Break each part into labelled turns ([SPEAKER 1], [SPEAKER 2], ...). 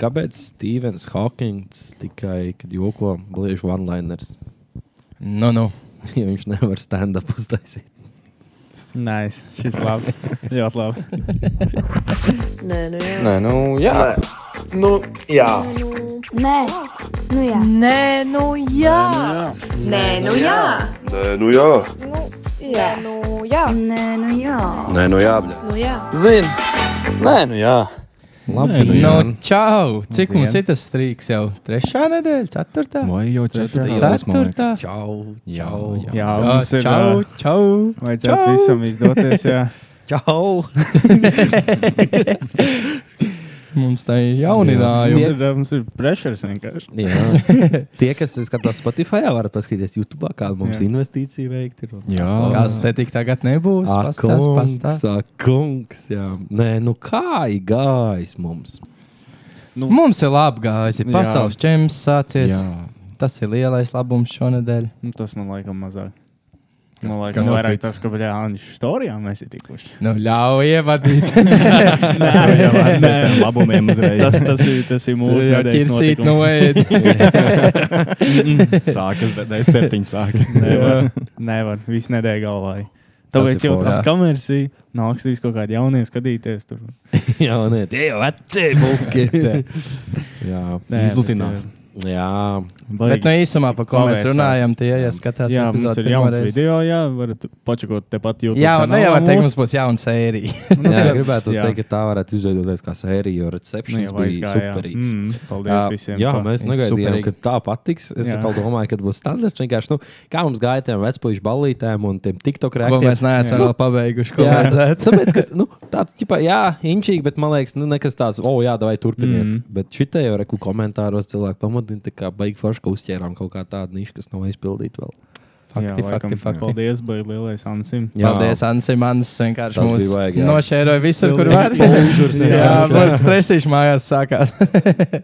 [SPEAKER 1] Kāpēc Stevens Hawkins tikai joko bliežu one-liners?
[SPEAKER 2] Nu, nu.
[SPEAKER 1] Jo viņš nevar stand-up uztaisīt.
[SPEAKER 3] Nice. Šis labi. Ļoti labi.
[SPEAKER 4] Nē, nu jā.
[SPEAKER 5] Nē, nu, jā.
[SPEAKER 6] Nu, jā.
[SPEAKER 7] Nē, nu jā.
[SPEAKER 4] Nē, nu jā. Nē, nu jā.
[SPEAKER 8] Nē, nu jā,
[SPEAKER 4] Jā, nu jā.
[SPEAKER 7] Nē, nu jā.
[SPEAKER 8] nē, nu jā.
[SPEAKER 4] Nu jā.
[SPEAKER 5] Zini, nē, nu, jā.
[SPEAKER 1] Labi,
[SPEAKER 9] nu,
[SPEAKER 2] no, Nu, čau! Cik
[SPEAKER 3] Labdien.
[SPEAKER 2] mums ir tas strīks jau? Trešā nedēļa, ceturtā?
[SPEAKER 9] Vai jau četri?
[SPEAKER 2] Ceturtā.
[SPEAKER 1] Čau, čau.
[SPEAKER 9] Jā,
[SPEAKER 3] Jā,
[SPEAKER 2] Čau,
[SPEAKER 3] mums ir.
[SPEAKER 2] Čau,
[SPEAKER 3] Čau.
[SPEAKER 2] čau!
[SPEAKER 3] Vajadzētu
[SPEAKER 2] Čau.
[SPEAKER 3] visam izdoties. Jā.
[SPEAKER 1] čau.
[SPEAKER 2] Mums tā ir
[SPEAKER 3] Mums
[SPEAKER 2] jauninājumi.
[SPEAKER 3] ir, mums ir pressures vienkārši.
[SPEAKER 1] Jā. Tie, kas skatās Spotify, var paskatīties YouTube, kā mums
[SPEAKER 3] Jā.
[SPEAKER 1] Jā. investīcija veikt. Ir.
[SPEAKER 9] Jā,
[SPEAKER 2] Kas te tik tagad nebūs?
[SPEAKER 1] Ak,
[SPEAKER 2] Pastāst,
[SPEAKER 1] kungs,
[SPEAKER 2] pastāst.
[SPEAKER 1] ak, kungs, jā. Nē, nu kā ir gājis mums?
[SPEAKER 2] Mums ir labi gājusi.
[SPEAKER 3] Jā.
[SPEAKER 2] Pasaules čempions sācies.
[SPEAKER 9] jā.
[SPEAKER 2] Jā. Tas ir lielais labums šonadēļ.
[SPEAKER 3] Nu, tas man laikam mazāk. Man
[SPEAKER 2] kas
[SPEAKER 3] liekas, vairāk
[SPEAKER 2] cits?
[SPEAKER 3] tas, ka bija Anģis Storijā mēs esam tikuši.
[SPEAKER 2] Nu, ļauj ievadīt.
[SPEAKER 3] Jā,
[SPEAKER 9] Nē, labumiem uzreiz.
[SPEAKER 3] tas, tas ir, tas ir mūsu
[SPEAKER 2] Jā,
[SPEAKER 3] nedēļas
[SPEAKER 2] ķirsīt no
[SPEAKER 3] notikums.
[SPEAKER 2] ēdas.
[SPEAKER 9] Sākas, bet ne septiņas sākas.
[SPEAKER 3] Nevar, nevar. visu nedēļu galvā. ir. Tāpēc
[SPEAKER 2] ir
[SPEAKER 3] jau
[SPEAKER 2] forši.
[SPEAKER 3] tas kameras ir. Nāks trīs kaut kādi jaunie skatīties. Tur.
[SPEAKER 1] Jā, nē, tie jau veci buļķi.
[SPEAKER 9] nu,
[SPEAKER 1] Jā,
[SPEAKER 3] Nē,
[SPEAKER 9] Izlutinās.
[SPEAKER 3] bet,
[SPEAKER 1] jā.
[SPEAKER 3] jā,
[SPEAKER 2] Bet
[SPEAKER 3] baigi.
[SPEAKER 2] no īsumā, par ko mēs
[SPEAKER 3] Pavērsās.
[SPEAKER 2] runājam, tie, ja skatās,
[SPEAKER 3] Jā, mums
[SPEAKER 2] epizodi
[SPEAKER 3] ir jauns
[SPEAKER 2] pirmoreiz.
[SPEAKER 3] video, jā, varat pačakot tepat YouTube.
[SPEAKER 2] Jā, un ne jau
[SPEAKER 3] kanālā
[SPEAKER 2] var teikt,
[SPEAKER 3] mūsu.
[SPEAKER 2] mums būs jauna sērija.
[SPEAKER 3] Nu,
[SPEAKER 1] jā
[SPEAKER 3] jā.
[SPEAKER 1] gribētu
[SPEAKER 3] Jā.
[SPEAKER 1] teikt, ka tā varētu izveidoties kā sērija, jo
[SPEAKER 3] Nu,
[SPEAKER 1] recepcija
[SPEAKER 3] jau
[SPEAKER 1] bija
[SPEAKER 3] aizgāja, jā.
[SPEAKER 1] superīga.
[SPEAKER 3] Mm, paldies visiem.
[SPEAKER 1] jā,
[SPEAKER 3] par-
[SPEAKER 1] mēs negaidījām,
[SPEAKER 2] superīgi.
[SPEAKER 1] ka tā patiks. Es
[SPEAKER 3] Jā.
[SPEAKER 1] atkal domāju, ka būs standarts. Vienkārši, nu, kā mums gāja tiem vecpuļu ballītēm un tiem TikTok
[SPEAKER 2] Ko
[SPEAKER 1] rēkiem?
[SPEAKER 2] mēs neesam vēl pabeiguši, ko
[SPEAKER 1] Jā,
[SPEAKER 2] vajadzētu.
[SPEAKER 1] tāpēc, ka, nu, tāds, ķipā, jā, inčīgi, bet man liekas, nu, nekas tāds, oh, jā, vai turpiniet. Mm.
[SPEAKER 3] Mhm.
[SPEAKER 1] Bet šitie jau reku komentāros cilvēki pamodina, tā kā baigi forši, ka uzķērām kaut kā tādu nišu, kas nav aizpildīta vēl.
[SPEAKER 3] jā,
[SPEAKER 2] Fakti,
[SPEAKER 3] laikam,
[SPEAKER 2] fakti, fakti.
[SPEAKER 3] Paldies, baigi lielais Ansim.
[SPEAKER 1] Jā.
[SPEAKER 2] Paldies, Ansim, Mans vienkārši
[SPEAKER 1] Tas
[SPEAKER 2] mūs
[SPEAKER 1] bija vajag, jā.
[SPEAKER 2] nošēroja visur, kur
[SPEAKER 3] Pilnīgs
[SPEAKER 2] var.
[SPEAKER 1] Paužurs,
[SPEAKER 2] Jā, man stresīši mājās sākās. Bet,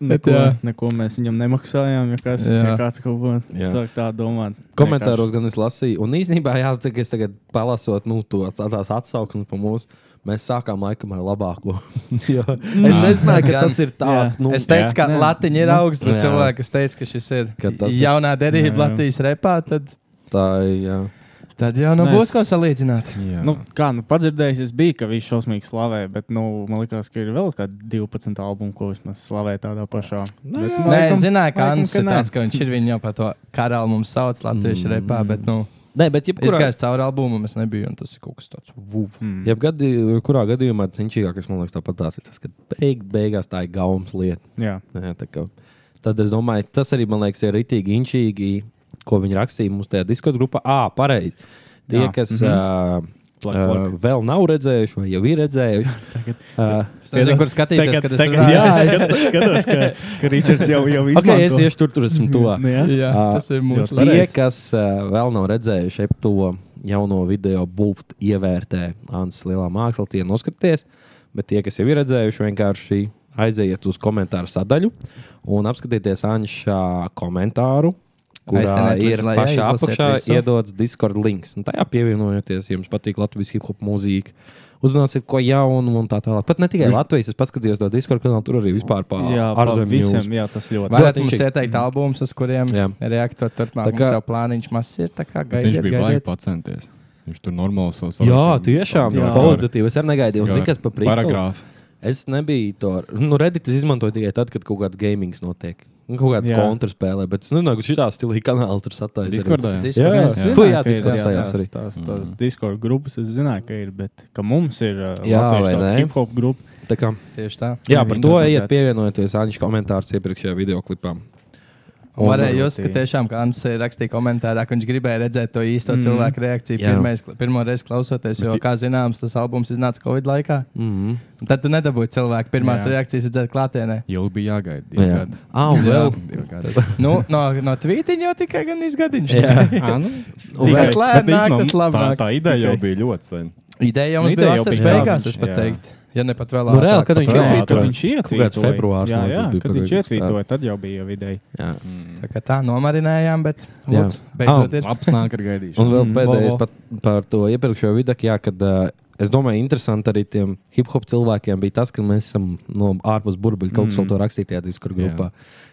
[SPEAKER 3] Neko,
[SPEAKER 2] jā.
[SPEAKER 3] neko mēs viņam nemaksājām, ja, kas,
[SPEAKER 2] Jā.
[SPEAKER 3] ja kāds kaut ko
[SPEAKER 1] Jā.
[SPEAKER 3] sāk tā domāt.
[SPEAKER 1] Komentāros gan es lasīju, un īsnībā jāsaka, ka es tagad palasot nu, to tās atsauksmes par mūsu. Mēs sākām laikam ar labāko. Jo es
[SPEAKER 2] Nā,
[SPEAKER 1] nezināju,
[SPEAKER 2] tas
[SPEAKER 1] ka
[SPEAKER 2] gan.
[SPEAKER 1] tas ir tāds.
[SPEAKER 3] Jā.
[SPEAKER 1] Nu,
[SPEAKER 2] Es teicu, ka
[SPEAKER 3] Nē. Nu,
[SPEAKER 2] latiņa ir augsts, bet
[SPEAKER 1] Jā.
[SPEAKER 2] cilvēks teica, ka šis ir
[SPEAKER 1] Ka tas ir-
[SPEAKER 2] jaunā
[SPEAKER 3] Jā,
[SPEAKER 2] derība
[SPEAKER 3] jā.
[SPEAKER 2] Latvijas repā, tad,
[SPEAKER 1] tā ir. jā.
[SPEAKER 2] tad jau nu
[SPEAKER 3] Nē,
[SPEAKER 2] būs
[SPEAKER 3] es-
[SPEAKER 2] ko salīdzināt.
[SPEAKER 9] Jā.
[SPEAKER 3] Nu, kā nu, padzirdējis, es biju, ka viņš šausmīgi slavē, bet nu, man liekas, ka ir vēl kāda 12 albuma, ko viņš slavē tādā pašā.
[SPEAKER 1] Nu,
[SPEAKER 3] Bet,
[SPEAKER 1] jā.
[SPEAKER 3] nu,
[SPEAKER 2] Nē,
[SPEAKER 3] laikam-
[SPEAKER 2] es zināju, ka
[SPEAKER 3] laikam,
[SPEAKER 2] Ansis
[SPEAKER 3] ka
[SPEAKER 2] ir
[SPEAKER 3] nē.
[SPEAKER 2] tāds, ka viņš ir viņu jau par to karalu mums sauc latviešu repā,
[SPEAKER 3] Mm.
[SPEAKER 2] bet, nu,
[SPEAKER 1] Nē, bet
[SPEAKER 2] es
[SPEAKER 1] jebkurā,
[SPEAKER 2] gāju cauri albumam, es nebiju, un tas ir kaut kas tāds. Vuv.
[SPEAKER 3] Mm.
[SPEAKER 1] jebgadi, jebkurā gadījumā cīņķīgākais man liekas tāpat tās ir tas, ka beig, beigās tā ir gaumas lieta.
[SPEAKER 3] Jā,
[SPEAKER 1] Jā, tā kā, tad es domāju, tas arī man liekas, ir rītīgi inčīgi, ko viņi rakstīja mums tajā diskutējuma grupā. À, pareizi. Tie,
[SPEAKER 3] Jā,
[SPEAKER 1] kas mm
[SPEAKER 3] mhm.
[SPEAKER 1] -hmm. uh,
[SPEAKER 3] Plak,
[SPEAKER 1] uh, vēl nav redzējuši, vai jau ir redzējuši, uh,
[SPEAKER 2] Es nezinu, kur skatīties, kad es runāju.
[SPEAKER 3] jā, es skatos, skatos ka, ka Ričards jau, jau izmanto.
[SPEAKER 1] okay, es iešu tur, tur esmu tuvāk.
[SPEAKER 3] Nu, jā.
[SPEAKER 2] Jā,
[SPEAKER 1] Ā,
[SPEAKER 2] tas ir mūsu
[SPEAKER 3] ļoti
[SPEAKER 1] Tie,
[SPEAKER 3] Pareizi.
[SPEAKER 1] kas uh, vēl nav redzējuši ep to jauno video, būtu ievērtē Antas lielā mākslā, tie noskaties. Bet tie, kas jau ir redzējuši, vienkārši aizejiet uz komentāru sadaļu un apskatieties Anšā komentāru. Kurā
[SPEAKER 2] Aizteniet līdz
[SPEAKER 1] ir
[SPEAKER 2] lejā,
[SPEAKER 1] pašā
[SPEAKER 2] izlasiet
[SPEAKER 1] apakšā
[SPEAKER 2] visu.
[SPEAKER 1] iedodas Discord links. Un tajā pievienojoties, ja jums patīk Latvijas hip hop mūzika, uzzināsiet ko jaunu un tā tālāk. Pat ne tikai Latvijas, es paskatījos to Discord kanālu, tur arī vispār pāri
[SPEAKER 3] jā, par visiem, jā, tas ļoti.
[SPEAKER 2] Varat
[SPEAKER 1] Ļoti
[SPEAKER 2] mums
[SPEAKER 1] inčīgi.
[SPEAKER 2] ieteikt albumus, uz kuriem
[SPEAKER 1] Jā.
[SPEAKER 2] reaktot turpmāk.
[SPEAKER 1] Tā kā-
[SPEAKER 2] Mums jau plāniņš mazs ir, tā kā
[SPEAKER 9] Bet Viņš
[SPEAKER 2] gaidiet,
[SPEAKER 9] bija baigi
[SPEAKER 2] gaidiet.
[SPEAKER 9] pacenties. Viņš tur normāli savus.
[SPEAKER 1] Jā, tiešām.
[SPEAKER 9] Jā.
[SPEAKER 1] Kvalitatīvi. Es arī negaidīju. Un
[SPEAKER 2] Nu,
[SPEAKER 9] Jā.
[SPEAKER 1] zinu, kas par prieku.
[SPEAKER 9] Paragrāfu.
[SPEAKER 1] Es nebiju to. Nu, Reddit es izmantoju tikai tad, kad kaut kāds gamings notiek. Un Kaut kāda
[SPEAKER 3] Jā.
[SPEAKER 1] kontraspēlē, bet es nezinu, kurš šitā stilī kanāla tur sataisa.
[SPEAKER 9] Discordā,
[SPEAKER 1] Jā,
[SPEAKER 9] jā.
[SPEAKER 1] jā, jā.
[SPEAKER 3] Es zināju,
[SPEAKER 1] Tu, jā
[SPEAKER 3] ka ir,
[SPEAKER 1] Discordā
[SPEAKER 3] jā,
[SPEAKER 1] jā,
[SPEAKER 3] tās-
[SPEAKER 1] arī.
[SPEAKER 3] Tās, tās Discord grupas es zināju, ka ir, bet ka mums ir uh,
[SPEAKER 1] Jā, vai
[SPEAKER 3] arī
[SPEAKER 1] ne?
[SPEAKER 3] hip hop grupa.
[SPEAKER 1] Tā Kā,
[SPEAKER 2] Tieši tā.
[SPEAKER 1] jā, par to
[SPEAKER 3] Interesantāts.
[SPEAKER 1] ejiet, pievienojieties Anģis komentārs iepriekšējā video klipā.
[SPEAKER 2] Un varēja jūs, ka
[SPEAKER 3] Ļoti.
[SPEAKER 2] tiešām Kāns rakstīja komentārā, ka viņš gribēja redzēt to īsto
[SPEAKER 3] Mm.
[SPEAKER 2] mm. cilvēku reakciju
[SPEAKER 1] Jā.
[SPEAKER 2] pirmais, pirmo reizi klausoties, jo, kā zināms, tas albums iznāca Covid laikā.
[SPEAKER 1] Mm -hmm.
[SPEAKER 2] Un Tad tu nedabūji cilvēku pirmās
[SPEAKER 3] Jā.
[SPEAKER 2] jā. reakcijas redzēt klātienē.
[SPEAKER 9] Ilgi bija jāgaida. divi
[SPEAKER 1] Jā,
[SPEAKER 9] gadi.
[SPEAKER 1] ah, un vēl.
[SPEAKER 9] Divi gadi.
[SPEAKER 2] Nu, no, no tvītiņa jau tikai gan izgadiņš.
[SPEAKER 9] Ā, nu,
[SPEAKER 1] Un
[SPEAKER 2] Tikai
[SPEAKER 1] vēl.
[SPEAKER 2] slēdz
[SPEAKER 9] bet
[SPEAKER 2] nāk,
[SPEAKER 9] īstenībā
[SPEAKER 2] tas
[SPEAKER 9] tā,
[SPEAKER 2] labāk.
[SPEAKER 9] tā ideja jau bija ļoti sen.
[SPEAKER 2] Ideja jau
[SPEAKER 9] Nu,
[SPEAKER 2] mums
[SPEAKER 9] ideja
[SPEAKER 2] bija
[SPEAKER 9] jau
[SPEAKER 2] vasaras
[SPEAKER 9] bija, jā,
[SPEAKER 2] beigās,
[SPEAKER 9] viņš-
[SPEAKER 2] es pat
[SPEAKER 9] jā.
[SPEAKER 2] teiktu. Ja ne pat vēl.
[SPEAKER 1] Nu, reāli, kad viņš
[SPEAKER 9] Jā,
[SPEAKER 3] Jā,
[SPEAKER 1] ietvītoja.
[SPEAKER 3] kad viņš
[SPEAKER 1] Kaut kāds
[SPEAKER 3] ietvītoja.
[SPEAKER 1] februārs,
[SPEAKER 3] jā,
[SPEAKER 1] man liekas,
[SPEAKER 3] jā,
[SPEAKER 1] bija
[SPEAKER 3] kad viņš
[SPEAKER 1] pagājis.
[SPEAKER 3] ietvītoja, tad jau bija jau ideja.
[SPEAKER 1] Jā.
[SPEAKER 2] Tā kā tā nomarinējām, bet
[SPEAKER 1] Jā.
[SPEAKER 2] lūdzu, beidzot ir.
[SPEAKER 9] Apsnāk ar gaidīšanu.
[SPEAKER 1] Un vēl
[SPEAKER 3] Mm,
[SPEAKER 1] pēdējais
[SPEAKER 2] vēl, vēl.
[SPEAKER 1] par, par to iepriekšējo video, kad uh, es domāju, interesanti arī tiem hip hop cilvēkiem bija tas, ka mēs esam no ārpus burbuļa kaut kas vēl to rakstītajā diskusiju grupā.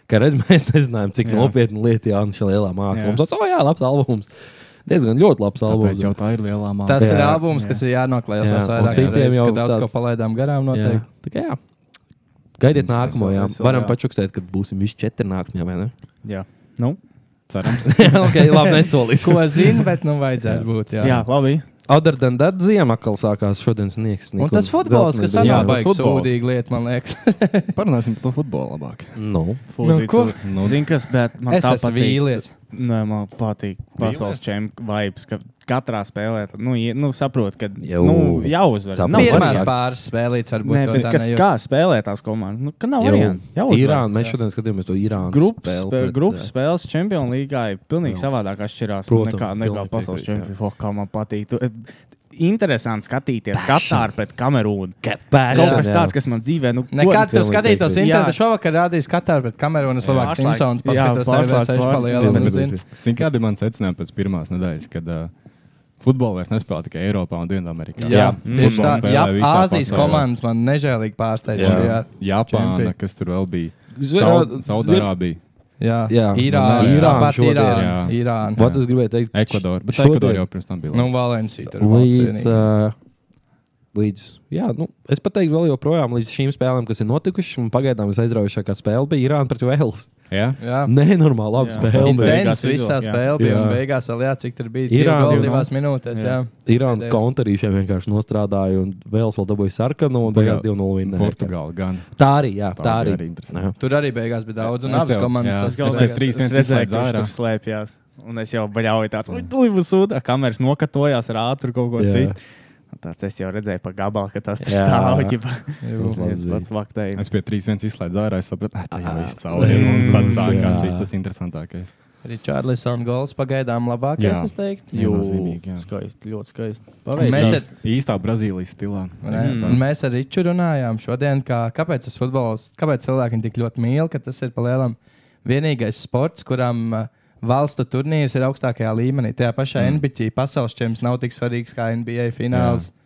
[SPEAKER 1] Kā reiz mēs nezinājām, cik
[SPEAKER 3] Jā.
[SPEAKER 1] nopietna lieta ir šī lielā
[SPEAKER 3] Jā.
[SPEAKER 1] māksla. Mums tas oh, jā, labs albums. Diezgan ļoti labs albums.
[SPEAKER 9] Tāpēc jau tā ir lielā māksla.
[SPEAKER 1] Jā.
[SPEAKER 2] Tas jā, ir albums, jā. kas ir jānoklausās
[SPEAKER 1] Jā, un
[SPEAKER 2] vairāk.
[SPEAKER 1] citiem jau
[SPEAKER 2] daudz
[SPEAKER 1] tāds-
[SPEAKER 2] ko palaidām garām.
[SPEAKER 1] Jā.
[SPEAKER 2] Noteikti.
[SPEAKER 1] Tā kā jā. Gaidiet nākamo, jā.
[SPEAKER 3] vēl,
[SPEAKER 1] Varam
[SPEAKER 3] jā.
[SPEAKER 1] pačukstēt, kad būsim visi četri nākamajā, vai ne?
[SPEAKER 3] Jā, nu, cerams.
[SPEAKER 1] Jā, okay, labi, nesolīsim.
[SPEAKER 2] Ko zinu, bet nu vajadzētu būt. Jā.
[SPEAKER 3] jā, labi.
[SPEAKER 1] Other than that, ziema atkal sākās šodien sniegs.
[SPEAKER 2] Un tas futbols, kas
[SPEAKER 9] Jā,
[SPEAKER 2] manā
[SPEAKER 9] tas
[SPEAKER 2] baigās
[SPEAKER 9] futbols.
[SPEAKER 2] sūdīgi lieta, man liekas.
[SPEAKER 9] Parunāsim par to futbolu labāk.
[SPEAKER 1] Nu,
[SPEAKER 3] Fūzīt
[SPEAKER 2] ko?
[SPEAKER 3] cilvēku. Zini, kas, bet man
[SPEAKER 2] es
[SPEAKER 3] tā
[SPEAKER 2] esmu
[SPEAKER 3] patīk.
[SPEAKER 2] vīlies.
[SPEAKER 3] Nē, man patīk pasaules čempions, ka katrā spēlē, tad, nu, ie- nu saprot, ka
[SPEAKER 1] Jau.
[SPEAKER 3] jau, nu, jau uzvar.
[SPEAKER 1] Saprot.
[SPEAKER 3] Nav
[SPEAKER 1] Pirmās
[SPEAKER 2] Pirmās
[SPEAKER 3] variantu.
[SPEAKER 2] pāris spēlītas varbūt.
[SPEAKER 3] Nē,
[SPEAKER 2] to
[SPEAKER 3] bet
[SPEAKER 2] tā
[SPEAKER 3] kas,
[SPEAKER 2] nejūt.
[SPEAKER 3] kā spēlē tās komandas? Nu, ka nav variantu. jau uzvar.
[SPEAKER 1] Irāna. Mēs šodien skatījāmies to Irānu.
[SPEAKER 3] Grupas,
[SPEAKER 1] spēli
[SPEAKER 3] spēle,
[SPEAKER 1] pret,
[SPEAKER 3] grupas
[SPEAKER 1] jā.
[SPEAKER 3] spēles čempionu līgā ir pilnīgi
[SPEAKER 1] Pilns.
[SPEAKER 3] savādāk atšķirās
[SPEAKER 1] Protams,
[SPEAKER 3] nekā, nekā
[SPEAKER 1] pilnīgi
[SPEAKER 3] pasaules
[SPEAKER 1] piekrītu, jā.
[SPEAKER 3] čempionā. Oh, kā man patīk. Tu, interesanti skatīties Katāru pret Kamerūnu.
[SPEAKER 1] passion,
[SPEAKER 3] Kaut kas
[SPEAKER 1] jā.
[SPEAKER 3] tāds, kas man dzīvē, nu,
[SPEAKER 2] Nekad
[SPEAKER 1] Ko-
[SPEAKER 2] tu skatītos
[SPEAKER 1] Jā.
[SPEAKER 2] internetā. Šovakar rādīs Katāru, bet Kamerūna Slovākijas
[SPEAKER 3] Pārslēg-
[SPEAKER 2] Simpsons
[SPEAKER 3] jā,
[SPEAKER 2] paskatās TV
[SPEAKER 3] pārslēdz
[SPEAKER 2] sešu
[SPEAKER 3] pār-
[SPEAKER 2] palielinu.
[SPEAKER 1] Pilnīgi
[SPEAKER 2] un zini.
[SPEAKER 9] Zini, kāda ir mana secinājuma pēc pirmās nedēļas, kad uh, futbolu vairs nespēlē tikai Eiropā un Dienvidamerikā?
[SPEAKER 2] Jā,
[SPEAKER 3] Mm.
[SPEAKER 2] tieši tā.
[SPEAKER 9] Futbolu spēlē
[SPEAKER 2] Jā,
[SPEAKER 9] visā
[SPEAKER 2] Āzijas
[SPEAKER 9] pasaulē.
[SPEAKER 2] komandas man nežēlīgi pārsteidz.
[SPEAKER 1] Jā.
[SPEAKER 2] Jā,
[SPEAKER 9] Japāna,
[SPEAKER 2] Čempi.
[SPEAKER 9] kas tur vēl bija?
[SPEAKER 1] Zvi-
[SPEAKER 9] Sau-
[SPEAKER 1] zvi-
[SPEAKER 9] Saudārābija,
[SPEAKER 2] jā.
[SPEAKER 1] Jā.
[SPEAKER 2] Irāna.
[SPEAKER 1] Jā. Irāna
[SPEAKER 2] Tāpat
[SPEAKER 1] šodien,
[SPEAKER 2] Irāna.
[SPEAKER 9] jā.
[SPEAKER 2] Irāna.
[SPEAKER 1] Vat es gribēju teikt,
[SPEAKER 9] Ekvadora. Bet
[SPEAKER 1] šodien-
[SPEAKER 9] Ekvadora jau pirms tam bija.
[SPEAKER 2] Nu,
[SPEAKER 9] labi.
[SPEAKER 2] Valencija tur
[SPEAKER 1] Līdz,
[SPEAKER 2] bija.
[SPEAKER 1] uh, līdz, jā, nu, es pat teiktu, vēl joprojām līdz šīm spēlēm, kas ir notikušas, un pagaidām visaizraujošākā spēle bija Irāna pret Vēlsu.
[SPEAKER 9] Jā,
[SPEAKER 2] Jā.
[SPEAKER 1] Nē, normāli, labi
[SPEAKER 3] Jā.
[SPEAKER 1] spēle. bija.
[SPEAKER 3] Inten-
[SPEAKER 2] Intens
[SPEAKER 3] beigās
[SPEAKER 2] viss tā
[SPEAKER 3] izvilkt, jā.
[SPEAKER 2] spēle bija. un
[SPEAKER 1] Jā.
[SPEAKER 2] Beigās vēl jā, cik tur bija.
[SPEAKER 1] Irāna
[SPEAKER 2] Irāna
[SPEAKER 1] divas.
[SPEAKER 2] divās minūtēs. Jā.
[SPEAKER 1] Irānas
[SPEAKER 2] Pēdējais.
[SPEAKER 1] kontrīšiem vienkārši nostrādāja, un Vēlsu vēl dabūja sarkanu, un beigās 2-0 vinnēja.
[SPEAKER 9] Portugāla gan.
[SPEAKER 1] Tā arī, jā, tā
[SPEAKER 9] bija
[SPEAKER 1] arī.
[SPEAKER 9] interesanti.
[SPEAKER 2] Tur arī beigās bija daudz, un
[SPEAKER 9] Es
[SPEAKER 2] abas
[SPEAKER 9] jau- jā.
[SPEAKER 2] komandas
[SPEAKER 9] Es pēc
[SPEAKER 2] sasniedz.
[SPEAKER 9] trīs
[SPEAKER 3] Es
[SPEAKER 9] viens
[SPEAKER 3] redzēju,
[SPEAKER 9] izlaidz
[SPEAKER 3] ka viņš
[SPEAKER 9] ārā.
[SPEAKER 3] tur slēpjas. Un es jau baļauju tādu, oi, tu jau sūdi, kameras nokatojās ar ātru kaut ko
[SPEAKER 1] Jā.
[SPEAKER 3] citu. Un Tāds es jau redzēju, pa gabalu, ka tas tur
[SPEAKER 1] Jā.
[SPEAKER 3] stāv. ģipa.
[SPEAKER 1] Tas labs
[SPEAKER 3] Es
[SPEAKER 1] bija.
[SPEAKER 3] pats vaktēju.
[SPEAKER 9] Es pie 3.1 izslēdzu ārā, es sapratu, ka tā jau viss cauri. Un Tad sākās
[SPEAKER 1] Jā.
[SPEAKER 9] viss tas interesantākais.
[SPEAKER 2] Richarlisona gols pagaidām labākais,
[SPEAKER 9] Jā.
[SPEAKER 2] es teiktu.
[SPEAKER 9] Jū,
[SPEAKER 3] skaisti, ļoti skaisti.
[SPEAKER 2] Mēs ar,
[SPEAKER 9] Īstā Brazīlijas stilā.
[SPEAKER 2] ne, un mēs ar Riču runājām šodien, kā, kāpēc tas futbols, kāpēc cilvēki viņu tik ļoti mīl, ka tas ir palielam vienīgais sports, kuram uh, valstu turnīrs ir augstākajā līmenī. Tajā pašā mm. NBA pasaules čempions nav tik svarīgs kā NBA fināls. Jā.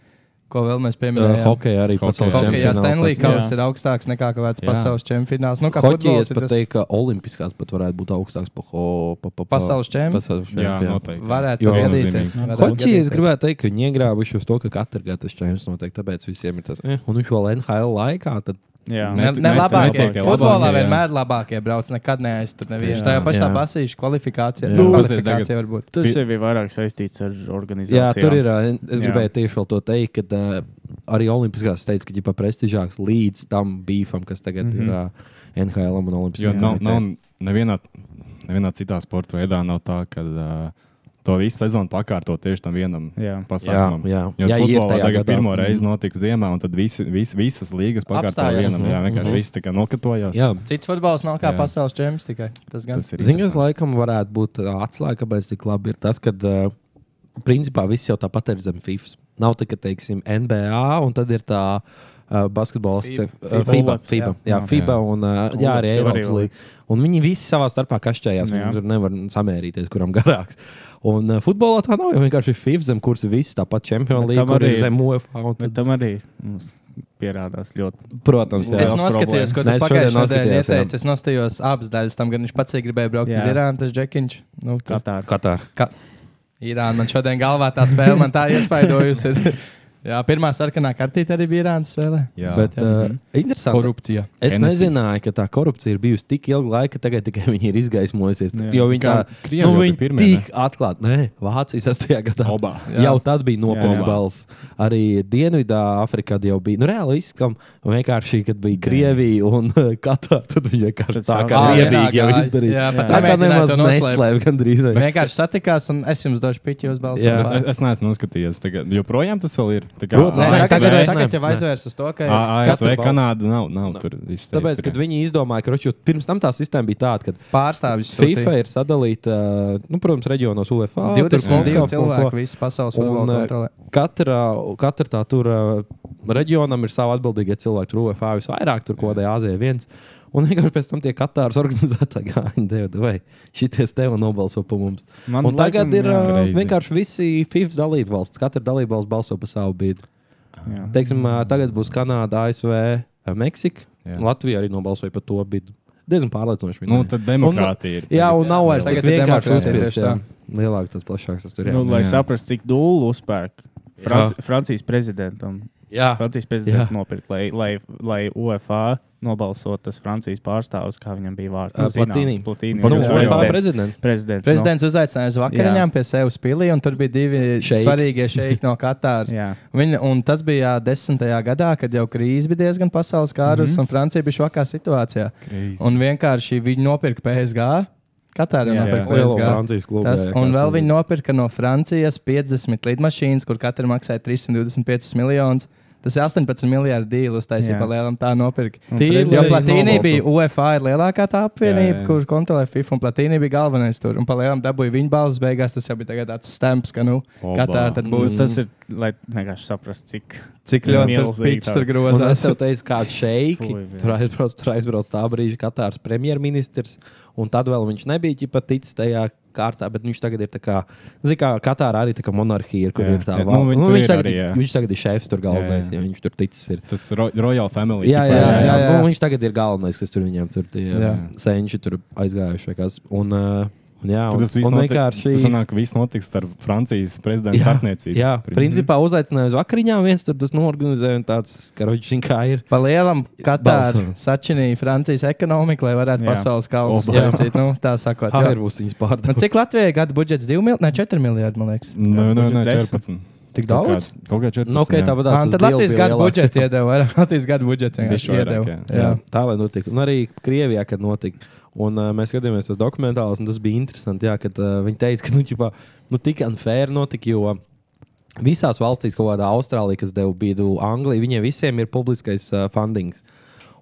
[SPEAKER 2] Ko vēl mēs pieminējām?
[SPEAKER 1] Hokejā arī
[SPEAKER 9] Hokejā.
[SPEAKER 1] pasaules
[SPEAKER 9] Hokejā
[SPEAKER 2] Hokejā
[SPEAKER 1] čempionāts.
[SPEAKER 2] Stanley
[SPEAKER 1] tāds-
[SPEAKER 2] Kauss
[SPEAKER 3] Jā.
[SPEAKER 2] ir augstāks nekā kaut kāds
[SPEAKER 9] Jā.
[SPEAKER 2] pasaules čempionāts. Nu, kā
[SPEAKER 1] Hokeja
[SPEAKER 2] futbols
[SPEAKER 1] es
[SPEAKER 2] ir
[SPEAKER 1] pat
[SPEAKER 2] tas
[SPEAKER 1] teiktu, ka olimpiskās pat varētu būt augstāks par ho- pa- pa- pa-
[SPEAKER 2] Pasaules čemp?
[SPEAKER 1] pasaules čemp,
[SPEAKER 9] Jā,
[SPEAKER 1] jā.
[SPEAKER 9] noteikti.
[SPEAKER 2] varētu
[SPEAKER 1] Jo-
[SPEAKER 2] gadīties.
[SPEAKER 9] Viennozīmīgi.
[SPEAKER 2] varētu
[SPEAKER 1] Hoķi, es
[SPEAKER 2] gadīties.
[SPEAKER 1] gribēju teikt, ka viņi iegrābuši uz to, ka katra gada tas čempions notiek, tāpēc visiem ir tas, eh, un viņš vēl NHL laikā, tad
[SPEAKER 3] Jā,
[SPEAKER 2] Ne,
[SPEAKER 9] Ne-
[SPEAKER 2] ne,
[SPEAKER 9] ne-
[SPEAKER 2] labākie.
[SPEAKER 9] labākie,
[SPEAKER 2] Futbolā
[SPEAKER 9] labākie, jā.
[SPEAKER 2] vienmēr labākie brauc, nekad neaiztur nevienu.
[SPEAKER 3] Jā.
[SPEAKER 2] Tā jau pašā
[SPEAKER 1] Jā.
[SPEAKER 2] basīša kvalifikācija.
[SPEAKER 1] Jā.
[SPEAKER 2] Nu,
[SPEAKER 9] Paziet
[SPEAKER 2] kvalifikācija var būt.
[SPEAKER 3] tas jau ir vairāk saistīts ar organizāciju.
[SPEAKER 1] Jā, tur ir. ā, Es
[SPEAKER 3] Jā.
[SPEAKER 1] gribēju tieši vēl to teikt, ka ā, arī Olimpiskās teica, ka ģipa prestižāks līdz tam beefam, kas tagad mm -hmm. ir ā, NHL un
[SPEAKER 9] Mhm. Jo
[SPEAKER 1] Olimpiskajā
[SPEAKER 9] nav, nav nevienā, nevienā citā sporta veidā nav tā, ka uh, to visu sezonu pakārto tieši tam vienam
[SPEAKER 3] Jā.
[SPEAKER 9] pasākumam.
[SPEAKER 1] Jā, jā.
[SPEAKER 9] Jo
[SPEAKER 1] Jā, ir
[SPEAKER 9] futbolā
[SPEAKER 1] tajā
[SPEAKER 9] tagad
[SPEAKER 1] gadā. Mhm.
[SPEAKER 9] pirmo reizi notiks ziemā, un tad visi, visi, visas līgas pakārto
[SPEAKER 2] Apstājās.
[SPEAKER 9] vienam. Jā, vienkārši
[SPEAKER 1] Mhm.
[SPEAKER 9] viss tā kā nokatojās.
[SPEAKER 1] Jā,
[SPEAKER 2] Cits futbols nav kā
[SPEAKER 9] Jā.
[SPEAKER 2] pasaules čempions tikai. Tas gan.
[SPEAKER 9] Tas ir
[SPEAKER 1] Ziņas
[SPEAKER 9] interesanti.
[SPEAKER 1] laikam varētu būt ā, atslēga, kāpēc tik labi ir tas, ka principā viss jau tāpat ir zem FIFA. Nav tā, ka teiksim NBA un tad ir tā. Uh, basketbols,
[SPEAKER 2] FIBA.
[SPEAKER 1] uh, FIBA,
[SPEAKER 2] Jā.
[SPEAKER 1] FIBA, jā,
[SPEAKER 3] Jā.
[SPEAKER 1] FIBA un uh, jā, arī
[SPEAKER 3] Olaps jau arī
[SPEAKER 1] Eiropas līnija. Un viņi visi savā starpā kašķējās.
[SPEAKER 3] Jā.
[SPEAKER 1] Viņi tur nevar samērīties, kuram garāks. Un uh, futbolā tā nav. Jo vienkārši FIFA zem, kurš ir viss tāpat Champions
[SPEAKER 3] Bet
[SPEAKER 1] League,
[SPEAKER 3] tam
[SPEAKER 1] kur
[SPEAKER 3] arī
[SPEAKER 1] ir
[SPEAKER 3] ir.
[SPEAKER 1] zem UEFA. un
[SPEAKER 3] Bet
[SPEAKER 1] Tad,
[SPEAKER 3] tam arī mums pierādās ļoti.
[SPEAKER 1] protams, jā.
[SPEAKER 2] Es noskatījos,
[SPEAKER 1] Ne,
[SPEAKER 2] ko
[SPEAKER 1] es
[SPEAKER 2] tu
[SPEAKER 1] šodien
[SPEAKER 2] pagājušajā nedēļā
[SPEAKER 1] noskatījos, jā.
[SPEAKER 2] ieteici. Es nostājos abas daļas tam, gan viņš pats arī gribēja braukt
[SPEAKER 3] Jā.
[SPEAKER 2] uz Irānu, tas Džekiņš. Nu, tur-
[SPEAKER 3] Katāra.
[SPEAKER 1] Katāra.
[SPEAKER 2] Irāna man šodien galvā tā spēle, man tā iespaidojusi. ir. Jā, pirmā sarkanā kartīte arī bija Irānas spēlē.
[SPEAKER 9] Jā.
[SPEAKER 1] Bet, uh,
[SPEAKER 3] Mhm.
[SPEAKER 1] interesanti.
[SPEAKER 2] Korupcija.
[SPEAKER 1] Es
[SPEAKER 9] NSX.
[SPEAKER 1] nezināju, ka tā korupcija ir bijusi tik ilga laika, ka tagad tikai viņi ir izgaismojusies.
[SPEAKER 3] Jā.
[SPEAKER 1] Jo viņi tā
[SPEAKER 9] Kā Krievi jau bija pirmie, ne?
[SPEAKER 1] tik atklāti. Nē, Vācijas 8. gadā
[SPEAKER 9] Obā.
[SPEAKER 1] Jā. jau tad bija nopietns
[SPEAKER 3] Jā.
[SPEAKER 1] balss. Arī Dienvidā, Afrikā jau bija. Nu, reāli izskan vienkārši, kad bija Krievija un eh, Katāra. Tad viņi vienkārši
[SPEAKER 3] Tad
[SPEAKER 1] tā kā
[SPEAKER 3] sākās.
[SPEAKER 1] riebīgi jau
[SPEAKER 2] Jā,
[SPEAKER 1] izdarīja.
[SPEAKER 2] jā, pat
[SPEAKER 1] tā kā
[SPEAKER 2] nemēģināja
[SPEAKER 1] nemaz
[SPEAKER 2] to noslēpt.
[SPEAKER 1] neslēpj gandrīz. vai.
[SPEAKER 2] Vienkārši satikās, un es jums došu piķi uz balsu.
[SPEAKER 1] Jā.
[SPEAKER 9] Es, es neesmu noskatījies. Tagad, joprojām tas vēl ir. Tā kā
[SPEAKER 1] Protams.
[SPEAKER 2] Nē,
[SPEAKER 1] Nē, tagad-
[SPEAKER 2] tagad, tagad,
[SPEAKER 1] nē,
[SPEAKER 2] tagad jau
[SPEAKER 1] nē.
[SPEAKER 2] aizvērs uz to, ka ir
[SPEAKER 9] E. A- ASV,
[SPEAKER 1] Katru balsi.
[SPEAKER 9] Kanāda nav, nav tur izteikti.
[SPEAKER 1] Tāpēc, kad viņi izdomāja, ka roču, pirms tam tā sistēma bija tāda, ka
[SPEAKER 2] pārstāvis
[SPEAKER 1] FIFA ir sadalīta, nu, protams, reģionos UFO.
[SPEAKER 2] 22 cilvēki visas pasaules futbola
[SPEAKER 1] Un, eh,
[SPEAKER 2] kontrolē.
[SPEAKER 1] Katra, katra tā tur uh, reģionam ir sava atbildīga cilvēka. Tur UFO visvairāk, tur kodē Āzijā viens. Un vienkārši pēc tam tie katārs organizētāji gāja, devu, vai šitie tevi nobalso par mums.
[SPEAKER 3] Man
[SPEAKER 1] Man un tagad
[SPEAKER 3] laikam,
[SPEAKER 1] ir
[SPEAKER 3] jā.
[SPEAKER 1] uh,
[SPEAKER 9] Crazy.
[SPEAKER 1] vienkārši visi FIFA dalībvalsts. Katra dalībvalsts balso par savu bīdu.
[SPEAKER 3] Jā.
[SPEAKER 1] Teiksim, ā, tagad būs Kanāda, ASV, ā, eh, Meksika.
[SPEAKER 9] Jā.
[SPEAKER 1] Latvija arī nobalsoja par to bidu. Diezgan pārliecinoši. viņi
[SPEAKER 9] Nu,
[SPEAKER 1] bija.
[SPEAKER 9] tad demokrātija ir.
[SPEAKER 1] Jā, un nav vairs
[SPEAKER 2] Tagad
[SPEAKER 1] tagad
[SPEAKER 2] ir
[SPEAKER 1] vienkārši
[SPEAKER 2] demokrātija,
[SPEAKER 1] uzspiež.
[SPEAKER 2] tieši tā.
[SPEAKER 1] Lielāk tas plašāks tas tur ir.
[SPEAKER 3] Nu, lai
[SPEAKER 9] Jā.
[SPEAKER 3] saprastu, cik dūlu uzpērk Franci Francijas prezidentam.
[SPEAKER 1] jā.
[SPEAKER 3] Francijas
[SPEAKER 1] Jā.
[SPEAKER 3] prezidents nopirka, lai, lai, lai UFA nobalsotu tas Francijas pārstāvis, kā viņam bija vārds. Nu,
[SPEAKER 1] Ā, Platini.
[SPEAKER 3] Platīni.
[SPEAKER 1] Nu,
[SPEAKER 9] Jā,
[SPEAKER 1] vai
[SPEAKER 9] jā.
[SPEAKER 1] kā prezidents?
[SPEAKER 3] prezidents. nu,
[SPEAKER 2] Prezidents uzaicināja uz vakariņām pie sevis pilī, un tur bija divi
[SPEAKER 1] Šeiki.
[SPEAKER 2] svarīgie šeiki no Katāras.
[SPEAKER 3] No, jā,
[SPEAKER 2] Viņa, un tas bija jā, desmitajā gadā, kad jau krīze bija diezgan pasaules kārus, mm -hmm. un Francija bija švakā situācijā.
[SPEAKER 1] nu,
[SPEAKER 9] Krīze.
[SPEAKER 2] Un vienkārši viņi nopirka PSG. Katāra
[SPEAKER 3] Jā,
[SPEAKER 2] nopirka
[SPEAKER 1] Lielo
[SPEAKER 2] PSG.
[SPEAKER 1] Francijas klubu.
[SPEAKER 2] Tas,
[SPEAKER 1] jā,
[SPEAKER 2] un
[SPEAKER 1] kāds
[SPEAKER 2] vēl
[SPEAKER 1] tas
[SPEAKER 2] viņi
[SPEAKER 1] bija.
[SPEAKER 2] nopirka no Francijas 50 lidmašīnas, kur katra maksāja 325 miljonus. Tas ir 18 miljardu dīlis, taisnība,
[SPEAKER 3] Jā.
[SPEAKER 2] palielam tā nopirka.
[SPEAKER 1] Tīri
[SPEAKER 2] Jo
[SPEAKER 1] reiz
[SPEAKER 2] Platīnī
[SPEAKER 1] nobalso.
[SPEAKER 2] bija UFA ir lielākā tā apvienība,
[SPEAKER 9] Jā, jā.
[SPEAKER 2] kur kontrolē FIFA, un Platīnī bija galvenais tur. Un palielam dabūja viņa balss beigās, tas jau bija tagad tāds stamps, ka, nu,
[SPEAKER 9] Oba.
[SPEAKER 2] Katāra
[SPEAKER 1] Mm.
[SPEAKER 2] tad
[SPEAKER 3] būs,
[SPEAKER 2] būs.
[SPEAKER 3] Mm. tas ir, lai vienkārši saprastu, cik.
[SPEAKER 2] Cik ļoti tas
[SPEAKER 3] Milzīgi
[SPEAKER 2] pīcis
[SPEAKER 3] tā.
[SPEAKER 2] tur
[SPEAKER 1] Un es
[SPEAKER 2] grozās.
[SPEAKER 1] jau teicu, kāds šeiki.
[SPEAKER 3] Fui, jā.
[SPEAKER 1] Tur aizbrauc, tur aizbrauc tā brīža Katāras premjerministrs. Un tad vēl viņš nebija pat ticis tajā kārtā, bet viņš tagad ir tā kā, zini, kā Katārā arī tā kā monarhija ir, kur
[SPEAKER 9] Jā,
[SPEAKER 1] ir tā
[SPEAKER 9] jā, nu,
[SPEAKER 1] valsts.
[SPEAKER 9] viņi
[SPEAKER 1] Nu,
[SPEAKER 9] tur
[SPEAKER 1] viņš,
[SPEAKER 9] ir
[SPEAKER 1] tagad,
[SPEAKER 9] arī, jā.
[SPEAKER 1] viņš tagad ir šefs tur galvenais,
[SPEAKER 9] Jā, jā.
[SPEAKER 1] ja viņš tur ticis. Ir.
[SPEAKER 9] Tas ro Royal Family.
[SPEAKER 1] Jā, jā,
[SPEAKER 9] tipā,
[SPEAKER 1] jā, jā,
[SPEAKER 2] jā.
[SPEAKER 1] jā. Nu, viņš tagad ir galvenais, kas tur viņam tur bija.
[SPEAKER 2] Jā.
[SPEAKER 1] Senči tur aizgājuši. vai kas. Un, uh, un, jā,
[SPEAKER 9] Tad
[SPEAKER 1] un,
[SPEAKER 9] Tas viss
[SPEAKER 1] un
[SPEAKER 9] notiek,
[SPEAKER 1] vienkārši.
[SPEAKER 9] tas sanāk, ka viss notiks ar Francijas prezidenta starpniecību.
[SPEAKER 1] jā, principā uzaicināja uz vakariņām, viens tur tas norganizēja un tāds, ka viņš zina, kā ir.
[SPEAKER 2] Pa lielam Katāra
[SPEAKER 1] Balsojums.
[SPEAKER 2] sačinīja Francijas ekonomiku, lai varētu
[SPEAKER 3] Jā.
[SPEAKER 2] pasaules kalnus
[SPEAKER 9] Oba.
[SPEAKER 2] izsīt. Nu, tā sakot,
[SPEAKER 1] Tā
[SPEAKER 2] jā.
[SPEAKER 1] ir būs viņas
[SPEAKER 2] Nu,
[SPEAKER 1] pārdevums.
[SPEAKER 2] cik Latvijai gada budžets 2 miljardi, ne 4 miljardi, man liekas.
[SPEAKER 9] Nē, nē, nē,
[SPEAKER 3] Budžets
[SPEAKER 9] 14.
[SPEAKER 2] Tik daudz?
[SPEAKER 9] nu, Kaut kā- Kaut kā 14.
[SPEAKER 1] Nu, okay,
[SPEAKER 9] jā.
[SPEAKER 1] tāpat
[SPEAKER 2] Ā, un
[SPEAKER 1] tas
[SPEAKER 2] Tad
[SPEAKER 1] deals
[SPEAKER 2] Latvijas
[SPEAKER 1] bija
[SPEAKER 2] gada
[SPEAKER 1] lielāks.
[SPEAKER 2] budžets iedeva vairāk. Latvijas gada budžets vienkārši
[SPEAKER 9] Bišķi vairāk,
[SPEAKER 2] iedeva.
[SPEAKER 9] jā.
[SPEAKER 2] Jā.
[SPEAKER 1] Tā lai notika. Un arī Krievijā, kad notika. Un, uh, mēs skatījāmies tos dokumentālus, un tas bija interesanti. Jā, kad uh, viņi teica, ka nu, ķipā, nu, tik unfair notika. Jo, Visās valstīs, kaut kādā Austrālijā, kas deva bīdu Anglijai, viņiem visiem ir publiskais uh, fundings.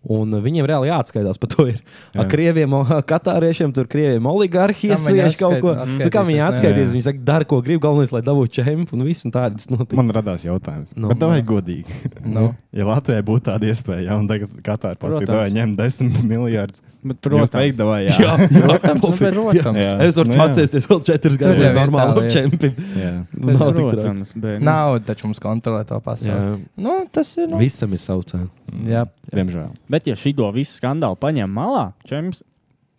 [SPEAKER 1] Un uh, viņiem reāli jāatskaitās par to. Ir. Ar
[SPEAKER 9] Jā.
[SPEAKER 1] krieviem, o- katāriešiem, tur krieviem oligarhiem,
[SPEAKER 2] Kam viņi
[SPEAKER 1] sviež kaut ko.
[SPEAKER 2] atskait-
[SPEAKER 1] Nu, Kā viņi
[SPEAKER 2] atskaitīsies,
[SPEAKER 1] atskaitīs,
[SPEAKER 9] jā.
[SPEAKER 1] viņi saka, dara, ko grib, galvenais, lai dabūtu čempionu un viss un tādas notic.
[SPEAKER 9] Man radās jautājums.
[SPEAKER 1] Nu.
[SPEAKER 9] Nu, bet vai godīgi?
[SPEAKER 2] Nu.
[SPEAKER 9] Ja Latvijai būtu tāda iespēja, ja un tagad Katāra pasakītu,
[SPEAKER 3] Protams.
[SPEAKER 9] vai ņem 10 miljardus,
[SPEAKER 3] Bet,
[SPEAKER 9] protams,
[SPEAKER 3] protams,
[SPEAKER 9] teikt, vai jā.
[SPEAKER 2] Protams, nu, bet protams.
[SPEAKER 9] Jā.
[SPEAKER 1] Es varu
[SPEAKER 9] Nu, jā.
[SPEAKER 1] atcerēties vēl četrus gadus,
[SPEAKER 2] jau
[SPEAKER 1] kad
[SPEAKER 2] ir tā
[SPEAKER 1] normālam
[SPEAKER 2] lieta.
[SPEAKER 1] čempionam
[SPEAKER 9] jā.
[SPEAKER 1] nav tik traki.
[SPEAKER 3] protams, bet, nu,
[SPEAKER 2] Nauda taču mums kontrolē to pasauli.
[SPEAKER 1] Jā.
[SPEAKER 2] Nu, tas ir. Nu.
[SPEAKER 1] Visam ir savs cēlonis.
[SPEAKER 2] Jā.
[SPEAKER 9] Diemžēl.
[SPEAKER 3] bet, ja šī to visu skandālu paņem malā, čempions.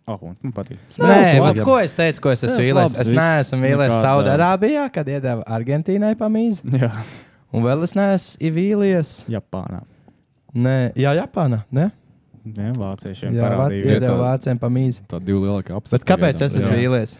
[SPEAKER 3] Ah, un man patīk.
[SPEAKER 2] Nē,
[SPEAKER 1] labs.
[SPEAKER 2] ap ko es teicu, ko es esmu
[SPEAKER 3] Tas
[SPEAKER 2] vīlies?
[SPEAKER 3] labs
[SPEAKER 2] Es
[SPEAKER 3] viss.
[SPEAKER 2] neesmu vīlies
[SPEAKER 3] Nekā tā.
[SPEAKER 2] Saudārābijā, kad iedeva Argentīnai pamīzi.
[SPEAKER 3] Jā,
[SPEAKER 2] Un vēl es neesmu vīlies.
[SPEAKER 3] Japānā.
[SPEAKER 2] Nē, Jā, Japānā. Ne?
[SPEAKER 3] Nē, vāciešiem
[SPEAKER 2] Jā,
[SPEAKER 3] parādīja.
[SPEAKER 9] Vācija.
[SPEAKER 2] Vācijā
[SPEAKER 9] Iedod.
[SPEAKER 2] vāciem pa mīzi.
[SPEAKER 9] Tā divi lielākie
[SPEAKER 2] Bet
[SPEAKER 9] apsvērumi.
[SPEAKER 2] kāpēc es esmu vīlies?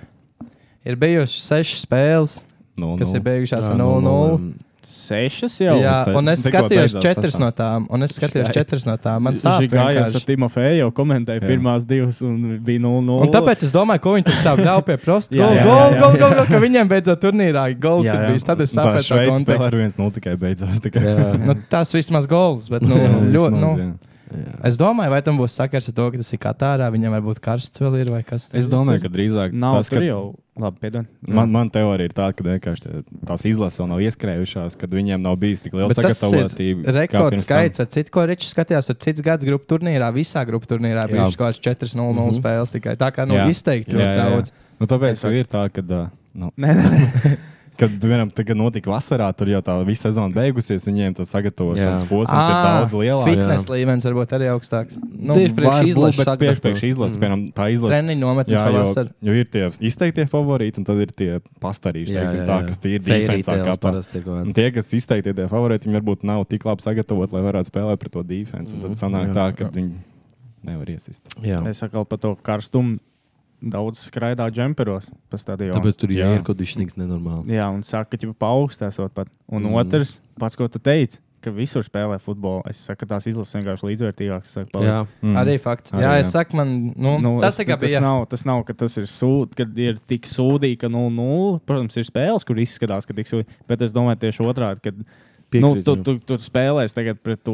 [SPEAKER 2] Ir bijušas sešas spēles,
[SPEAKER 9] Nu,
[SPEAKER 2] kas ir beigušās ar
[SPEAKER 1] Jā,
[SPEAKER 2] 0-0.
[SPEAKER 3] Sešas jau.
[SPEAKER 2] Jā,
[SPEAKER 9] un se-
[SPEAKER 2] un es
[SPEAKER 9] tikko
[SPEAKER 2] skatījos
[SPEAKER 9] beidzās
[SPEAKER 2] četras
[SPEAKER 9] sastāv.
[SPEAKER 2] no tām. Un es skatījos
[SPEAKER 1] Šai.
[SPEAKER 2] četras no tām. Man
[SPEAKER 3] Viņš
[SPEAKER 2] sāp
[SPEAKER 3] bija gājis ar
[SPEAKER 2] vienkārši.
[SPEAKER 3] Timofeju, jau komentēja
[SPEAKER 9] Jā.
[SPEAKER 3] pirmās divas, un bija 0-0.
[SPEAKER 2] Un tāpēc es domāju, ko viņi tur tā gāja pie prosta.
[SPEAKER 3] Jā, jā,
[SPEAKER 2] Gol,
[SPEAKER 3] jā,
[SPEAKER 2] gol, gol, gol, ka viņiem beidzot turnīrā gols
[SPEAKER 3] Jā,
[SPEAKER 2] ir
[SPEAKER 3] jā.
[SPEAKER 2] bijis. Tad es
[SPEAKER 9] Tā
[SPEAKER 2] sapratu to
[SPEAKER 9] Šveica spēlē
[SPEAKER 2] kontekstu.
[SPEAKER 9] ar 1-0 tikai beidzās. Tikai.
[SPEAKER 2] Nu, tas vismaz gols, bet nu,
[SPEAKER 9] Jā,
[SPEAKER 2] ļoti.
[SPEAKER 9] vismaz,
[SPEAKER 2] Nu,
[SPEAKER 9] jā.
[SPEAKER 2] es domāju, vai tam būs sakars ar to, ka tas ir Katārā, viņam varbūt karsts vēl ir vai kas
[SPEAKER 9] Es domāju, ka drīzāk
[SPEAKER 3] Nav tas,
[SPEAKER 9] tas,
[SPEAKER 3] tur
[SPEAKER 9] ka
[SPEAKER 3] jau. Labi, piedod.
[SPEAKER 9] man, man teorija ir tāda, ka vienkārši tie- tās izlases vēl nav ieskrējušās, kad viņiem nav bijis tik liela
[SPEAKER 2] Bet tas ir
[SPEAKER 9] sagatavotība. kā
[SPEAKER 2] rekords
[SPEAKER 9] pirms tam.
[SPEAKER 2] skaits. Ar citu, ko Ričs skatījās, ar citu gadu grupu turnīrā, visā grupu turnīrā bija
[SPEAKER 1] Jā.
[SPEAKER 2] kaut kāds 4-0 mm -hmm. spēles. Tikai tā kā nu,
[SPEAKER 9] Mhm. Jā.
[SPEAKER 2] izteikti ļoti daudz.
[SPEAKER 9] Nu, tāpēc jau ir tā, ka. ā, Nu,
[SPEAKER 3] Nē, nē,
[SPEAKER 9] Kad vienam tagad notika vasarā, tur jau tā visa sezona beigusies, viņiem tas sagatavošanās
[SPEAKER 1] Jā.
[SPEAKER 9] posms ir daudz lielāks.
[SPEAKER 2] Fitnes līmenis varbūt arī augstāks. Nu,
[SPEAKER 1] Tieši priekš
[SPEAKER 9] Varbūt,
[SPEAKER 1] izlases
[SPEAKER 9] bet
[SPEAKER 1] sagatavo.
[SPEAKER 9] priekš- priekš izlases,
[SPEAKER 1] Mm.
[SPEAKER 9] piemēram, tā izlase.
[SPEAKER 2] Treniņu nometnes
[SPEAKER 9] Jā, jo,
[SPEAKER 2] pavasarī.
[SPEAKER 9] jo ir tie izteiktie favorīti, un tad ir tie pastarīši, jā, teiksim, jā, jā. tā, kas tīri defensīvā kāpā. Un tie, kas izteikti tie favorīti, viņi varbūt nav tik labi sagatavoti, lai varētu spēlēt pret to defensu. un Tad sanāk
[SPEAKER 1] jā,
[SPEAKER 9] tā, ka viņi nevar iesist.
[SPEAKER 1] ir.
[SPEAKER 3] es atkal par to karstumu daudz skraidā džemperos pa stadionu.
[SPEAKER 1] Tāpēc tur ir
[SPEAKER 9] Jā.
[SPEAKER 1] ierkodīšanīgs nenormāli.
[SPEAKER 3] Jā, un saka, ka jau paaugstēsot pat. Un
[SPEAKER 1] Mm.
[SPEAKER 3] mm. otrs, pats, ko tu teici, ka visur spēlē futbolu. Es saku, ka tās izlases vienkārši līdzvērtīgākas. saka, paliek.
[SPEAKER 1] Jā,
[SPEAKER 9] Mm.
[SPEAKER 2] Arī fakts.
[SPEAKER 9] Arī,
[SPEAKER 2] Jā,
[SPEAKER 9] jā.
[SPEAKER 2] es saku, man nu, nu, tas
[SPEAKER 3] es-
[SPEAKER 2] tikai
[SPEAKER 3] tas
[SPEAKER 2] bija.
[SPEAKER 3] nav, tas nav, ka tas ir sūdi, kad ir tik sūdīgi, ka 0-0. Protams, ir spēles, kur izskatās, ka tik sūdīgi. Bet es domāju, tieši otrādi, ka nu,
[SPEAKER 1] Piekrītu,
[SPEAKER 3] tu,
[SPEAKER 1] jā.
[SPEAKER 3] tu, tu spēlēsi tagad pret to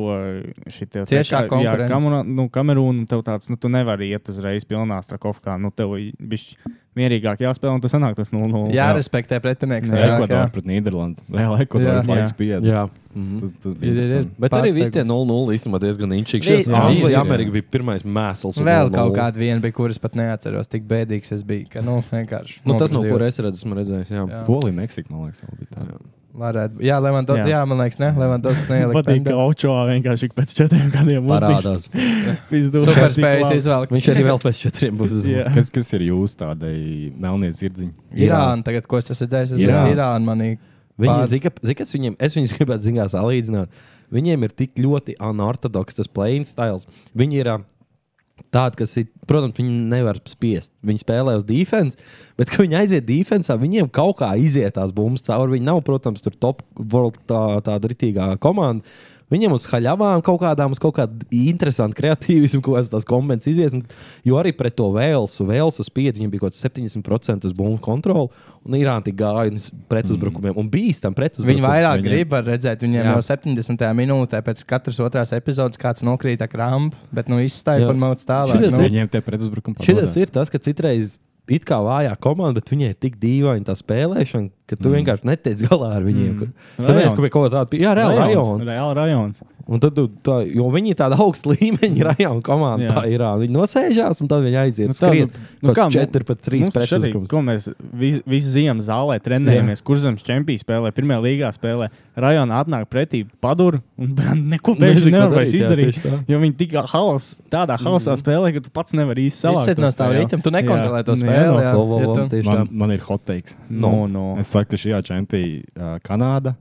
[SPEAKER 3] šitā
[SPEAKER 2] Ciešā konkurence.
[SPEAKER 3] Nu, Kamerūna, un tev tāds, nu, tu nevari iet uzreiz pilnā strakovkā. Nu, tev bišķi mierīgāk jāspēlē, un tas sanāk tas 0-0.
[SPEAKER 2] Jārespektē pretinieks.
[SPEAKER 3] Jā,
[SPEAKER 2] vairāk,
[SPEAKER 9] Ekvadora
[SPEAKER 2] jā.
[SPEAKER 9] pret Nīderlandi. Reāli Ekvadoras
[SPEAKER 2] Jā.
[SPEAKER 9] laiks
[SPEAKER 3] Jā.
[SPEAKER 9] bija.
[SPEAKER 1] jā. Mhm.
[SPEAKER 9] Tas, tas bija
[SPEAKER 2] Ir, ir, ir.
[SPEAKER 9] interesanti.
[SPEAKER 1] Bet arī viss tie
[SPEAKER 2] Pārsteigums.
[SPEAKER 1] 0-0 īstenībā diezgan inčīgs.
[SPEAKER 2] Jā,
[SPEAKER 9] ir,
[SPEAKER 1] Anglija,
[SPEAKER 9] jā.
[SPEAKER 1] Amerika bija pirmais mēsls. uz
[SPEAKER 2] Vēl
[SPEAKER 1] 0-0.
[SPEAKER 2] kaut kāda viena bija, kuras pat neatceros, tik bēdīgs es biju. Ka, nu, vienkārši
[SPEAKER 1] Nu, tas, no
[SPEAKER 2] nogriezījos.
[SPEAKER 1] kuras es redzu, esmu redzējis. Jā.
[SPEAKER 2] Jā.
[SPEAKER 9] Polija, Meksika, man liekas, vēl bija tā.
[SPEAKER 2] Varētu. Jā, Levandov, jā.
[SPEAKER 3] Jā.
[SPEAKER 2] jā, man liekas, ne. Levandovskis neielika.
[SPEAKER 3] Patīk,
[SPEAKER 2] pendu.
[SPEAKER 3] ka Očovā vienkārši pēc četriem gadiem
[SPEAKER 1] Parādās.
[SPEAKER 2] Superspējas izvēle.
[SPEAKER 1] Viņš arī vēl pēc četriem būs. uz-
[SPEAKER 3] Jā.
[SPEAKER 9] Kas, kas ir jūsu tādai melnie zirdziņi?
[SPEAKER 2] Irāna, tagad, ko es esmu dzirdējis, es esmu
[SPEAKER 9] Irāna.
[SPEAKER 2] Irāna manī.
[SPEAKER 1] Viņi
[SPEAKER 2] Pār-
[SPEAKER 1] zina, kas viņiem, es viņus gribētu zināt, salīdzināt. Viņiem ir tik ļoti unorthodoks tas playing styles. Viņi ir ā, tādi, kas, ir, protams, viņi nevar spiest. Viņi spēlē uz defense, bet, kad viņi aiziet defensā, viņiem kaut kā iziet tās bumbas cauri. Viņi nav, protams, tur top world tā, tāda ritīgā komanda. Viņam uz haļavām kaut kādām, uz kaut kāda interesanta kreatīvismu, ko tas kombinācijas iziet. Un- Jo arī pret to Velsu, Velsu spiedi, viņam bija kaut kāds 70% bumbu kontrole, un Irāna tik gāja uz pretuzbrukumiem. Un bija tam pretuzbrukumiem.
[SPEAKER 2] Mhm. Viņi vairāk
[SPEAKER 9] Viņiem-
[SPEAKER 2] grib redzēt, viņiem
[SPEAKER 1] Jā.
[SPEAKER 2] jau 70. minūtē pēc katras otrās epizodes kāds nokrīt ar krampu, bet nu izstaipa
[SPEAKER 1] Jā.
[SPEAKER 2] un mauc tālāk.
[SPEAKER 1] Šitas
[SPEAKER 2] Nu,
[SPEAKER 1] ir-
[SPEAKER 9] Viņiem te pretuzbrukuma
[SPEAKER 1] Šis ir tas, ka citreiz it kā vājā komanda, bet viņai ir tik dīvaini tā spēlēšana, ka tu mm. vienkārši netiec galā ar viņiem. Mm. Tur
[SPEAKER 3] Rajons.
[SPEAKER 1] jau kaut kā tāda bija. Jā, reāli rajons.
[SPEAKER 3] Reāli rajons.
[SPEAKER 1] Un tad, tu tā, jo viņi ir tāda augsta līmeņa rajona komanda,
[SPEAKER 3] Jā.
[SPEAKER 1] tā ir. ā, Viņi nosēžās un tad viņi aiziet. Nu,
[SPEAKER 3] Nu
[SPEAKER 1] skrien,
[SPEAKER 3] tā,
[SPEAKER 1] nu, nu,
[SPEAKER 3] kā, nu,
[SPEAKER 1] 4 pret 3
[SPEAKER 3] Mums taču arī,
[SPEAKER 1] pretuzbrukums.
[SPEAKER 3] Ko mēs vis- visu ziemu zālē trenējamies, kur zemes čempions spēlē, pirmajā līgā spēlē. Rajonā atnāk pretī paduru un bērnu neko
[SPEAKER 1] Nu, Nezinu,
[SPEAKER 3] pēkšņi
[SPEAKER 1] ko
[SPEAKER 3] nevar vairs
[SPEAKER 1] darīt, jā,
[SPEAKER 3] izdarīt.
[SPEAKER 1] tieši tā. Mm.
[SPEAKER 3] Jo viņi tik haos, tādā haosā spēlē, ka tu pats nevari īsti savākt.
[SPEAKER 2] Izsit no
[SPEAKER 3] to
[SPEAKER 2] tā
[SPEAKER 3] spēli.
[SPEAKER 2] ritma, tu
[SPEAKER 3] Jā. nu,
[SPEAKER 2] nekontrolē to
[SPEAKER 3] Nē,
[SPEAKER 2] spēli, jā.
[SPEAKER 3] no-
[SPEAKER 1] Vo, vo,
[SPEAKER 2] ja
[SPEAKER 1] vo,
[SPEAKER 2] tu-
[SPEAKER 1] tieši tā.
[SPEAKER 9] Man, man ir hot teiks.
[SPEAKER 3] No, no.
[SPEAKER 9] Es saku, ka šajā čempionā uh, Kanāda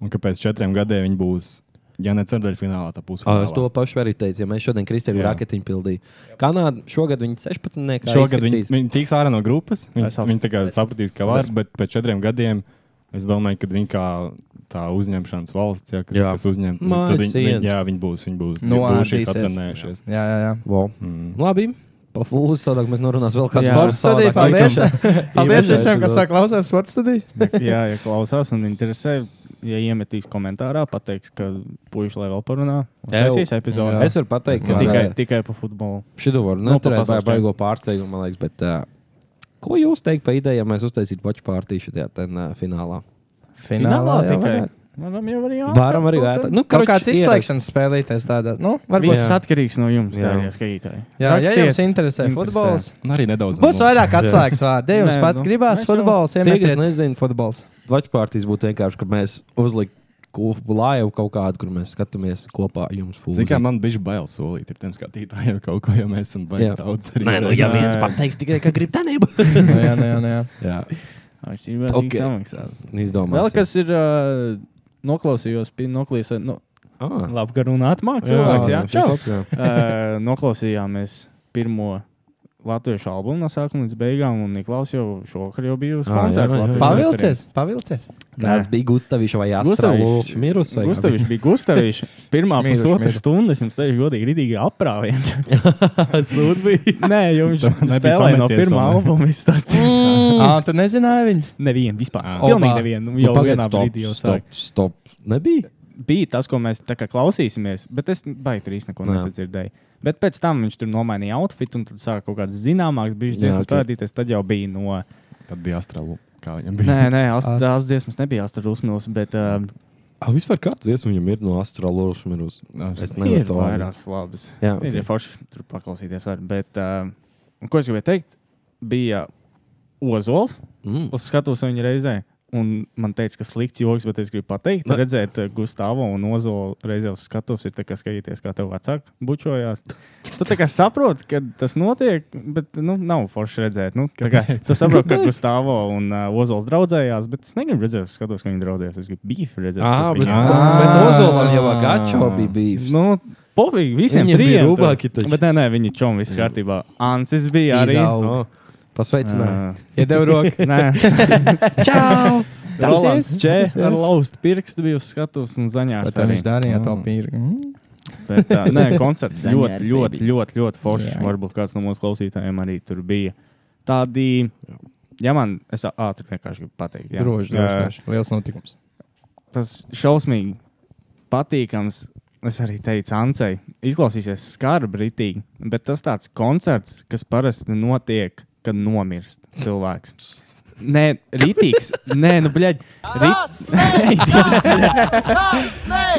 [SPEAKER 9] un ka pēc četriem gadiem viņi būs, ja ne ceturdaļfinālā, tad būs.
[SPEAKER 1] Ā, Es to pašu arī teicu, ja mēs šodien Kristēnu
[SPEAKER 9] Jā.
[SPEAKER 1] raketiņu pildījām. Kanāda šogad viņa 16. nekā
[SPEAKER 9] Šogad viņi,
[SPEAKER 1] izskatīs.
[SPEAKER 9] viņi tiks ārā no grupas. Viņi,
[SPEAKER 3] Vesels.
[SPEAKER 9] viņi tagad sapratīs, ka var, bet pēc četriem gadiem es domāju, ka viņi kā tā uzņemšanas valsts, jā, kas,
[SPEAKER 1] Jā.
[SPEAKER 9] kas uzņem,
[SPEAKER 1] Mājas
[SPEAKER 9] tad viņi,
[SPEAKER 1] sienas.
[SPEAKER 9] viņi, jā, viņi būs, viņi būs, viņi būs
[SPEAKER 2] Noārdīsies.
[SPEAKER 9] šīs atrenējušies. Mm.
[SPEAKER 2] Jā, jā, Nu, jā.
[SPEAKER 1] Vo.
[SPEAKER 9] Mhm.
[SPEAKER 1] Labi, pa fūzi sadāk mēs norunāsim vēl kā
[SPEAKER 3] Jā.
[SPEAKER 1] sports.
[SPEAKER 2] Sportstudija,
[SPEAKER 1] savādāk
[SPEAKER 2] paldies!
[SPEAKER 1] laikam.
[SPEAKER 2] Paldies
[SPEAKER 1] Īpaši
[SPEAKER 2] visiem, kas
[SPEAKER 1] epizode.
[SPEAKER 2] klausās sporta studiju!
[SPEAKER 3] Jā, ja klausās un interesē, ja iemetīs komentārā, pateiks, ka puikas lai vēl parunā.
[SPEAKER 1] Tev.
[SPEAKER 3] Tas ir epizode.
[SPEAKER 1] Es varu pateikt,
[SPEAKER 3] ka
[SPEAKER 1] ka
[SPEAKER 3] tikai, tikai par futbolu.
[SPEAKER 1] Šito var
[SPEAKER 3] Nu,
[SPEAKER 1] noturēt,
[SPEAKER 3] pa
[SPEAKER 1] vai
[SPEAKER 3] pasaules
[SPEAKER 1] baigo pārsteigumu, man liekas. Bet, uh, ko jūs teikt par ideju, ja mēs uztaisītu watch party šajā ten, uh, finālā?
[SPEAKER 2] Finālā jau
[SPEAKER 3] tikai.
[SPEAKER 2] varētu.
[SPEAKER 3] Varam jau arī jā.
[SPEAKER 1] Varam arī vērtēt. Nu,
[SPEAKER 2] Kaut
[SPEAKER 1] karoči,
[SPEAKER 2] kāds
[SPEAKER 1] ierakst.
[SPEAKER 2] izslēgšanas spēlītājs tādā, nu, varbūt.
[SPEAKER 3] Viss atkarīgs no jums,
[SPEAKER 1] Jā.
[SPEAKER 3] dārgie skatītāji.
[SPEAKER 2] Jā, ja
[SPEAKER 3] Rakstiet.
[SPEAKER 2] jums interesē
[SPEAKER 3] interesē.
[SPEAKER 2] futbols,
[SPEAKER 9] Un arī nedaudz.
[SPEAKER 2] būs vairāk atslēgas vārdu. Ja jums
[SPEAKER 3] Nē,
[SPEAKER 2] pat
[SPEAKER 3] nu,
[SPEAKER 2] gribās
[SPEAKER 3] mēs jau-
[SPEAKER 2] futbols,
[SPEAKER 1] Tie, kas
[SPEAKER 2] iemetiet
[SPEAKER 1] nezina,
[SPEAKER 2] futbols.
[SPEAKER 1] Watch party būtu vienkārši, ka mēs uzliktu laivu kaut kādu, kur mēs skatāmies kopā jums fūzi.
[SPEAKER 9] Zinām, man bija bail solīt, ir tiem skatītājiem kaut ko, jo mēs esam
[SPEAKER 1] Jā.
[SPEAKER 9] baigi daudz arī.
[SPEAKER 1] Nē, nu, ja
[SPEAKER 3] Nē.
[SPEAKER 1] viens pateiks tikai, ka grib tanību.
[SPEAKER 2] Nu, jā, nu, jā, nu, jā.
[SPEAKER 1] Jā,
[SPEAKER 3] Viņš ir vēl
[SPEAKER 1] Ok.
[SPEAKER 3] samaksās.
[SPEAKER 1] izdomāsim.
[SPEAKER 3] Vēl kas ir uh, noklausījos, pi- noklausījos, nu,
[SPEAKER 1] Ah,
[SPEAKER 3] labi, ka runāt mākslinieks. Cilvēks, jā,
[SPEAKER 1] jā,
[SPEAKER 3] čau.
[SPEAKER 1] šis labs, jā.
[SPEAKER 3] Uh, noklausījāmies pirmo latviešu albumu no sākuma līdz beigām, un Niklaus jau šovakar jau bija uz
[SPEAKER 1] Ā, jā, jā,
[SPEAKER 3] koncertu.
[SPEAKER 1] jā.
[SPEAKER 3] Latviešu
[SPEAKER 2] Pavilcies, pavilcies.
[SPEAKER 3] Nē.
[SPEAKER 1] Kāds bija Gustavs vai Astrāvis?
[SPEAKER 3] Gustavičs
[SPEAKER 1] Mirus vai
[SPEAKER 3] Gustavičs bija Gustavičs. Pirmā
[SPEAKER 2] Šmiru,
[SPEAKER 3] pusotra
[SPEAKER 2] šmiru.
[SPEAKER 3] stunda, es jums teikšu, godīgi, rītīgi aprāviens.
[SPEAKER 1] kāds sūds bija?
[SPEAKER 3] Nē, jo viņš
[SPEAKER 9] nebija
[SPEAKER 3] spēlēja no
[SPEAKER 9] sameties,
[SPEAKER 3] pirmā
[SPEAKER 9] vai ne?
[SPEAKER 3] albuma. viss tas cits.
[SPEAKER 2] Ah, tu nezināji viņas?
[SPEAKER 3] Nevienu vispār.
[SPEAKER 9] Ā.
[SPEAKER 3] Pilnīgi
[SPEAKER 2] Opā.
[SPEAKER 3] nevienu.
[SPEAKER 1] Nu,
[SPEAKER 3] Jau
[SPEAKER 1] pagaid,
[SPEAKER 3] vienā
[SPEAKER 1] stop,
[SPEAKER 3] brīdī jau
[SPEAKER 1] stop,
[SPEAKER 3] sāk.
[SPEAKER 1] stop. Nebija.
[SPEAKER 3] bija tas, ko mēs tā kā klausīsimies, bet es baigi tur īstenībā neko
[SPEAKER 1] Jā.
[SPEAKER 3] nesadzirdēju. Bet pēc tam viņš tur nomainīja outfitu un tad sāka kaut kāds zināmāks, bija
[SPEAKER 1] Jā,
[SPEAKER 3] dziesmas
[SPEAKER 1] ok.
[SPEAKER 3] parādīties. Tad jau bija no.
[SPEAKER 9] Tad bija astralu. Kā viņam bija?
[SPEAKER 3] Nē, nē, ast-
[SPEAKER 2] Ast-
[SPEAKER 3] tās dziesmas nebija Astrid Usmils, bet uh,
[SPEAKER 1] Ah, vispār kāds dziesmu viņam ir no Astrāvis Mirus? Es nevaru
[SPEAKER 3] ir
[SPEAKER 1] to atrast.
[SPEAKER 3] vairākas labas.
[SPEAKER 1] Jā,
[SPEAKER 3] Okay. Ir
[SPEAKER 1] ok.
[SPEAKER 3] jau forši tur paklausīties. Var, bet, uh, ko es gribēju teikt? Bija Ozols
[SPEAKER 1] Mm.
[SPEAKER 3] uz skatuves viņa reizē. Un man teica, ka slikts joks, bet es gribu pateikt,
[SPEAKER 1] Ne.
[SPEAKER 3] ka redzēt eh, Gustavu un Ozolu reizē uz skatuves ir tā kā skatīties, kā tev vecāki bučojās. Tu tā kā saproti, ka tas notiek, bet nu, nav forši redzēt. Nu, tā kā, tu saproti, ka Gustavs un uh, Ozols draudzējās, bet es negribu redzēt uz skatuves, ka viņi draudzējās. Es gribu beefu redzēt.
[SPEAKER 1] Ah,
[SPEAKER 3] starp
[SPEAKER 1] bet,
[SPEAKER 3] viņiem.
[SPEAKER 9] Ā.
[SPEAKER 1] bet Ozolam jau Agačo bija bijis.
[SPEAKER 3] Nu, Pofīgi, visiem
[SPEAKER 1] Viņiem bija
[SPEAKER 3] trijiem. tur.
[SPEAKER 1] rūbāki taču.
[SPEAKER 3] Bet nē, nē, viņi čom viss kārtībā. Ansis bija arī.
[SPEAKER 2] Izauga.
[SPEAKER 1] Oh, Pasveicināju.
[SPEAKER 3] Ā,
[SPEAKER 2] Iedev roku.
[SPEAKER 3] Nē,
[SPEAKER 2] Čau! Tas
[SPEAKER 3] Rolands
[SPEAKER 2] es,
[SPEAKER 3] Čē
[SPEAKER 2] tas es.
[SPEAKER 3] ar lauztu pirkstu bija uz skatuves un
[SPEAKER 2] Ko
[SPEAKER 3] zaņās.
[SPEAKER 2] tā
[SPEAKER 3] arī.
[SPEAKER 2] viņš darīja?
[SPEAKER 9] Mm.
[SPEAKER 2] To pīri. Mm.
[SPEAKER 3] Bet, uh, nē, koncerts
[SPEAKER 2] Zaņā
[SPEAKER 3] ļoti,
[SPEAKER 2] ar
[SPEAKER 3] ļoti, ļoti, ļoti foršs.
[SPEAKER 2] Jā.
[SPEAKER 3] Yeah. Varbūt kāds no mūsu klausītājiem arī tur bija. Tādi, ja man, es ā- ātri vienkārši gribu pateikt, jā.
[SPEAKER 2] Droši,
[SPEAKER 3] Jā,
[SPEAKER 2] droši. droši. Liels notikums.
[SPEAKER 3] tas šausmīgi patīkams. Es arī teicu, Ancei, izklausīsies skarbi ritīgi, bet tas tāds koncerts, kas parasti notiek, kad nomirst cilvēks. Nē, rītīgs. Nē, nu, bļaļ.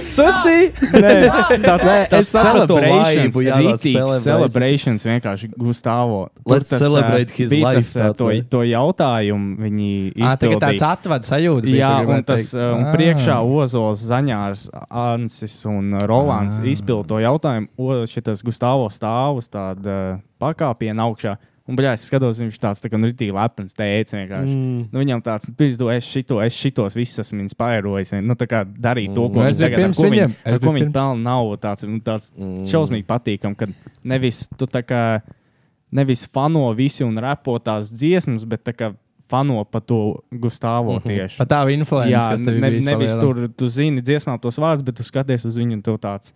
[SPEAKER 1] Susi!
[SPEAKER 3] Nē, tāds
[SPEAKER 1] Nē,
[SPEAKER 3] tāds
[SPEAKER 1] es sapratu to
[SPEAKER 3] celebrations,
[SPEAKER 1] vaibu, jā, tāds
[SPEAKER 3] rītīgs
[SPEAKER 1] celebrations.
[SPEAKER 3] celebrations vienkārši Gustavo. Tur
[SPEAKER 1] Let's
[SPEAKER 3] tas,
[SPEAKER 1] celebrate
[SPEAKER 3] ā,
[SPEAKER 1] his
[SPEAKER 3] bija
[SPEAKER 1] life,
[SPEAKER 3] tas, ā,
[SPEAKER 1] tā
[SPEAKER 3] To,
[SPEAKER 1] vai?
[SPEAKER 3] to jautājumu viņi
[SPEAKER 2] Ah, tagad tāds
[SPEAKER 3] izpildīja.
[SPEAKER 2] atvads sajūta. bija,
[SPEAKER 3] Jā,
[SPEAKER 2] tu gribētu
[SPEAKER 3] un tas
[SPEAKER 2] teikt.
[SPEAKER 3] ā, un
[SPEAKER 2] Ah.
[SPEAKER 3] priekšā Ozols, Zaņārs, Ansis un ā,
[SPEAKER 2] Ah.
[SPEAKER 3] Rolands izpildīja to jautājumu. O, Šitas Gustavo stāv uz tāda uh, pakāpiena augšā. Un, bļā, es skatos, viņš tāds tā kā nu, rītīgi lepns teicis vienkārši. Mm. Nu, viņam tāds, pizdu, es šito, es šitos visus esmu inspirējis. Nu, tā kā darīja to, ko
[SPEAKER 2] Nu,
[SPEAKER 3] viņš
[SPEAKER 2] es biju
[SPEAKER 3] tagad, ar
[SPEAKER 2] pirms
[SPEAKER 3] ko viņi-
[SPEAKER 2] viņiem. Es
[SPEAKER 3] ar ko
[SPEAKER 2] biju
[SPEAKER 3] viņi
[SPEAKER 2] pirms.
[SPEAKER 3] pelna naudu. Tāds, nu, tāds mm. šausmīgi patīkam, ka nevis tu tā kā nevis fano visi un repo tās dziesmas, bet tā kā fano pa to Gustavo tieši.
[SPEAKER 2] Pat tā influence,
[SPEAKER 3] Jā,
[SPEAKER 2] kas tev ir
[SPEAKER 3] ne,
[SPEAKER 2] bijis pa
[SPEAKER 3] nevis
[SPEAKER 2] lielam.
[SPEAKER 3] tur tu zini dziesmām tos vārdus, bet tu skaties uz viņu un tev tāds,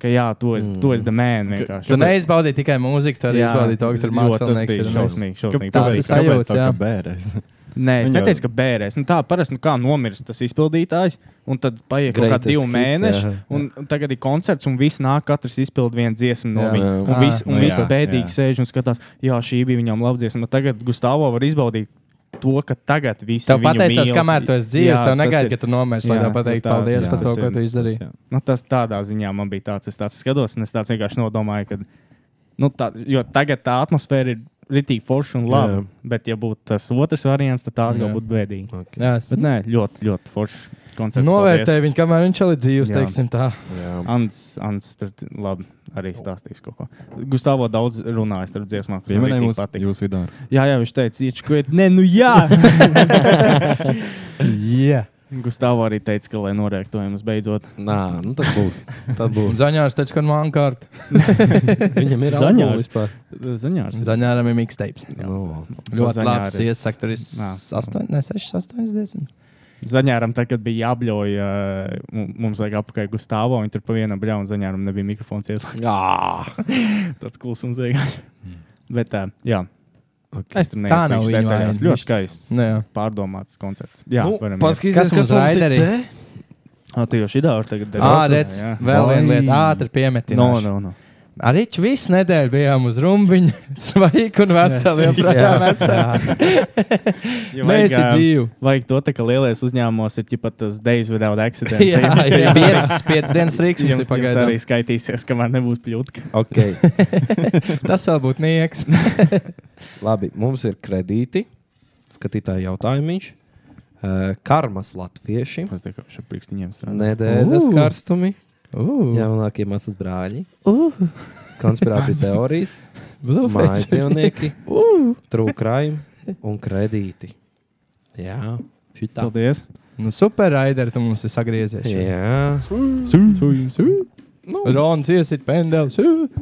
[SPEAKER 3] ka jā, to es, mm. to es demēnu
[SPEAKER 2] Tu
[SPEAKER 3] vienkārši.
[SPEAKER 2] neizbaudīji tikai mūziku, tu arī izbaudīji to, ka tur mākslinieks ir.
[SPEAKER 3] ir
[SPEAKER 2] un
[SPEAKER 3] šausmīgi. šausmīgi
[SPEAKER 2] Tās ir
[SPEAKER 3] patīkami.
[SPEAKER 2] sajūtas,
[SPEAKER 9] tā
[SPEAKER 2] jā.
[SPEAKER 9] kā bērēs?
[SPEAKER 3] Nē, es
[SPEAKER 9] Viņa-
[SPEAKER 3] neteicu, ka bērēs. Nu, tā parasti nu, kā nomirst tas izpildītājs, un tad paiet kaut
[SPEAKER 1] Greatest
[SPEAKER 3] kādi divi
[SPEAKER 1] hits,
[SPEAKER 3] mēneši,
[SPEAKER 1] jā.
[SPEAKER 3] un, un tagad ir koncerts, un viss nāk, katrs izpild vienu dziesmu no
[SPEAKER 2] Jā.
[SPEAKER 3] viņa.
[SPEAKER 1] Jā.
[SPEAKER 3] Un
[SPEAKER 2] Ah,
[SPEAKER 3] viss, un
[SPEAKER 9] nu
[SPEAKER 3] viss
[SPEAKER 9] jā,
[SPEAKER 3] bēdīgi
[SPEAKER 9] jā.
[SPEAKER 3] sēž un skatās, jā, šī bija viņam laba dziesma. Nu, Tagad Gustavo var izbaudīt to, ka tagad viss
[SPEAKER 2] Tev pateicās, kamēr tu esi dzīves, tev negaidīja, ka tu nomirsi, lai
[SPEAKER 3] jā,
[SPEAKER 2] tev pateiktu
[SPEAKER 3] tā-
[SPEAKER 2] paldies
[SPEAKER 3] jā,
[SPEAKER 2] par to,
[SPEAKER 3] tas
[SPEAKER 2] ko
[SPEAKER 3] ir-
[SPEAKER 2] tu izdarīji.
[SPEAKER 9] Tas, jā.
[SPEAKER 3] Nu, tas tādā ziņā man bija tāds, es tāds skatos, un es tāds vienkārši nodomāju, ka nu, tā, jo tagad tā atmosfēra ir ritīgi forša un laba.
[SPEAKER 1] Jā.
[SPEAKER 3] Jā. Bet, ja būtu tas otrs variants, tad tā atkal
[SPEAKER 2] Jā.
[SPEAKER 3] būtu bēdīga.
[SPEAKER 2] Jā, es
[SPEAKER 3] Bet nē, ļoti, ļoti foršs koncerts.
[SPEAKER 2] novērtēju viņu, kamēr viņš vēl ir dzīves,
[SPEAKER 3] Jā.
[SPEAKER 2] teiksim tā.
[SPEAKER 3] Ants tur t- labi arī stāstīs kaut ko. Gustavo daudz runājis ar dziesmām, kas
[SPEAKER 9] Pieminēja
[SPEAKER 3] viņam
[SPEAKER 9] mums,
[SPEAKER 3] patīk.
[SPEAKER 9] jūs vidū.
[SPEAKER 3] Jā, jā, viņš teica, iet škviet, nē, nu jā.
[SPEAKER 2] Jā.
[SPEAKER 3] Gustavo arī teica, ka lai noreaktojamies beidzot.
[SPEAKER 1] Nā, nu tad būs. Tad būs.
[SPEAKER 2] Zaņārs teica, ka nu man kārt.
[SPEAKER 1] Viņam ir
[SPEAKER 3] Zaņārs.
[SPEAKER 1] albumi vispār.
[SPEAKER 3] Zaņārs.
[SPEAKER 2] Zaņāram ir mixtapes.
[SPEAKER 1] Nu,
[SPEAKER 2] Ļoti labs.
[SPEAKER 3] Zaņāris.
[SPEAKER 2] Iesaka, tur ir
[SPEAKER 3] Nā.
[SPEAKER 2] 8, ne 6, 8, 10.
[SPEAKER 3] Zaņāram, tad, kad bija jābļauj, ā, mu- mums vajag apakaļ Gustavo, un tur pa vienam bļauj, un Zaņāram nebija mikrofons ieslēgts.
[SPEAKER 1] Jā,
[SPEAKER 3] Tāds klusums vienkārši. Bet, ā, jā.
[SPEAKER 1] Ok.
[SPEAKER 3] Es tur
[SPEAKER 2] Tā Mm. nav
[SPEAKER 3] neesmu
[SPEAKER 2] viņa
[SPEAKER 3] detaļās.
[SPEAKER 2] vaina.
[SPEAKER 3] Ļoti skaists,
[SPEAKER 2] Nu, jā.
[SPEAKER 3] pārdomāts koncerts. Jā,
[SPEAKER 1] nu,
[SPEAKER 3] varam iet.
[SPEAKER 1] paskatīsimies,
[SPEAKER 2] Kas mums
[SPEAKER 1] kas mums ir.
[SPEAKER 2] raiderī?
[SPEAKER 1] te?
[SPEAKER 3] Ah, tu jau šī dārza tagad
[SPEAKER 2] Ā, redz, vēl viena lieta, ātri piemetīta.
[SPEAKER 3] No, no, no.
[SPEAKER 2] Arī č- visu nedēļu bijām uz rumbiņa, svaigs un veseli. joprojām esam.
[SPEAKER 3] Ja
[SPEAKER 2] Mēs esam dzīvi.
[SPEAKER 3] Vajag to, tā, ka lielais uzņēmums ir pat tas days without accident.
[SPEAKER 2] Jā, jā.
[SPEAKER 3] Jums-
[SPEAKER 2] Piecas, piecas dienas trīks mums
[SPEAKER 3] Jums,
[SPEAKER 2] ir
[SPEAKER 3] jums arī
[SPEAKER 2] pagaidām.
[SPEAKER 3] skaitīsies, kamēr nebūs pļūtka.
[SPEAKER 1] Okay.
[SPEAKER 2] Tas vēl būtu nieks.
[SPEAKER 1] Labi, mums ir kredīti. Skatītāji jautājums. Uh, karmas latvieši.
[SPEAKER 3] Es tā kā šeit pirkstiņiem strādāju.
[SPEAKER 1] Nedēļas
[SPEAKER 2] Ū.
[SPEAKER 1] karstumi.
[SPEAKER 2] Ū,
[SPEAKER 1] Jaunākie māsas brāļi. Konspirācijas teorijas. Mājas dzīvnieki. Trūkrājumi un kredīti. Jā, šitā.
[SPEAKER 3] Paldies!
[SPEAKER 2] Nu, super, Raiders, tu mums ir sagriezies.
[SPEAKER 1] Jā,
[SPEAKER 2] Ronas iesit pendels.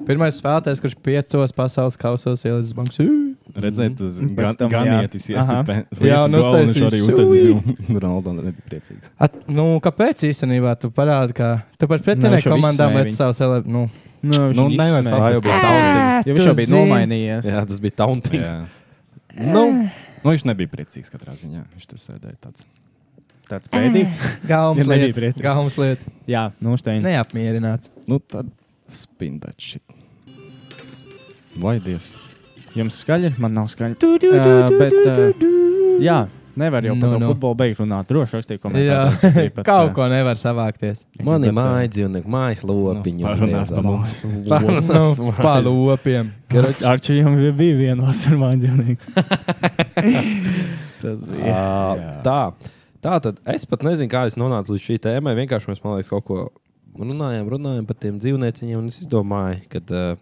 [SPEAKER 2] Pirmais spēlētājs, kurš piecos pasaules kausos ielicis bankas.
[SPEAKER 9] Redzēt, tas gan,
[SPEAKER 3] tam,
[SPEAKER 9] ganietis,
[SPEAKER 3] jā.
[SPEAKER 9] jā,
[SPEAKER 3] Aha.
[SPEAKER 2] Jā, un
[SPEAKER 9] uztaisīju.
[SPEAKER 2] uztaisīs
[SPEAKER 9] Arī
[SPEAKER 2] sui.
[SPEAKER 9] uztaisīju. Ronaldo nebija priecīgs.
[SPEAKER 2] At, nu, kāpēc īstenībā tu parādi, ka tu par
[SPEAKER 3] Nu,
[SPEAKER 2] pretinieku
[SPEAKER 3] šo
[SPEAKER 2] komandām
[SPEAKER 3] izsmēja
[SPEAKER 2] redz savu celebritāti? Nu,
[SPEAKER 3] Nu,
[SPEAKER 9] Nu, nevar
[SPEAKER 1] tā jau bija tauntīgs.
[SPEAKER 3] Ja
[SPEAKER 2] tu
[SPEAKER 3] viņš jau bija
[SPEAKER 2] zini.
[SPEAKER 3] nomainījies.
[SPEAKER 1] Jā, tas bija tauntīgs.
[SPEAKER 9] Jā.
[SPEAKER 1] Nu,
[SPEAKER 9] Nu, viņš nebija priecīgs katrā ziņā. Viņš tur sēdēja tāds.
[SPEAKER 3] Tāds pēdīgs.
[SPEAKER 2] Gaumas
[SPEAKER 3] Ja nebija
[SPEAKER 2] lieta.
[SPEAKER 3] priecīgs.
[SPEAKER 2] Gaumas lieta.
[SPEAKER 3] Jā, nu,
[SPEAKER 2] Mm.
[SPEAKER 3] Steini.
[SPEAKER 2] Neapmierināts.
[SPEAKER 9] Nu, tad spindači. Vai dievs?
[SPEAKER 3] Jums skaļi, man nav skaļi. Ā, bet, ā, Jā, nevar jau par
[SPEAKER 2] Nu,
[SPEAKER 3] to
[SPEAKER 2] nu.
[SPEAKER 3] futbolu beigt runāt. Droši rakstīju
[SPEAKER 2] Jā,
[SPEAKER 3] komentārus. arī pat,
[SPEAKER 2] kaut
[SPEAKER 3] ā,
[SPEAKER 2] ko nevar savākties.
[SPEAKER 1] mani
[SPEAKER 3] Bet, ā,
[SPEAKER 1] mājas dzīvnieki, mājas lopiņi.
[SPEAKER 9] parunās par mums.
[SPEAKER 2] Nu, Pa lopiem.
[SPEAKER 3] Ar čiem bija viena vasarā mājdzīvnieks. Tas bija.
[SPEAKER 1] Ā, Tā. tā tad es pat nezinu, kā es nonācu līdz šī tēmai. Vienkārši mēs, man liekas, kaut ko runājām, runājām par tiem dzīvnieciņiem. un Es domāju, ka uh,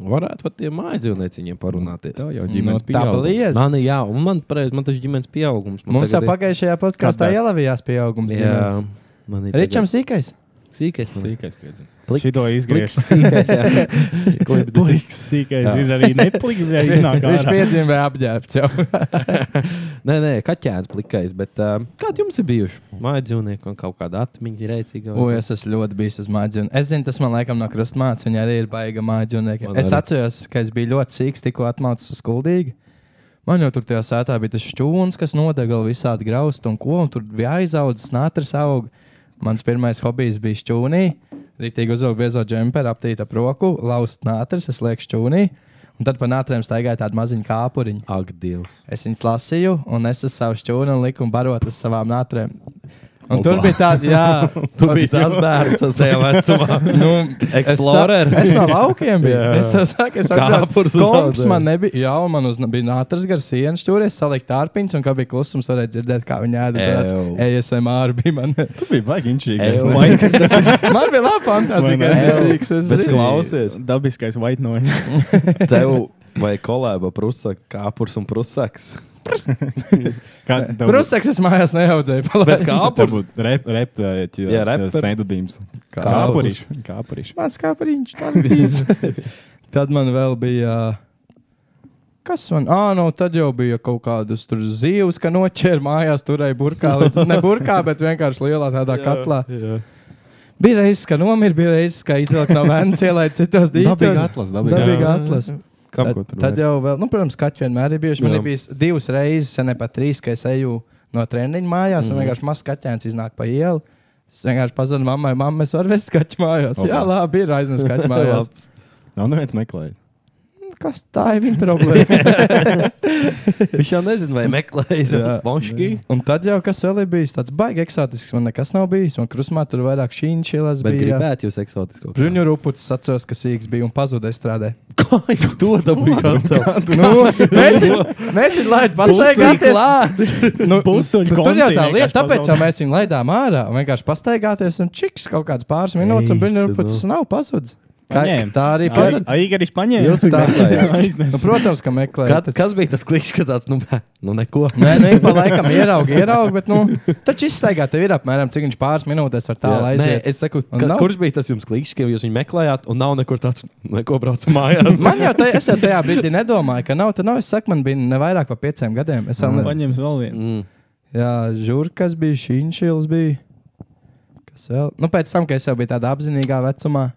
[SPEAKER 1] varētu par tiem mājas dzīvnieciņiem parunāties.
[SPEAKER 9] jau
[SPEAKER 2] ģimenes pieaugums. Paldies!
[SPEAKER 1] Man, jā, un man, pareiz, man tas ir ģimenes pieaugums. Man
[SPEAKER 2] Mums jau pagājušajā podkāstā
[SPEAKER 1] Kādā?
[SPEAKER 2] ielavījās pieaugums.
[SPEAKER 1] Jā,
[SPEAKER 2] ģimenes.
[SPEAKER 1] man ir
[SPEAKER 2] Ričam Sīkais.
[SPEAKER 1] sīkais. man
[SPEAKER 9] Sīkais piedzīvojums.
[SPEAKER 1] pliks,
[SPEAKER 3] Šito izgriež.
[SPEAKER 1] pliks, sīkais, jā.
[SPEAKER 3] Pliks, sīkais, ir arī nepliks, bet iznāk
[SPEAKER 2] Viņš
[SPEAKER 3] ārā.
[SPEAKER 2] piedzimta apģērbts jau.
[SPEAKER 1] Nē, nē, kaķēns plikais. Bet, uh, kādi jums ir bijuši mājas dzīvnieki un kaut kāda atmiņa rēcīga?
[SPEAKER 2] O, es esmu ļoti bijis uz mākslinieku. Es zinu, tas man laikam no krustmātes. Viņa arī ir baiga mākslinieku.
[SPEAKER 1] Man
[SPEAKER 2] Es
[SPEAKER 1] arī.
[SPEAKER 2] atceros, ka es biju ļoti sīgs, tikko atmācis uz skuldīgi. Man jau tur tajā sētā bija tas šķūns, kas nodega visādi graustu un ko, un tur bija aizaudzis, nātris auga. Mans pirmais hobijs bija šķūnī. Rītīgi uzvilku biezo džemperi, aptīta ap roku, laust nātris, es lieku šķūnī. Un tad pa nātrēm staigāja tāda maziņa kāpuriņa.
[SPEAKER 1] Ak, Dievs.
[SPEAKER 2] Es viņu lasīju, un es uz savu šķūnu liku un barot uz savām nātrēm. Un tur bija tāda, jā,
[SPEAKER 1] Tu biji tas bērns, tas tev vecumā.
[SPEAKER 2] nu,
[SPEAKER 1] Explorer.
[SPEAKER 2] Es, sa- es no laukiem biju.
[SPEAKER 9] Jā.
[SPEAKER 2] Yeah. Es tev saku, es
[SPEAKER 1] Kāpurs
[SPEAKER 2] atbraucu.
[SPEAKER 1] uz
[SPEAKER 2] Komps
[SPEAKER 1] laukiem.
[SPEAKER 2] man nebija. Jā, un man uz, bija nātris gar sienas šķūries, salikt ārpiņas, un kā bija klusums, varēja dzirdēt, kā viņa ēda.
[SPEAKER 1] Ew.
[SPEAKER 2] Tāds ASMR bija man.
[SPEAKER 9] Tu biji baigi
[SPEAKER 1] Ew.
[SPEAKER 9] inčīgi.
[SPEAKER 2] man bija labi
[SPEAKER 3] Vai
[SPEAKER 2] fantāzija,
[SPEAKER 3] ne?
[SPEAKER 2] ka es esmu
[SPEAKER 1] Bet
[SPEAKER 2] izsīgs.
[SPEAKER 1] klausies,
[SPEAKER 3] Dabiskais white noise.
[SPEAKER 1] tev vai kolēba prusaka, kāpurs un prusaks.
[SPEAKER 9] Kā tev
[SPEAKER 2] Prusaks es mājās neaudzēju.
[SPEAKER 1] Bet
[SPEAKER 2] palaid.
[SPEAKER 1] kāpurs? Jā,
[SPEAKER 9] Repēķis,
[SPEAKER 1] reper.
[SPEAKER 9] eh, sēdudījums.
[SPEAKER 1] Kāpurs.
[SPEAKER 9] Kāpuriši.
[SPEAKER 2] Mans kāpuriņš, tā bija. tad man vēl bija. Kas man? Ah, nu, tad jau bija kaut kādas tur zivs, ka noķēra mājās, turēja burkā. Līdz, ne burkā, bet vienkārši lielā tādā jā, katlā. Jā. Bija reizes, ka nomira, bija reizes, ka izvilka no vēja, ielaida citos
[SPEAKER 9] Dabīgi
[SPEAKER 2] dīķos.
[SPEAKER 9] atlas,
[SPEAKER 2] Dabīgi
[SPEAKER 9] dabīgi.
[SPEAKER 1] Jā.
[SPEAKER 2] atlas.
[SPEAKER 1] Kam
[SPEAKER 2] Tad-
[SPEAKER 1] ko tur
[SPEAKER 2] Tad
[SPEAKER 1] vairs?
[SPEAKER 2] jau vēl, nu, protams, kaķi vienmēr ir bijuši. Man
[SPEAKER 1] Jā.
[SPEAKER 2] ir bijis divas reizes, ja ne pat trīs, ka es eju no treniņa mājās,
[SPEAKER 1] Mhm.
[SPEAKER 2] mm. un vienkārši mazs kaķēns iznāk pa ielu. Es vienkārši pazvanu mammai, mamma, es varu vest kaķu mājās.
[SPEAKER 9] Opa.
[SPEAKER 2] Jā, labi, ir aiznes kaķu mājās.
[SPEAKER 1] Labs.
[SPEAKER 9] Nav neviens meklējis.
[SPEAKER 2] Kas tā ir viņa problēma?
[SPEAKER 1] Viņš jau nezina, vai meklējas
[SPEAKER 2] Jā.
[SPEAKER 1] Bonški.
[SPEAKER 2] un tad jau kas vēl ir bijis tāds baigi eksotisks, man nekas nav bijis. Man krusmā tur vairāk šī inčīlas
[SPEAKER 1] Bet
[SPEAKER 2] bija.
[SPEAKER 1] gribētu jūs eksotisko.
[SPEAKER 2] Bruņu rupucis atceros, ka sīgs bija un pazuda strādē.
[SPEAKER 1] Kā jūs to dabūjāt?
[SPEAKER 2] Nu, mēs esam laidi pastaigāties. Nu,
[SPEAKER 3] Busuļu
[SPEAKER 2] nu, tur jau tā
[SPEAKER 3] koncī
[SPEAKER 2] lieta,
[SPEAKER 3] vienkārši
[SPEAKER 2] tāpēc
[SPEAKER 3] pazaudē.
[SPEAKER 2] jau mēs viņu laidām ārā. un Vienkārši pastaigāties un čiks kaut kāds pāris minūtes, un
[SPEAKER 1] Ei,
[SPEAKER 2] viņa
[SPEAKER 1] tu nu.
[SPEAKER 2] rupucis nav pazudis. Kā-
[SPEAKER 3] Paņēma.
[SPEAKER 2] Tā arī pazuda.
[SPEAKER 3] Aigaris paņēma.
[SPEAKER 1] Jūs viņu meklējāt?
[SPEAKER 2] Nu,
[SPEAKER 3] aiznesat.
[SPEAKER 2] protams, ka meklējot.
[SPEAKER 1] Kad, kas bija tas klišs, kas tāds, nu, nē, nu neko.
[SPEAKER 2] Nē, nu, ik pa laikam ieraugi, ieraugi, bet, nu, taču izstaigā tev ir apmēram, cik viņš pāris minūtes var
[SPEAKER 1] Jā,
[SPEAKER 2] tālu
[SPEAKER 1] nē,
[SPEAKER 2] aiziet.
[SPEAKER 1] es saku,
[SPEAKER 2] Un
[SPEAKER 1] ka,
[SPEAKER 2] nav?
[SPEAKER 1] kurš bija tas jums klišs, ka jūs viņu meklējāt, un nav nekur tāds, neko brauc mājās?
[SPEAKER 2] Man jau tā, es jau tajā brīdī nedomāju, ka nav, tad nav, es saku, man bija ne vairāk par pieciem gadiem. Es vēl, ne...
[SPEAKER 3] Paņēma vēl vienu.
[SPEAKER 1] Mm.
[SPEAKER 2] jā, žurkas bija, šīņšils bija. Kas vēl? Nu, pēc tam, kad es jau biju tādā apzinīgā vecumā,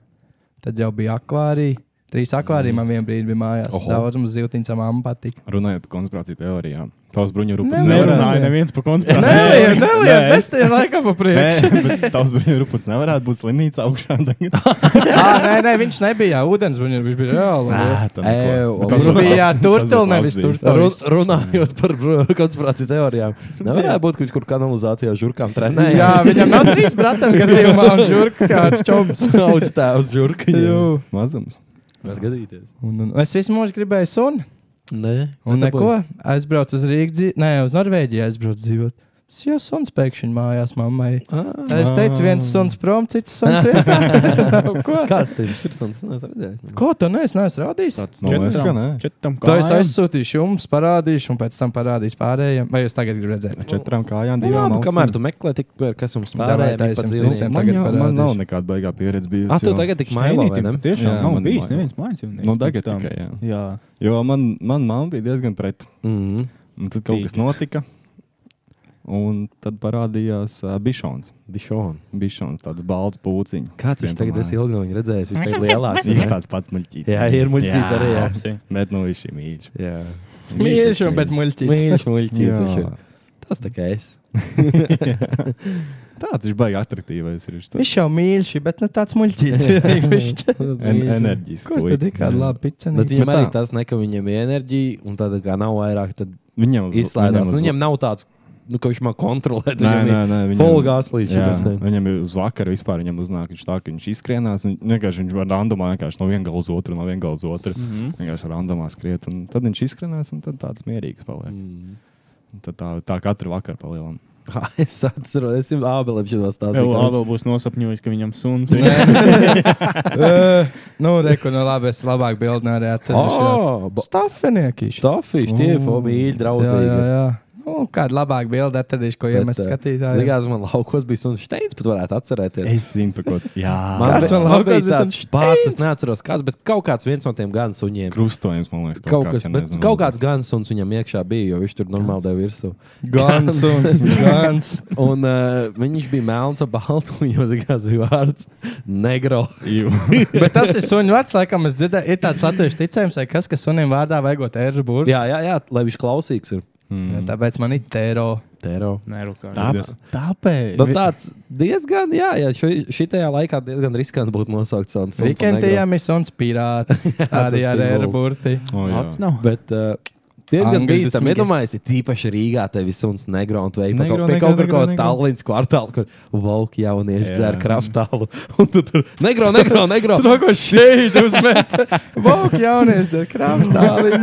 [SPEAKER 2] tad jau bija akvārija. Trīs akvārija man vienā brīdī bija mājās.
[SPEAKER 9] Oho.
[SPEAKER 2] Daudz mums ziltiņa mamma patika.
[SPEAKER 9] Runājot par konspirāciju teorijām. Tavs bruņu rupucis
[SPEAKER 2] Nevarētu.
[SPEAKER 3] Nerunāja
[SPEAKER 9] nevarētu.
[SPEAKER 3] neviens par
[SPEAKER 2] Nē,
[SPEAKER 3] konspirāciju.
[SPEAKER 2] nē, nē, es tev laikam pa priekšu.
[SPEAKER 9] Nē, bet tavs bruņu rupucis nevarētu būt slimnīca augšā. tagad.
[SPEAKER 2] Ah, nē, nē, viņš nebija jā, ūdens, bruņi, viņš bija reāli.
[SPEAKER 9] Nē, tam
[SPEAKER 1] Ew,
[SPEAKER 9] neko. Bet
[SPEAKER 1] viņš
[SPEAKER 9] tas
[SPEAKER 1] bija,
[SPEAKER 9] labs,
[SPEAKER 2] jā,
[SPEAKER 9] tas
[SPEAKER 2] turtle,
[SPEAKER 9] būtu labs
[SPEAKER 2] nevis
[SPEAKER 9] bijis.
[SPEAKER 2] turtle.
[SPEAKER 1] Ru- Runājot par br- konspirācijas teorijām, nevarēja būt, ka viņš kaut kur kanalizācijā žurkām
[SPEAKER 2] Nē,
[SPEAKER 1] trenēja.
[SPEAKER 2] jā, viņam nav trīs brāļi, kad ir jau žurka, kāds čoms.
[SPEAKER 1] Augs tā uz žurkiņa.
[SPEAKER 9] Mazums.
[SPEAKER 1] Var gadīties.
[SPEAKER 2] Un, un, es visu mūžu gribēju sunu.
[SPEAKER 1] Nē,
[SPEAKER 2] Un neko. Aizbraucu uz Rīgas, dzīv... nē, uz Norvēģiju aizbraucu dzīvot. Es jau suns pēkšņi mājās mammai.
[SPEAKER 1] Ah.
[SPEAKER 2] Es teicu, viens suns prom, cits suns vietā. Ko?
[SPEAKER 1] Kāds tev ir sirds? Es redzēju.
[SPEAKER 2] Ko tu neesi nes rādījis?
[SPEAKER 9] Nu, es kā nē.
[SPEAKER 3] Četram
[SPEAKER 2] To es
[SPEAKER 3] kājām.
[SPEAKER 2] aizsūtīšu jums, parādīšu, un pēc tam parādīšu pārējiem. Vai jūs tagad gribat redzēt?
[SPEAKER 9] Četrām kājām,
[SPEAKER 1] Nu,
[SPEAKER 9] divām.
[SPEAKER 1] labi,
[SPEAKER 9] ausīm. Nu,
[SPEAKER 1] kamēr tu meklē, tik par kas jums
[SPEAKER 2] Davai,
[SPEAKER 1] pārējais
[SPEAKER 2] tā es jums visiem.
[SPEAKER 9] Man,
[SPEAKER 2] tagad
[SPEAKER 9] jau, man
[SPEAKER 2] parādīšu.
[SPEAKER 9] nav nekāda baigā pieredze bijusi.
[SPEAKER 1] Ah, tu
[SPEAKER 9] jo-
[SPEAKER 1] tagad tik mailo, vai
[SPEAKER 3] Mainītim
[SPEAKER 1] ne?
[SPEAKER 3] patiešām
[SPEAKER 9] Jā,
[SPEAKER 3] nav
[SPEAKER 9] man
[SPEAKER 3] bijis
[SPEAKER 9] vajag.
[SPEAKER 3] neviens mājdzīvnieks.
[SPEAKER 9] Nu,
[SPEAKER 3] pirms
[SPEAKER 9] tagad
[SPEAKER 3] tam.
[SPEAKER 9] tikai, jā.
[SPEAKER 3] Jā.
[SPEAKER 9] Jo man, man mamma bija diezgan pret.
[SPEAKER 1] Mhm.
[SPEAKER 9] Un tad kaut kas notika. Un tad parādījās uh, bišons.
[SPEAKER 1] Bišon.
[SPEAKER 9] Bišons, tāds balts pūciņš.
[SPEAKER 1] Kāds viņš tagad ir ilgi no viņa redzējis? Viņš tagad lielāks.
[SPEAKER 9] Viņš
[SPEAKER 1] ne?
[SPEAKER 9] tāds pats muļķīts.
[SPEAKER 1] Jā, ir muļķīts arī. jā.
[SPEAKER 3] Apsi.
[SPEAKER 9] Bet nu viņš ir mīļš.
[SPEAKER 1] Jā.
[SPEAKER 2] Mīļš, un bet muļķīgi.
[SPEAKER 1] Mīļš, muļķīts. viņš ir.
[SPEAKER 9] Jā.
[SPEAKER 1] Tas tā kā es.
[SPEAKER 9] Tāds viņš baigi attraktīvais. ir, Viņš tāds
[SPEAKER 2] Viņš jau mīļš, bet ne tāds muļķīgs. vienīgi bišķi.
[SPEAKER 9] en enerģisks.
[SPEAKER 2] Kur tad ir kāda laba
[SPEAKER 1] Bet
[SPEAKER 2] picenība?
[SPEAKER 1] viņam
[SPEAKER 9] Bet
[SPEAKER 1] arī
[SPEAKER 9] tā.
[SPEAKER 1] tas ne, ka viņam ir enerģija, un tāda kā nav vairāk, tad
[SPEAKER 9] Viņam
[SPEAKER 1] izslēdzās. Nu, Viņam
[SPEAKER 9] uz-
[SPEAKER 1] nav tāds, nu, ka viņš man kontrolē.
[SPEAKER 9] Nē, nē, nē,
[SPEAKER 1] Polgās līdz
[SPEAKER 9] Jā,
[SPEAKER 1] šim.
[SPEAKER 9] viņam ir uz vakara vispār viņam uznāk, viņš tā, ka viņš izskrienās, un vienkārši viņš var randomā vienkārši no viena gala uz otru, no viena gala uz otru. Mm
[SPEAKER 3] Mhm.
[SPEAKER 9] -hmm. Vienkārši randomā skriet, un tad viņš izskrienās, un tad tāds mierīgs paliek.
[SPEAKER 1] Mm.
[SPEAKER 9] Un Tad tā, tā katru vakaru palielinām.
[SPEAKER 1] Ha, Es atceros, es jums abelim šitos
[SPEAKER 3] Vēl
[SPEAKER 1] stāstīju.
[SPEAKER 3] Ābel būs nosapņojis, ka viņam suns ir.
[SPEAKER 2] Eh, nu, reku, nu labi, es labāk bildnē arī
[SPEAKER 1] O, Ah, ba-
[SPEAKER 2] atradu. Stafinieki.
[SPEAKER 1] Stofīši, tie ir mīļi,
[SPEAKER 2] Mm. Jā, jā,
[SPEAKER 1] draugi.
[SPEAKER 2] jā. Nu, kāda labāka bilde atradīšu, ko iemest
[SPEAKER 1] eh,
[SPEAKER 2] skatītājiem.
[SPEAKER 1] Likās, man laukos bija suns steins, bet varētu atcerēties.
[SPEAKER 9] Es zinu, par ko. Jā,
[SPEAKER 1] Man
[SPEAKER 2] Kāds
[SPEAKER 1] bija-
[SPEAKER 2] man
[SPEAKER 1] man
[SPEAKER 2] laukos
[SPEAKER 1] bija
[SPEAKER 2] bija
[SPEAKER 1] tāds
[SPEAKER 2] suns
[SPEAKER 1] pats, es neatceros kāds, bet kaut kāds viens no tiem gan suņiem.
[SPEAKER 9] krustojums, man liekas,
[SPEAKER 1] Kaut, kas,
[SPEAKER 9] ja
[SPEAKER 1] bet,
[SPEAKER 9] nezinu,
[SPEAKER 1] kaut kāds gan suns viņam iekšā bija, jo viņš tur normāli deva virsū.
[SPEAKER 2] Gan suns, gan.
[SPEAKER 1] Un uh, viņš bija melns ar baltu, un jau zina, kāds bija vārds - negro.
[SPEAKER 9] Jū.
[SPEAKER 2] Bet tas ir suņu vārds, laikam, es dzirdēju, ir tāds latviešu ticējums, vai kas, ka sunim vārdā vajagot erbuļs.
[SPEAKER 1] Jā, jā, jā, lai viņš klausīgs ir.
[SPEAKER 2] Tāpēc man ir tēro.
[SPEAKER 1] eiro.
[SPEAKER 3] Nerukā.
[SPEAKER 9] Tāpēc. Tāpēc.
[SPEAKER 1] Nu, tāds diezgan, jā, jā šī tajā laikā diezgan riskanti būtu nosaukt savu
[SPEAKER 2] Vikendijā mēs esam pirāti. Arī ar
[SPEAKER 1] Tas pitbulls.
[SPEAKER 2] aeroburti.
[SPEAKER 9] O, jā.
[SPEAKER 3] Tāds nav.
[SPEAKER 1] Bet, uh, Diezgan
[SPEAKER 2] Angļu
[SPEAKER 1] bīstami.
[SPEAKER 2] tas
[SPEAKER 1] Iedomājieties, ir tīpaši Rīgā, te viss suns negro un veids. Pie
[SPEAKER 9] Negro,
[SPEAKER 1] pie
[SPEAKER 9] negro,
[SPEAKER 1] kaut kur
[SPEAKER 9] negro,
[SPEAKER 1] kaut
[SPEAKER 9] negro.
[SPEAKER 1] Tallinas kvartāla, kur valk jaunieši
[SPEAKER 9] Jā.
[SPEAKER 1] dzer kraftālu. Un tu tur negro, negro, negro.
[SPEAKER 2] Troko šeit uzmet. Vauk jaunies, dzer krāpstāli.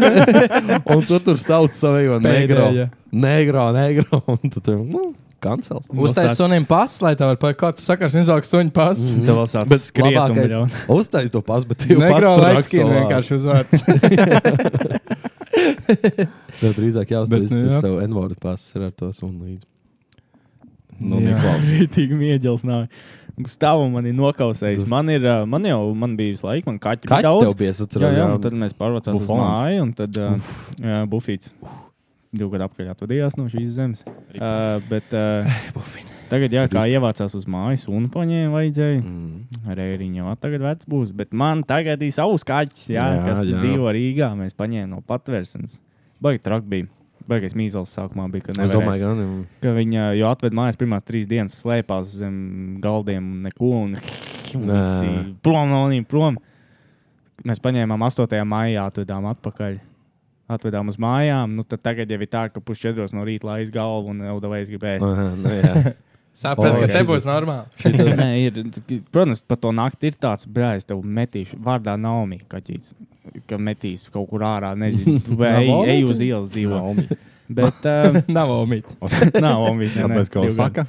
[SPEAKER 1] un tu tur sauc savējo negro.
[SPEAKER 2] Pēdējā.
[SPEAKER 1] Negro, negro. Un tu tur, nu, kancels.
[SPEAKER 2] Uztais sunim pasu, lai tev var kāds sakars izaugs suņu pasu.
[SPEAKER 1] Mm.
[SPEAKER 3] Tev vēl tāds
[SPEAKER 1] Bet
[SPEAKER 3] skrietums
[SPEAKER 1] labākais.
[SPEAKER 3] ļaun.
[SPEAKER 1] Uztais to pas, bet tu jau pats
[SPEAKER 2] Negro
[SPEAKER 1] tur
[SPEAKER 2] laikskīna
[SPEAKER 1] raksto vārdu.
[SPEAKER 2] vienkārši uzvārds.
[SPEAKER 1] Tev drīzāk
[SPEAKER 9] Bet,
[SPEAKER 1] jāuztais
[SPEAKER 9] nu, jā.
[SPEAKER 1] savu N-vārdu pasu ar to sunu līdzi.
[SPEAKER 9] Nu,
[SPEAKER 2] Jā.
[SPEAKER 9] Niklaus.
[SPEAKER 3] Rītīgi mieģels nav. Stāvu man ir nokausējis. Man, ir, ā, man jau man bija visu laiku, man kaķi bija
[SPEAKER 1] Kaķi tev
[SPEAKER 3] daudz.
[SPEAKER 1] bija
[SPEAKER 3] Jā, jā, un
[SPEAKER 1] sacerējumi.
[SPEAKER 3] tad mēs pārvācāmies uz
[SPEAKER 9] Bufons.
[SPEAKER 3] māju, un tad ā, jā, bufīts. Divu gadu apgaļā atvadījās no šīs zemes. Uh, bet, uh,
[SPEAKER 1] Eh,
[SPEAKER 3] tagad, jā, kā ievācās uz mājas, un paņēma vajadzēja.
[SPEAKER 1] Mm.
[SPEAKER 3] Rēriņš jau tagad vecs būs, bet man tagad ir savs kaķis, jā, jā,
[SPEAKER 1] Jā,
[SPEAKER 3] kas jā.
[SPEAKER 1] jā.
[SPEAKER 3] dzīvo Rīgā. Mēs paņēmām no patvērsnes. Baigi traki bija. Baigais mīzels sākumā bija. ka
[SPEAKER 1] Es
[SPEAKER 3] nevarēs.
[SPEAKER 1] domāju, ka gan.
[SPEAKER 3] Ka viņa jau atveda mājās pirmās trīs dienas, slēpās zem galdiem un neko. Un un
[SPEAKER 1] Nē.
[SPEAKER 3] visi prom no viņiem, prom. Mēs paņēmām 8. maijā, atvedām atpakaļ. Atvedām uz mājām. Nu, tad tagad jau ir tā, ka pusčetros no rīta laiz galvu un jau davai gribēs.
[SPEAKER 1] Aha, nu jā.
[SPEAKER 2] Sapratu,
[SPEAKER 1] O,
[SPEAKER 2] ka te
[SPEAKER 1] šis
[SPEAKER 2] būs normāli.
[SPEAKER 3] Nē, ir, protams, par to naktī ir tāds, brāl, es tev metīšu, vārdā Naomi, kaķis, ka metīs kaut kur ārā, nezinu, vai ej,
[SPEAKER 9] Naomi
[SPEAKER 3] ej
[SPEAKER 9] tu?
[SPEAKER 3] uz ielas dzīvo.
[SPEAKER 9] Naomi.
[SPEAKER 3] Bet, um,
[SPEAKER 2] Nav omīt.
[SPEAKER 3] Naomi, nē, nē,
[SPEAKER 9] Tāpēc, ka
[SPEAKER 3] divu gadu.
[SPEAKER 9] viņš saka,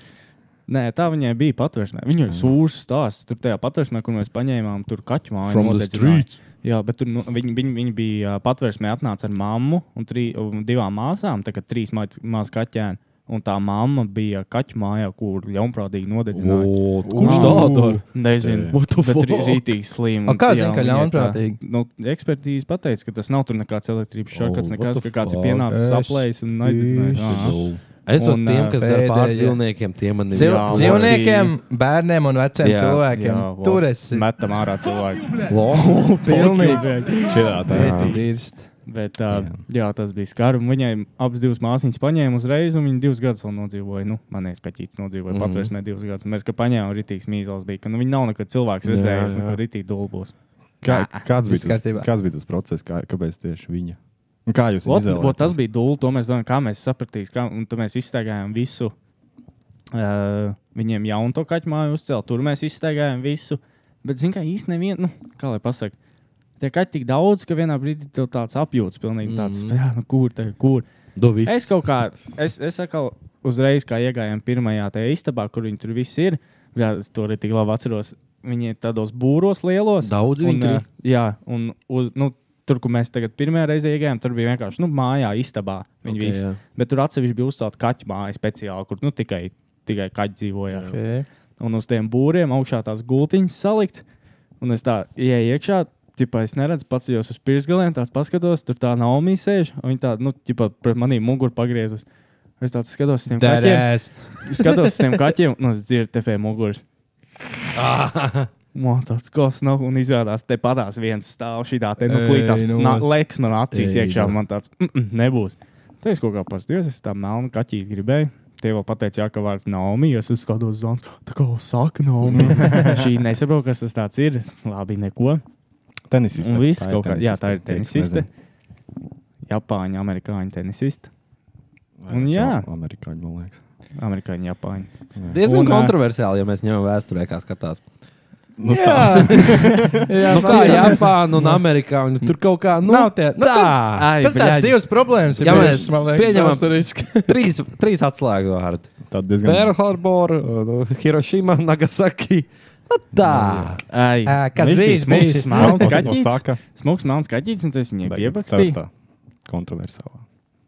[SPEAKER 3] Nē, tā viņai bija patvēršanā. Viņai bija sūrs stāsts. Tur tajā patvēršanā, kur mēs paņēmām tur kaķu māju.
[SPEAKER 1] From the
[SPEAKER 3] nodedzināja.
[SPEAKER 1] streets.
[SPEAKER 3] Jā, bet tur nu, viņi, viņi, viņi bija ā, patvēršanā atnāca ar mammu un, trī, un divām māsām, tā kā trīs mazas kaķēni. Un tā mamma bija kaķu mājā, kur ļaunprātīgi nodedzināja.
[SPEAKER 1] O, Kurš tā dara?
[SPEAKER 3] Nezinu,
[SPEAKER 1] What the
[SPEAKER 3] bet
[SPEAKER 1] fuck?
[SPEAKER 3] ir rītīgi slimi.
[SPEAKER 2] A
[SPEAKER 3] un
[SPEAKER 2] kā
[SPEAKER 3] jā,
[SPEAKER 2] zini, ka
[SPEAKER 3] un iet tā.
[SPEAKER 2] ļaunprātīgi?
[SPEAKER 3] Nu, ekspertīze pateica, ka tas nav tur nekāds elektrības
[SPEAKER 1] Oh,
[SPEAKER 3] šoks,
[SPEAKER 1] what
[SPEAKER 3] nekas,
[SPEAKER 1] the
[SPEAKER 3] ka kāds ir
[SPEAKER 1] fuck?
[SPEAKER 3] pienācis,
[SPEAKER 2] Es-
[SPEAKER 3] aplējis un aizdedzinājis.
[SPEAKER 1] Es
[SPEAKER 3] Un,
[SPEAKER 1] un tiem,
[SPEAKER 3] ā,
[SPEAKER 1] kas dara pār
[SPEAKER 2] pēdējā.
[SPEAKER 1] dzīvniekiem, tie man ir.
[SPEAKER 2] Dzīv,
[SPEAKER 3] Jā,
[SPEAKER 2] dzīvniekiem, bērniem un veciem jā,
[SPEAKER 1] Jā,
[SPEAKER 2] cilvēkiem. Jā,
[SPEAKER 3] vot.
[SPEAKER 2] Tur es
[SPEAKER 3] Metam ārā cilvēku.
[SPEAKER 1] Lo-
[SPEAKER 2] pilnīgi
[SPEAKER 9] šitā tā.
[SPEAKER 2] dirstu.
[SPEAKER 3] Bet, uh, jā. jā, tas bija skarbi. Viņai abas divas māsīņas paņēma uzreiz, un viņa divas gadus vēl nodzīvoja. Nu, man liekas, ka ķīts nodzīvoja mm -hmm. patvērsmē divas gadus. Mēs, kad paņēmām, rītīgs mīzels bija. Ka, nu, viņa nav nekad cilvēks
[SPEAKER 1] jā.
[SPEAKER 3] redzējusi, un ka rītīgi dulbos.
[SPEAKER 9] Kā, kāds,
[SPEAKER 2] viss
[SPEAKER 9] bija tas,
[SPEAKER 2] kārtībā.
[SPEAKER 9] kāds bija tas process, kā, kāpēc tieši viņa? Un Kā jūs
[SPEAKER 3] Ot,
[SPEAKER 9] izvēlējāties?
[SPEAKER 3] ot, Tas bija dulbs, to mēs domājam, kā mēs sapratīsim. Kā, un tad mēs izstaigājām visu. Uh, viņiem jaunu to kaķu māju uzcēla, tur mēs izstaigājām visu. Bet, zinu, kā īstenībā nevienu, nu, kā lai pasakā. Tie kaķi tik daudz, ka vienā brīdī tev tāds apjūts, pilnīgi tāds, mm -hmm. jā, nu, kur, tagad, kur.
[SPEAKER 1] Do viss.
[SPEAKER 3] Es kaut kā, es, es atkal uzreiz, kā iegājām pirmajā tajā istabā, kur viņi tur viss ir. Jā, es to arī tik labi atceros. Viņi ir tādos būros lielos.
[SPEAKER 1] Daudz
[SPEAKER 3] un,
[SPEAKER 1] viņi tur ir?
[SPEAKER 3] ā, Jā, un uz, nu, tur, kur mēs tagad pirmajā reizē iegājām, tur bija vienkārši nu, mājā, istabā.
[SPEAKER 1] Ok,
[SPEAKER 3] Viņi okay,
[SPEAKER 1] jā.
[SPEAKER 3] visi. Bet tur atsevišķi bija uzcelta kaķa māja speciāli, kur nu, tikai, tikai kaķi dzīvoja.
[SPEAKER 2] Okay.
[SPEAKER 3] Un uz tiem būriem augšā tās gultiņas salikt. Un es tā ienāku iekšā, tipā es neredzu, pats jau uz priekšgaliem, tās paskatos, tur tā nav mīsēž. Viņa tā, nu, tipā pret manī muguru pagriezas. Es tādu skatos uz tiem kaķiem,
[SPEAKER 2] Derēs.
[SPEAKER 3] skatos uz tiem kaķiem, un es dzirdu te pie muguras. Man tāds kosmos nav, un izrādās, te padās viens stāv šī tā, nu,
[SPEAKER 2] Ej,
[SPEAKER 3] klītās,
[SPEAKER 2] nu,
[SPEAKER 3] nā-
[SPEAKER 2] es-
[SPEAKER 3] lēks man acīs
[SPEAKER 1] Ej,
[SPEAKER 3] iekšā,
[SPEAKER 1] nu.
[SPEAKER 3] man tāds "Mm, mm, nebūs. Te es kaut kā paskatījos, es tam melnu kaķīti gribēju. Tie vēl pateica, jā, ka vārds Naomi, es uzskatos zonu, tā kā saka Naomi. Šī nesaprot, kas tas tāds ir. Es, Labi, neko.
[SPEAKER 9] tenisiste.
[SPEAKER 3] Un viss kaut kā, jā,
[SPEAKER 9] tenisiste,
[SPEAKER 3] tā ir
[SPEAKER 9] teiks,
[SPEAKER 3] tenisiste.
[SPEAKER 9] nezinu.
[SPEAKER 3] Japāņu, amerikāņu tenisiste.
[SPEAKER 9] Vai
[SPEAKER 3] Un
[SPEAKER 9] tā
[SPEAKER 3] jā.
[SPEAKER 9] Amerikāņi, man liekas.
[SPEAKER 3] Amerikāņu, Japāņu.
[SPEAKER 1] diezgan
[SPEAKER 3] Un, ā,
[SPEAKER 1] kontroversiāli, ja mēs ņemam vēsturē, kā skatās.
[SPEAKER 9] Nu, stāsti.
[SPEAKER 2] Jā,
[SPEAKER 1] Nu, kā Japāna un Amerikā, un tur kaut kā, nu,
[SPEAKER 2] Nav tie. Nu,
[SPEAKER 1] tā.
[SPEAKER 3] Ai,
[SPEAKER 2] Tur tāds
[SPEAKER 3] bļaļ.
[SPEAKER 2] divas problēmas ir.
[SPEAKER 1] Ja
[SPEAKER 2] Jā,
[SPEAKER 1] mēs
[SPEAKER 2] mēs man liekas,
[SPEAKER 1] pieņemam-
[SPEAKER 2] vēsturiski.
[SPEAKER 1] Trīs, trīs atslēgu vārdi.
[SPEAKER 9] Tad diezgan.
[SPEAKER 1] Pearl Harbor, uh, Hiroshima, Nagasaki. Nu, tā.
[SPEAKER 3] Ai,
[SPEAKER 2] Ā, kas
[SPEAKER 3] viņš
[SPEAKER 2] bija
[SPEAKER 3] smūgs,
[SPEAKER 2] smuks?
[SPEAKER 3] smalns
[SPEAKER 9] Kas no
[SPEAKER 3] kaķis.
[SPEAKER 9] saka?
[SPEAKER 3] Smuks, melns kaķis, un tas viņai
[SPEAKER 9] Tagad
[SPEAKER 3] piebakstīja.
[SPEAKER 9] ceturtā Kontroversālā.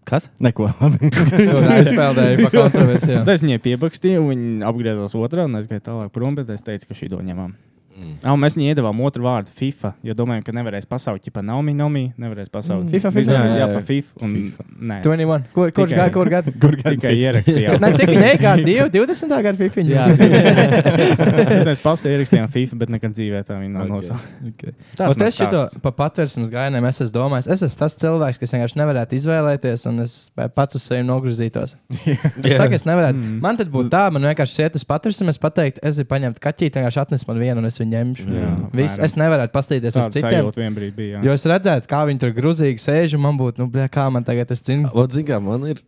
[SPEAKER 1] Kas?
[SPEAKER 9] Neko labi.
[SPEAKER 2] Tur aizpeldēja pa kontroversijām.
[SPEAKER 3] Tad es viņai piebakstīju, un viņa apgriezās otrā un aizgāja tālāk prom, bet es teicu, ka šī to ņemam. Mm. Mēs viņai iedavām otru vārdu FIFA, jo domājām, ka nevarēs pasaukt, ja pa Naomi, Naomi nevarēs pasaukt.
[SPEAKER 2] Mm. FIFA, FIFA.
[SPEAKER 3] jā, jā,
[SPEAKER 1] Jā, jā.
[SPEAKER 3] pa FIFA. Un,
[SPEAKER 1] FIFA.
[SPEAKER 3] Nē,
[SPEAKER 2] 21. Kur, kurš
[SPEAKER 3] Tikai-
[SPEAKER 2] gada? Kur gada?
[SPEAKER 9] Kur gan
[SPEAKER 3] tikai
[SPEAKER 9] bija?
[SPEAKER 3] ierakstījām.
[SPEAKER 2] Nē, cik viņa gada? 20. gada fifiņa.
[SPEAKER 3] Bet Mēs pasaukt ierakstījām FIFA, bet nekad dzīvē tā viņa nav
[SPEAKER 1] Ok.
[SPEAKER 3] nosaukta.
[SPEAKER 2] Okay.
[SPEAKER 3] Tāds
[SPEAKER 2] Es
[SPEAKER 3] mans
[SPEAKER 2] šito
[SPEAKER 3] stāsts.
[SPEAKER 2] pa patvērsmes gājieniem es esmu domājis. Es esmu tas cilvēks, kas vienkārši nevarētu izvēlēties, un es pats uz sevi nogrūzītos. es saku, es nevarētu. Mm. Man tad būtu tā, man vienkārši iet uz patvērsmes, es pateiktu, es gribu paņemt kaķīti, vienkārši atnes man vienu, un es viņu ņemšu.
[SPEAKER 3] Jā,
[SPEAKER 2] Viss,
[SPEAKER 3] apmēram.
[SPEAKER 2] es nevarētu paskatīties uz
[SPEAKER 3] Tāda
[SPEAKER 2] citiem.
[SPEAKER 3] sajūta vienbrīd bija. jā.
[SPEAKER 2] Jo es redzētu, kā viņi tur grūzīgi sēž, un man būtu, nu, bļā, kā man tagad, es zinu,
[SPEAKER 1] Ot, zin, kā, man ir,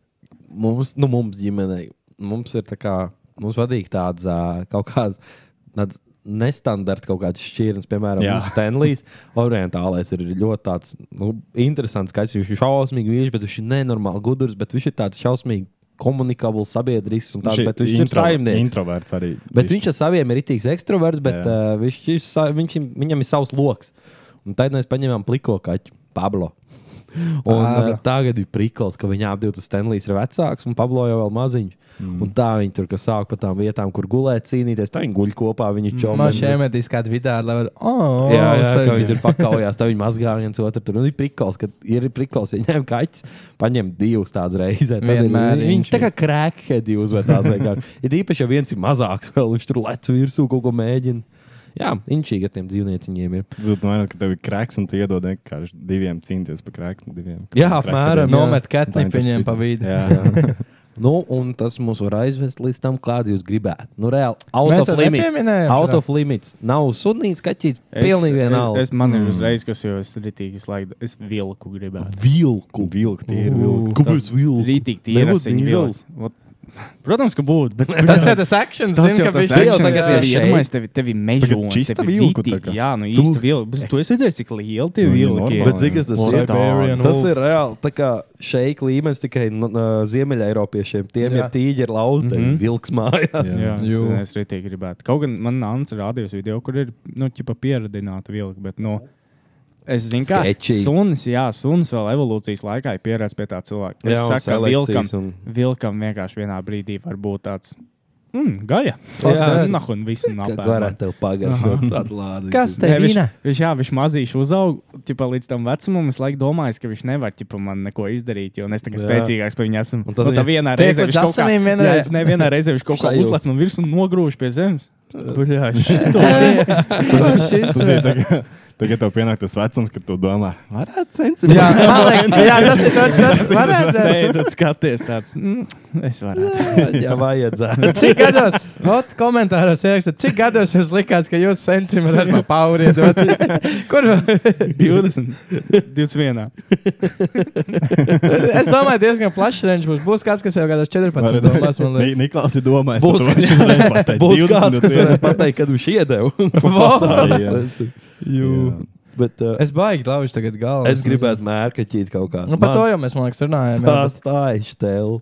[SPEAKER 1] mums, nu, mums ģimenei, mums ir tā kā, mums patīk tāds ā, kaut kāds. Tāds, Nestandarta kaut kāds šķirnes, piemēram,
[SPEAKER 9] Jā.
[SPEAKER 1] mums Stanlijs. Orientālais ir ļoti tāds, nu, interesants skaits. Viņš ir šausmīgi vīrs, bet viņš ir nenormāli gudrs, bet viņš ir tāds šausmīgi komunikabls, sabiedrisks un tāds, bet viņš ir saimnieks.
[SPEAKER 9] Introverts arī.
[SPEAKER 1] Bet viņš ar saviem ir itīgs ekstroverts, bet uh,
[SPEAKER 9] Jā.
[SPEAKER 1] viņš, ir sa- viņš, ir- viņam ir savs lokus. Un tad mēs paņēmām pliko kaķu, Pablo. Un, uh,
[SPEAKER 2] Pablo.
[SPEAKER 1] tagad ir priklis, ka viņa abi tas Stanlijs ir vecāks un Pablo jau vēl maziņš. Mm. Un tā viņi tur, kas sāk pa tām vietām, kur gulēt, cīnīties, tā viņi guļ kopā, viņi čomā.
[SPEAKER 2] man šeit metīs kādu vidē, lai varētu, oh,
[SPEAKER 1] Jā, jā, jā viņi tur pakaujās, tad viņi mazgā viens otru. Tur nu, ir priklis, ka ir priklis, ja ņem kaķis, paņem divus tādus reizē. Tad ir-
[SPEAKER 2] Vienmēr viņš
[SPEAKER 1] Viņi tā kā krāpēdi uzvedās vienkārši. Ir īpaši, ja viens ir mazāks, vēl viņš tur lec virsū kaut ko mēģina. Jā, inčīgi ar tiem dzīvnieciņiem ir.
[SPEAKER 9] Jūs domājat, ka tev ir krāks un tu iedod vienkārši diviem cīnīties par krāksni. Diviem. Nu,
[SPEAKER 1] Jā,
[SPEAKER 9] Krakatiem.
[SPEAKER 1] apmēram, jā.
[SPEAKER 2] nomet ketnipiņiem pa vidu.
[SPEAKER 9] Jā,
[SPEAKER 1] Nu, un tas mums var aizvest līdz tam, kādu jūs gribētu. Nu, reāli,
[SPEAKER 2] Mēs
[SPEAKER 1] out
[SPEAKER 2] jau
[SPEAKER 1] of limits.
[SPEAKER 2] nepieminējām
[SPEAKER 1] Out
[SPEAKER 2] šo.
[SPEAKER 1] of limits. Nav sudnīts, kaķis.
[SPEAKER 3] Es-
[SPEAKER 1] Pilnīgi vienalga.
[SPEAKER 3] Es, es man ir uzreiz, kas jau es ritīgi slaidu, es vilku gribētu.
[SPEAKER 9] vilku. Vilku tie ir vilku.
[SPEAKER 3] Kāpēc vilku? Ritīgi
[SPEAKER 9] Nebūtu
[SPEAKER 3] tīrasiņi
[SPEAKER 9] dīzels?
[SPEAKER 3] vilks. Vot. Protams, ka būtu, bet
[SPEAKER 2] Tas jau tas akcents,
[SPEAKER 3] Tas
[SPEAKER 2] zinu,
[SPEAKER 3] jau
[SPEAKER 2] ka
[SPEAKER 3] tas
[SPEAKER 2] viņš
[SPEAKER 1] jau
[SPEAKER 3] ir.
[SPEAKER 1] tagad
[SPEAKER 3] Tagad
[SPEAKER 1] ir
[SPEAKER 3] ir
[SPEAKER 1] šeit.
[SPEAKER 3] iedomājies, tevi, tevi mežo.
[SPEAKER 9] Tagad čista vilku tā kā.
[SPEAKER 3] Jā, nu
[SPEAKER 9] Tu-
[SPEAKER 3] īsti vilku. Bet Tu esi redzējis, cik lieli tie
[SPEAKER 9] Nu, viņi
[SPEAKER 3] vilki
[SPEAKER 9] normāli.
[SPEAKER 3] ir.
[SPEAKER 1] Bet cik es tas
[SPEAKER 9] Wolf.
[SPEAKER 1] ir?
[SPEAKER 2] Nu,
[SPEAKER 9] Siberian
[SPEAKER 1] Tas
[SPEAKER 9] wolf.
[SPEAKER 1] ir reāli tā kā šeika līmenis tikai n- n- ziemeļeiropiešiem. Tiem
[SPEAKER 2] Jā.
[SPEAKER 1] ir tīģeri lauzti, mm
[SPEAKER 3] Mhm.
[SPEAKER 1] -hmm. vilks mājās.
[SPEAKER 3] Jā,
[SPEAKER 9] Jā.
[SPEAKER 2] Jū.
[SPEAKER 3] es- es arī gribētu. Kaut gan man nāca rādījus video, kur ir nu, ķipa pieradināta vilka. Bet, nu, es zinu, ka
[SPEAKER 1] Sketchy.
[SPEAKER 3] sunis, jā, sunis vēl evolūcijas laikā ir pieredzējis pie tā cilvēka. Es
[SPEAKER 1] Jā, un
[SPEAKER 3] saku, ka
[SPEAKER 1] selekcijas
[SPEAKER 3] vilkam,
[SPEAKER 1] un-
[SPEAKER 3] un... vilkam vienkārši vienā brīdī var būt tāds. Mm, gaļa.
[SPEAKER 1] Jā.
[SPEAKER 3] Nah, un viss
[SPEAKER 1] Kā
[SPEAKER 3] nāpēr man.
[SPEAKER 1] varētu tev pagaršot tādu lāzi?
[SPEAKER 2] Kas te
[SPEAKER 3] Nē,
[SPEAKER 2] ir?
[SPEAKER 3] viņš, viņš, jā, viņš mazīs uzaug, tipā līdz tam vecumam. Es laikam domāju, ka viņš nevar tipā, man neko izdarīt, jo es tagad
[SPEAKER 1] Jā.
[SPEAKER 3] spēcīgāks par viņu esmu.
[SPEAKER 1] Un
[SPEAKER 3] Un
[SPEAKER 1] tad
[SPEAKER 3] tad nu, tā
[SPEAKER 1] viņa-
[SPEAKER 3] vienā
[SPEAKER 2] Tiek
[SPEAKER 3] reizē
[SPEAKER 2] uz
[SPEAKER 3] viņš kaut kā
[SPEAKER 2] asinīm vienreiz.
[SPEAKER 3] vienreiz. Ne, vienā reizē viņš kaut kā
[SPEAKER 1] Sajūta.
[SPEAKER 3] uzlec man virsū un nogrūž pie zemes. Buļā,
[SPEAKER 9] Tas ir tagad- Tagad tev pienāk tas vecums, kad tu domā, varētu censties.
[SPEAKER 2] Jā, man liekas, jā, tas ir tas, kas man
[SPEAKER 3] tas
[SPEAKER 2] ir.
[SPEAKER 3] sēdi un skaties tāds. Mm, es varētu.
[SPEAKER 1] Jā, vajadzētu.
[SPEAKER 2] Cik gados, ot, komentāros ierakstīt, cik gados jums likās, ka jūs sencim ar no pauri iedot? Kur?
[SPEAKER 3] 20, 21.
[SPEAKER 2] Es domāju, diezgan plašs range būs. Būs kāds, kas jau gados 14 domās, man liekas.
[SPEAKER 9] Niklaus ir domājis,
[SPEAKER 1] Būs-
[SPEAKER 9] ka viņš ir nepateicis.
[SPEAKER 1] Būs kāds, kas varēs pateikt, kad viņš iedeva.
[SPEAKER 9] Jū.
[SPEAKER 1] Bet uh,
[SPEAKER 2] Es baigi laužu tagad galvu.
[SPEAKER 1] es gribētu mērķēt kaut kā.
[SPEAKER 2] Nu, par to jau mēs, man liekas, runājam. jā,
[SPEAKER 1] Tā
[SPEAKER 2] bet-
[SPEAKER 1] stājas tev.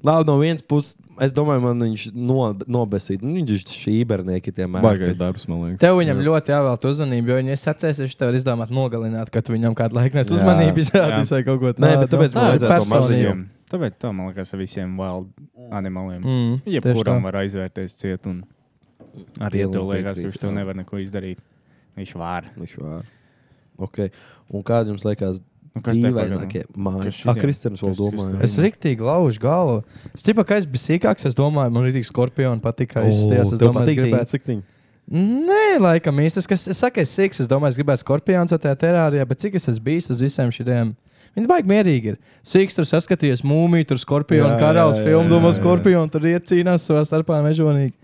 [SPEAKER 1] Labi, no vienas puses, es domāju, man viņš no, nobesīja. Nu, Viņš ir šī bērnieki, tie
[SPEAKER 9] Baigais
[SPEAKER 1] mērķi.
[SPEAKER 9] darbs, man liekas.
[SPEAKER 2] Tev viņam ļoti jāvēlta uzmanība, jo viņi sacēs, viņš tev var izdomāt nogalināt, kad tu viņam kādu laiku nes
[SPEAKER 1] Jā.
[SPEAKER 2] uzmanību izrādīs vai kaut ko tādu.
[SPEAKER 1] Nē, bet tāpēc
[SPEAKER 2] Tā
[SPEAKER 1] man
[SPEAKER 2] ir
[SPEAKER 1] vajadzētu to
[SPEAKER 2] personība.
[SPEAKER 1] maziņu.
[SPEAKER 3] Tāpēc tā, man liekas, ar visiem wild animaliem.
[SPEAKER 2] Mm, tieši
[SPEAKER 3] Jebkuram
[SPEAKER 2] tā.
[SPEAKER 3] var aizvērties ciet, un arī ja
[SPEAKER 1] Pilnīgi
[SPEAKER 3] tev
[SPEAKER 1] piekrītu,
[SPEAKER 3] liekas, ka viņš tev
[SPEAKER 1] jā.
[SPEAKER 3] nevar neko izdarīt. Viņš var.
[SPEAKER 1] Viņš var. Okay. Un kāds jums liekas,
[SPEAKER 3] Nu,
[SPEAKER 1] kas
[SPEAKER 3] kas tev
[SPEAKER 1] dīvainākie mājas?
[SPEAKER 3] Kas
[SPEAKER 1] Ah,
[SPEAKER 3] šitiem?
[SPEAKER 1] Kristians vēl
[SPEAKER 3] Kas-
[SPEAKER 1] domāja.
[SPEAKER 2] Es rīktīgi laužu galvu. Es tikai ka es biju sīkāks, es domāju, man rīktīgi skorpionu patīk, kā izties. Es domāju, es gribētu.
[SPEAKER 1] cik
[SPEAKER 2] Nē, laikam īstas, kas es saku, es sīks, es domāju, es gribētu skorpionu tajā terārijā, bet cik es esmu bijis uz visiem šiem. Viņi baigi mierīgi ir. Sīks tur saskatījis mūmiju, tur skorpionu
[SPEAKER 1] Jā,
[SPEAKER 2] karalis
[SPEAKER 1] jā, jā,
[SPEAKER 2] filmu,
[SPEAKER 1] jā,
[SPEAKER 2] domā
[SPEAKER 1] jā.
[SPEAKER 2] skorpionu, tur iet cīnās savā starpā mežonīgi.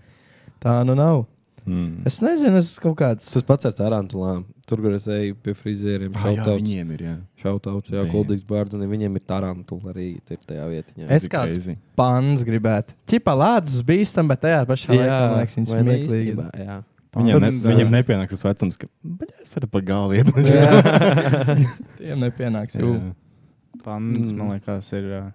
[SPEAKER 2] Tā nu nav.
[SPEAKER 9] Mm.
[SPEAKER 2] Es nezinu, es kaut kāds.
[SPEAKER 1] tas pats ar tarantulām. Tur, kur es eju pie frizieriem,
[SPEAKER 9] Ah, jā,
[SPEAKER 1] šautauts,
[SPEAKER 9] Viņiem ir, jā.
[SPEAKER 1] šautauts, jā,
[SPEAKER 9] Damn.
[SPEAKER 1] Goldīgs Bārdzani, viņiem ir tarantula arī tur tajā vietiņā.
[SPEAKER 2] Es
[SPEAKER 9] ir
[SPEAKER 2] kāds
[SPEAKER 9] crazy.
[SPEAKER 2] pāns gribētu. Čipa lācis bīstam, bet tajā pašā laikā, man liekas, viņš
[SPEAKER 1] vai ne,
[SPEAKER 2] smieklīgi.
[SPEAKER 1] īstenībā, jā.
[SPEAKER 9] Viņam, ne,
[SPEAKER 1] Pats, jā.
[SPEAKER 9] viņam nepienāks tas vecums, ka "Bet es varu pa galvu iedot.
[SPEAKER 2] Tiem nepienāks. Jū.
[SPEAKER 9] Jā.
[SPEAKER 3] Pants,
[SPEAKER 1] Mm.
[SPEAKER 3] man liekas, ir ā,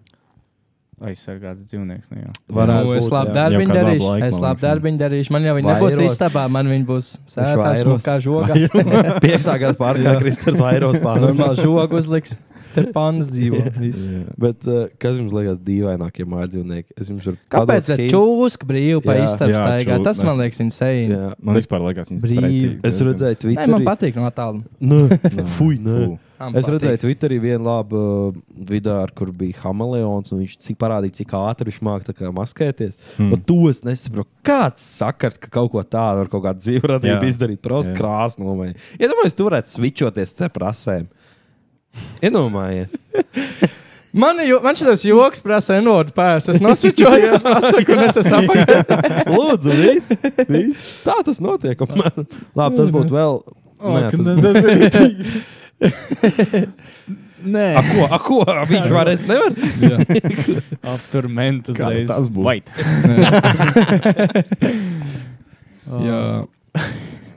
[SPEAKER 3] aizsargāts dzīvnieks. Nu, jā.
[SPEAKER 1] Varētu
[SPEAKER 2] Nu, es
[SPEAKER 1] būt,
[SPEAKER 2] labi
[SPEAKER 1] jā.
[SPEAKER 9] Jau
[SPEAKER 2] darbiņu
[SPEAKER 9] kādu labu
[SPEAKER 2] darīšu. Es labi
[SPEAKER 9] laiku, man liekas, jā.
[SPEAKER 2] darbiņu darīšu. Man jau viņi nebūs
[SPEAKER 1] Vairos.
[SPEAKER 2] istabā, man viņi būs sētās
[SPEAKER 1] vairos.
[SPEAKER 2] kā žoga.
[SPEAKER 1] Piektā gada pārkā Kristers vairos pārnāk.
[SPEAKER 2] Normāli žoga uzliks. Te pāns dzīvo. viss.
[SPEAKER 1] Bet, uh, kas jums liekas dīvainākie mājdzīvnieki? Es jums varu
[SPEAKER 2] Kāpēc
[SPEAKER 1] Adolfs
[SPEAKER 2] gan
[SPEAKER 1] Hins-
[SPEAKER 2] čūska brīvi pa
[SPEAKER 1] Jā,
[SPEAKER 2] istabu
[SPEAKER 9] jā,
[SPEAKER 2] staigā?
[SPEAKER 9] čū-
[SPEAKER 2] Tas man
[SPEAKER 9] mēs-
[SPEAKER 2] liekas insane.
[SPEAKER 1] Jā.
[SPEAKER 9] Man vispār liekas, viņas
[SPEAKER 2] Brīvi.
[SPEAKER 9] pretīgi.
[SPEAKER 1] Es redzēju,
[SPEAKER 2] Nē,
[SPEAKER 1] Twitterī.
[SPEAKER 2] man patīk no tāluma.
[SPEAKER 1] Nē, fuj, nē.
[SPEAKER 9] Fū.
[SPEAKER 2] Man
[SPEAKER 1] Es
[SPEAKER 2] patīk.
[SPEAKER 1] redzēju, Twitterī vienu labu uh, video, ar kur bija hameleons, un viņš cik parādīja, cik ātri viņš māca maskēties.
[SPEAKER 9] Hmm.
[SPEAKER 1] Mm. To es nesaprotu. Kāds sakars, ka kaut ko tādu ar kaut kādu dzīvu radību
[SPEAKER 9] Jā.
[SPEAKER 1] izdarīt, prasa
[SPEAKER 9] Jā.
[SPEAKER 1] krāsnu nomainīt. Iedomājieties, tur varētu svičoties te prasēm. Iedomājieties,
[SPEAKER 2] Man, jo, man šis joks prasa enormu pēdas. Es nosvičojos, pasaku, un es esmu apakaļ.
[SPEAKER 1] lūdzu, viss. viss. Tā tas notiek. apmēram. Labi, tas būtu vēl. Nē, tas būtu.
[SPEAKER 3] tas ir tik. Nē,
[SPEAKER 1] A, ko, a, ko? A, viņš var, es nevaru.
[SPEAKER 3] aptur mentus
[SPEAKER 9] Kāds
[SPEAKER 3] reiz.
[SPEAKER 9] tas būtu?
[SPEAKER 3] Vait.
[SPEAKER 2] Jā.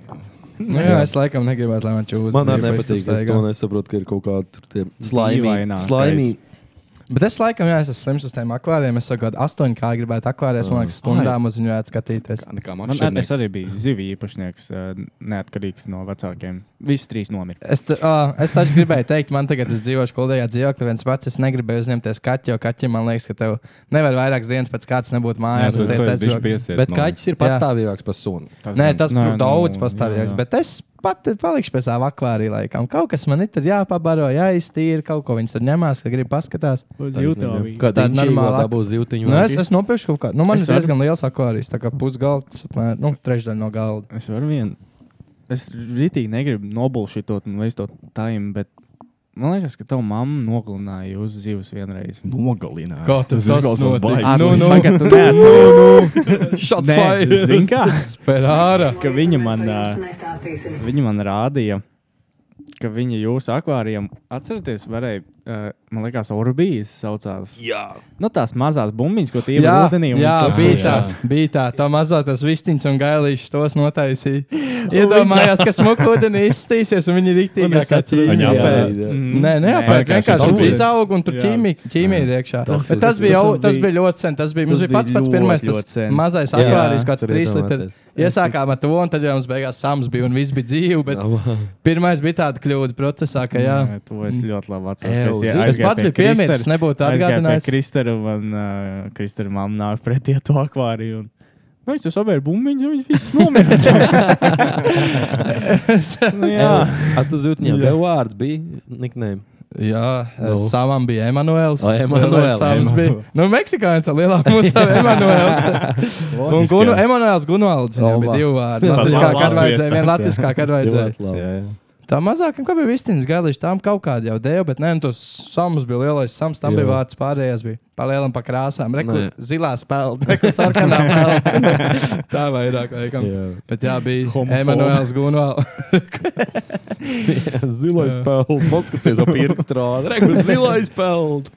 [SPEAKER 2] Nu, jā, es laikam negribētu, lai man čūska.
[SPEAKER 1] Man arī nepatīk. Es to nesaprotu, ka ir kaut kāda slaimīga.
[SPEAKER 3] Dīvainākais.
[SPEAKER 1] Slaimīga.
[SPEAKER 2] Bet es laikam, jā, es esmu slims uz tiem akvāriem. Es saku, astoņu kā gribētu akvārijas, man liekas, stundām uz viņu varētu skatīties.
[SPEAKER 9] Nekā
[SPEAKER 3] Man ar, es arī biju zivju īpašnieks, ā, neatkarīgs no vecākiem. Visi trīs nomira.
[SPEAKER 2] Es, t- ā, es taču gribēju teikt, man tagad ir dzīvošs kolēģijā dzīvoklī, viens pats. Es negribēju uzņemties kaķi, jo kaķim man liekas, ka tev nevar vairākas dienas pēc kāds nebūt mājās.
[SPEAKER 9] Jā,
[SPEAKER 2] es
[SPEAKER 9] tu- tu
[SPEAKER 2] teicu,
[SPEAKER 9] esi
[SPEAKER 2] es
[SPEAKER 9] bišķi
[SPEAKER 2] braucu-
[SPEAKER 9] piesiet,
[SPEAKER 1] Bet
[SPEAKER 9] man
[SPEAKER 1] kaķis ir
[SPEAKER 2] Jā.
[SPEAKER 1] patstāvīgāks par suni.
[SPEAKER 2] Nē, tas
[SPEAKER 3] Nē,
[SPEAKER 2] būs
[SPEAKER 3] nē,
[SPEAKER 2] daudz
[SPEAKER 3] nē,
[SPEAKER 2] pastāvīgs.
[SPEAKER 3] jā, jā.
[SPEAKER 2] Bet es pat palikšu pie sava akvārija laikam. Kaut kas man ir jāpabaro, jāiztīra, kaut ko viņas tur ņemās, ka grib paskatās.
[SPEAKER 3] Uz
[SPEAKER 1] Jūtāvīgi. Kad
[SPEAKER 2] Tāda
[SPEAKER 1] tāda normāla
[SPEAKER 2] normāla-
[SPEAKER 1] tā būs zīltiņa.
[SPEAKER 2] Nu, es, es nopirku kaut kādu. Nu, man
[SPEAKER 3] Es
[SPEAKER 2] ir
[SPEAKER 3] varu-
[SPEAKER 2] diezgan liels akvārijas, tā kā pusgalds, apmēram, nu, trešdaļa no galda.
[SPEAKER 3] Es varu vienu. Es rītīgi negribu nobulšīt to un veistot taim, bet man liekas, ka tavu mammu nogalināja uz zivs vienreiz.
[SPEAKER 9] Nu, Nogalināju.
[SPEAKER 2] Kā tas notika?
[SPEAKER 9] baigi.
[SPEAKER 2] Ā,
[SPEAKER 3] Ah,
[SPEAKER 2] nu, nu.
[SPEAKER 3] Tagad tu neatceries.
[SPEAKER 2] Šāds
[SPEAKER 3] Nē, zini kā?
[SPEAKER 2] Sperāra.
[SPEAKER 3] Ka viņa man, ā, viņa man rādīja, ka viņa jūsu akvārijam, atcerieties, varēja, ā, man liekas, orbīzes saucās. Jā. Nu, tās mazās bumbiņas, ko tie ir
[SPEAKER 2] Jā,
[SPEAKER 3] ūdenī. un
[SPEAKER 2] jā,
[SPEAKER 3] sasprāst.
[SPEAKER 2] bija tās, bija tā, tā mazā tas vistiņš un gailīšs tos notaisīja. Iedomājās, ka smukūdenī izstīsies un viņi
[SPEAKER 3] Un
[SPEAKER 2] riktīgi
[SPEAKER 3] es atceros,
[SPEAKER 9] Viņa
[SPEAKER 3] jā.
[SPEAKER 9] apēd.
[SPEAKER 3] Mm,
[SPEAKER 2] Nē, nē, apēk,
[SPEAKER 9] vienkārši
[SPEAKER 2] vienkārši tas
[SPEAKER 9] audzes.
[SPEAKER 2] izaug un tur
[SPEAKER 3] Jā.
[SPEAKER 2] ķīmija ķīmija ir iekšā.
[SPEAKER 1] Tas-
[SPEAKER 2] Bet Tas
[SPEAKER 1] tas-
[SPEAKER 2] bija
[SPEAKER 3] tas
[SPEAKER 2] jau- tas
[SPEAKER 3] bija-
[SPEAKER 2] bija ļoti sen. Tas bija mums
[SPEAKER 3] tas
[SPEAKER 2] bija pats
[SPEAKER 3] bija
[SPEAKER 2] pats pirmais,
[SPEAKER 3] ļoti, ļoti
[SPEAKER 2] tas
[SPEAKER 3] sen.
[SPEAKER 2] mazais
[SPEAKER 1] Jā,
[SPEAKER 2] akvārijas, kāds
[SPEAKER 1] tur
[SPEAKER 2] trīs
[SPEAKER 1] iedomāties.
[SPEAKER 2] litri. Iesākām ar to, un tad jau mums beigās sams bija un viss bija dzīvi. Bet pirmais bija tāda kļūda procesā, ka jā.
[SPEAKER 3] Nē, To es ļoti labi
[SPEAKER 1] Ew,
[SPEAKER 3] atceros.
[SPEAKER 1] zini,
[SPEAKER 2] Es pats biju piemirsis, nebūtu atgādinājis.
[SPEAKER 3] Kristēra un uh, Kristēra mamma nāk pretī ar to akvāriju. Un... Nu, Viņš to sabēra bumbiņu, viņš viss nomira. nu, jā,
[SPEAKER 1] Ar to zīltiņā tev vārds bija niknēm.
[SPEAKER 2] Jā, eh,
[SPEAKER 1] Nu.
[SPEAKER 2] savam bija Emanuēls.
[SPEAKER 1] O, Emanuels,
[SPEAKER 2] Lielais Sams bija.
[SPEAKER 9] Emanuels.
[SPEAKER 2] Nu, Meksikāns ar lielāku mūsu Emanuēls. Un nu, Gunu, Emanuēls Gunvalds. Viņam
[SPEAKER 1] O,
[SPEAKER 2] bija
[SPEAKER 1] labi.
[SPEAKER 2] divi vārdi.
[SPEAKER 1] Tas
[SPEAKER 2] Latviskā,
[SPEAKER 9] labi,
[SPEAKER 2] kad
[SPEAKER 9] labi,
[SPEAKER 2] vajadzēja,
[SPEAKER 9] jā.
[SPEAKER 2] vien latviskā, kad vajadzēja.
[SPEAKER 1] labi.
[SPEAKER 2] Tā mazākam, kā bija vistiņas galīši, tām kaut kāda jau dēļ, bet nē, nu, tas Sams bija lielais Sams, tam
[SPEAKER 1] Jā. Nu,
[SPEAKER 2] bija vārds pārējais bija. Pa lielam, pa krāsām. Reku
[SPEAKER 1] Nē.
[SPEAKER 2] zilā spēlē, reku sarkanā spēlē. Tā vairāk, laikam.
[SPEAKER 1] Jā.
[SPEAKER 2] Bet jā, bija
[SPEAKER 3] Homofobi.
[SPEAKER 2] Emanuēls Gunvalds.
[SPEAKER 1] Zilais pelns. Paskaties, ap pirkstu strādā. Reku zilais pelns.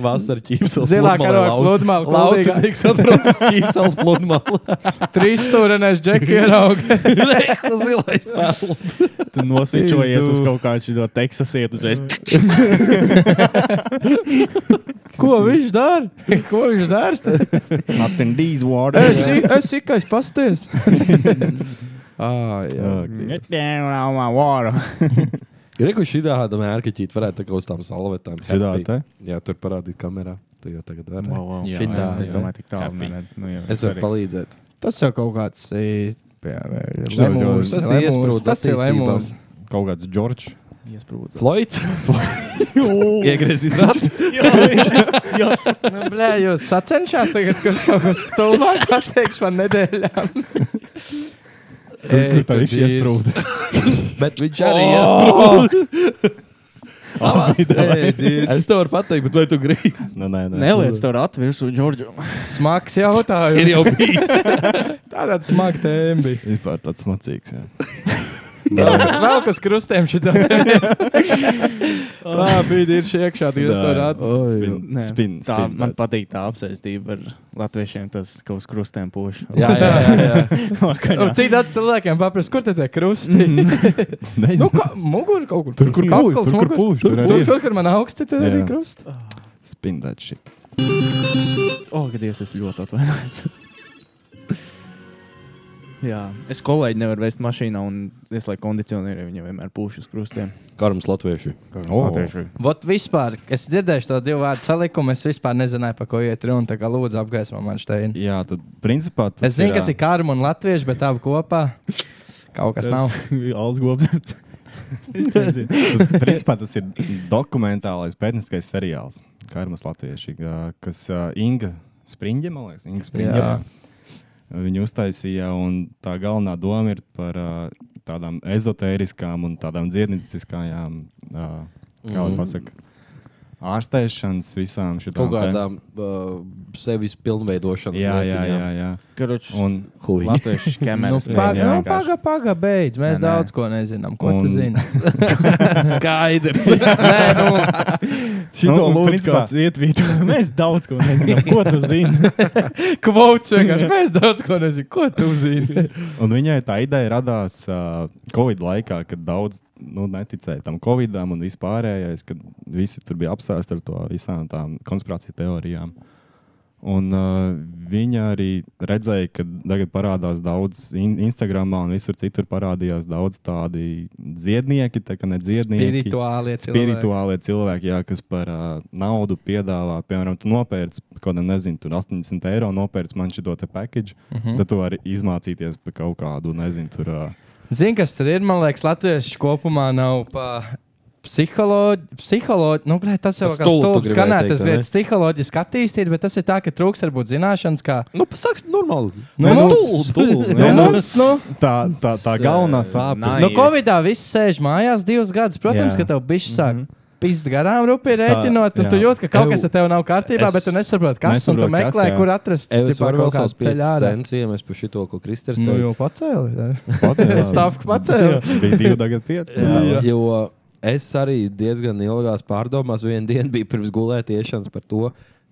[SPEAKER 1] Vasarā ķīpsels.
[SPEAKER 2] Zilā karoga pludmale, kuldīgā.
[SPEAKER 1] Lauciņš atrodas ķīpsels pludmalē.
[SPEAKER 2] Trīs stūrenēs džeki ierauga.
[SPEAKER 1] Reku zilais pelns.
[SPEAKER 3] tu nosvičojies uz kaut kādu šo teksasietu uzreiz.
[SPEAKER 2] Ko viņš dara? Ko viņš dara?
[SPEAKER 9] Nothing these waters.
[SPEAKER 2] Es esmu ikais pasties.
[SPEAKER 3] Nē, man vāra.
[SPEAKER 1] Reku šī tāda mērķīte varētu tā kā uz tām salvetām.
[SPEAKER 9] Šitā te?
[SPEAKER 1] Jā, tur parādīt kamerā. Tu jau tagad vari.
[SPEAKER 9] Jā,
[SPEAKER 1] Šitā,
[SPEAKER 9] jā,
[SPEAKER 3] Es
[SPEAKER 1] jā.
[SPEAKER 3] domāju, tik tālu. nē, nē, Nu,
[SPEAKER 1] Es varu palīdzēt.
[SPEAKER 2] Tas jau kaut kāds. i,
[SPEAKER 9] Šis
[SPEAKER 2] piemēram,
[SPEAKER 9] jau-
[SPEAKER 2] lemurs,
[SPEAKER 1] Tas ir
[SPEAKER 2] lemurs,
[SPEAKER 1] iesprūdis
[SPEAKER 2] Tas ir
[SPEAKER 1] attīstībām.
[SPEAKER 2] lemurs.
[SPEAKER 9] Kaut kāds Džordžs.
[SPEAKER 3] palīdzēt.
[SPEAKER 1] Floyds. Iegriezīs apgabalu.
[SPEAKER 2] Nu, Blē, jūs sacenšās tagad, kurš kaut ko stulbāk pateiks man nedēļām.
[SPEAKER 9] Kur tā viņš iesprūda?
[SPEAKER 1] Bet viņš arī
[SPEAKER 9] Oh!
[SPEAKER 1] iesprūda. Es tev varu pateikt, bet vai tu gribi?
[SPEAKER 9] Nē, Nu, nē, nē.
[SPEAKER 3] Neliec to ratu virsū, Džordžu.
[SPEAKER 2] Smags jautājums.
[SPEAKER 1] Ir jau bijis.
[SPEAKER 2] tāda smaga tēma. bija.
[SPEAKER 9] Vispār tāds smacīgs. jā.
[SPEAKER 2] Vēl kas krustēm šitā tēma. Labi, ir šī iekšā, tad jūs to
[SPEAKER 9] Jā.
[SPEAKER 2] rādat.
[SPEAKER 9] Spin,
[SPEAKER 3] Nē,
[SPEAKER 9] spin,
[SPEAKER 3] tā,
[SPEAKER 9] spin,
[SPEAKER 3] man
[SPEAKER 9] tā.
[SPEAKER 3] patīk tā apsēstība ar latviešiem, tas kaut uz krustēm pošu.
[SPEAKER 1] Jā, jā, jā. jā.
[SPEAKER 2] Un Cik daudz cilvēkiem paprasti, kur tad tie krusti?
[SPEAKER 9] Nezinu.
[SPEAKER 2] Nu, kā mugurā kaut kur.
[SPEAKER 9] Tur, kur
[SPEAKER 2] Kakls,
[SPEAKER 9] pūš, tur, kur
[SPEAKER 2] mugura.
[SPEAKER 9] pūš,
[SPEAKER 2] Tur,
[SPEAKER 9] tur arī
[SPEAKER 2] tur,
[SPEAKER 9] ir.
[SPEAKER 2] tur, kur man augsts, tur arī
[SPEAKER 9] Jā.
[SPEAKER 2] krusts.
[SPEAKER 9] Spin that shit.
[SPEAKER 3] O, kad es esmu ļoti atvainojis. Jā, es kolēģi nevaru vest mašīnā, un es lai kondicionēju viņu vienmēr pūšu uz krustiem.
[SPEAKER 1] Karams latvieši.
[SPEAKER 9] Latvieši.
[SPEAKER 2] Vot vispār, es dzirdēju to divu vārdu salikumu, es vispār nezināju, par ko iet runa. Tā kā lūdzu apgaismo man šeit.
[SPEAKER 9] Jā, tad principā tas
[SPEAKER 2] Es zinu, kas ir karma un latvieši, bet abi kopā kaut kas nav.
[SPEAKER 3] Alts Gobsens. es nezinu.
[SPEAKER 9] ir. Principā tas ir dokumentālais pētniecības seriāls Karmas Latvieši, ā, kas ā, Inga Springļa, man liekas, Inga Springļa.
[SPEAKER 2] Jā.
[SPEAKER 9] Viņa uztaisīja, un tā galvenā doma ir par ā, tādām ezotēriskām un tādām dziednieciskām, kā
[SPEAKER 3] Mhm.
[SPEAKER 9] lai pasakā, ārstēšanas visām šīm
[SPEAKER 1] Mhm. Kaut kādām uh, sevis pilnveidošanas
[SPEAKER 9] Jā, jā,
[SPEAKER 1] lietiņām.
[SPEAKER 9] jā, jā.
[SPEAKER 3] Karoč, un
[SPEAKER 9] Un
[SPEAKER 1] Huj.
[SPEAKER 3] Latviešu
[SPEAKER 2] Nu,
[SPEAKER 3] kameras.
[SPEAKER 2] paga, nu, paga, paga, beidz. Mēs nē,
[SPEAKER 3] Nē, nē.
[SPEAKER 2] daudz ko nezinām. Ko un...
[SPEAKER 9] Un-
[SPEAKER 2] tu zini?
[SPEAKER 1] Skaidrs.
[SPEAKER 2] nē, nu,
[SPEAKER 3] Šito
[SPEAKER 9] Nu, un
[SPEAKER 3] lūdzu
[SPEAKER 9] principā-
[SPEAKER 3] kāds ietvītu. Mēs daudz ko nezinām. Ko tu zini?
[SPEAKER 2] kvots vienkārši. Mēs daudz ko nezinām. Ko tu zini?
[SPEAKER 9] Un viņai tā ideja radās uh, Covid laikā, kad daudz nu, neticēja tam Covidam un vispārējais, kad visi tur bija apsēsti ar to visām tām konspirācijas teorijām. Un uh, viņa arī redzēja, ka tagad parādās daudz in Instagram un visur citur parādījās daudz tādi dziednieki, tā kā ne dziednieki.
[SPEAKER 2] Spirituālie cilvēki.
[SPEAKER 9] Spirituālie cilvēki, jā, kas par uh, naudu piedāvā, piemēram, tu nopērci kaut kādu, nezinu, tur 80 eiro, nopērci man šo te package, uh
[SPEAKER 2] Mhm.
[SPEAKER 9] -huh. tad tu vari izmācīties par kaut kādu, nezinu, tur. Uh,
[SPEAKER 2] Zini, kas tur ir? Man liekas, latvieši kopumā nav pa psiholoģi. psiholoģi nu, blē, tas jau
[SPEAKER 1] Tas
[SPEAKER 2] kā
[SPEAKER 1] stulbi tu
[SPEAKER 2] stulbi
[SPEAKER 1] gribēji
[SPEAKER 2] skanē,
[SPEAKER 1] teikt,
[SPEAKER 2] tas
[SPEAKER 1] vai ne?
[SPEAKER 2] ir psiholoģiski attīstīts, bet tas ir tā, ka trūks varbūt zināšanas, kā
[SPEAKER 1] Nu, pasaks, normāli.
[SPEAKER 2] Nu,
[SPEAKER 1] Nu,
[SPEAKER 2] mums-
[SPEAKER 1] stulbi.
[SPEAKER 2] Nu,
[SPEAKER 1] nē, nu.
[SPEAKER 2] mums, nu,
[SPEAKER 9] tā, tā, tā galvenā sāpe.
[SPEAKER 3] nai-
[SPEAKER 2] nu,
[SPEAKER 3] ir.
[SPEAKER 2] Covid-19 viss sēž mājās divus gadus. Protams,
[SPEAKER 9] Jā.
[SPEAKER 2] ka tev bišķi sāk
[SPEAKER 1] Mhm.
[SPEAKER 2] mm -hmm. pist garām, rupi rēķinot, un
[SPEAKER 9] jā.
[SPEAKER 2] tu jūti, ka kaut kas
[SPEAKER 1] Ev,
[SPEAKER 2] ar tevi nav kārtībā,
[SPEAKER 1] es
[SPEAKER 2] bet tu nesaproti, kas, un tu
[SPEAKER 9] nesaprotu, kas,
[SPEAKER 2] meklē,
[SPEAKER 9] jā.
[SPEAKER 2] kur atrast
[SPEAKER 1] Es
[SPEAKER 2] ķipā,
[SPEAKER 1] varu vēl savus
[SPEAKER 2] kādu
[SPEAKER 1] 5
[SPEAKER 2] ceļu ārā.
[SPEAKER 1] centus iemest par šito, ko Kristers
[SPEAKER 2] Nu,
[SPEAKER 1] teica.
[SPEAKER 2] jau pacēli.
[SPEAKER 9] Patērā.
[SPEAKER 2] Es tādu pacēlu.
[SPEAKER 9] Bija divi, tagad pieci.
[SPEAKER 1] Jā, jo es arī diezgan ilgās pārdomās vienā dienā biju pirms gulētiešanas par to.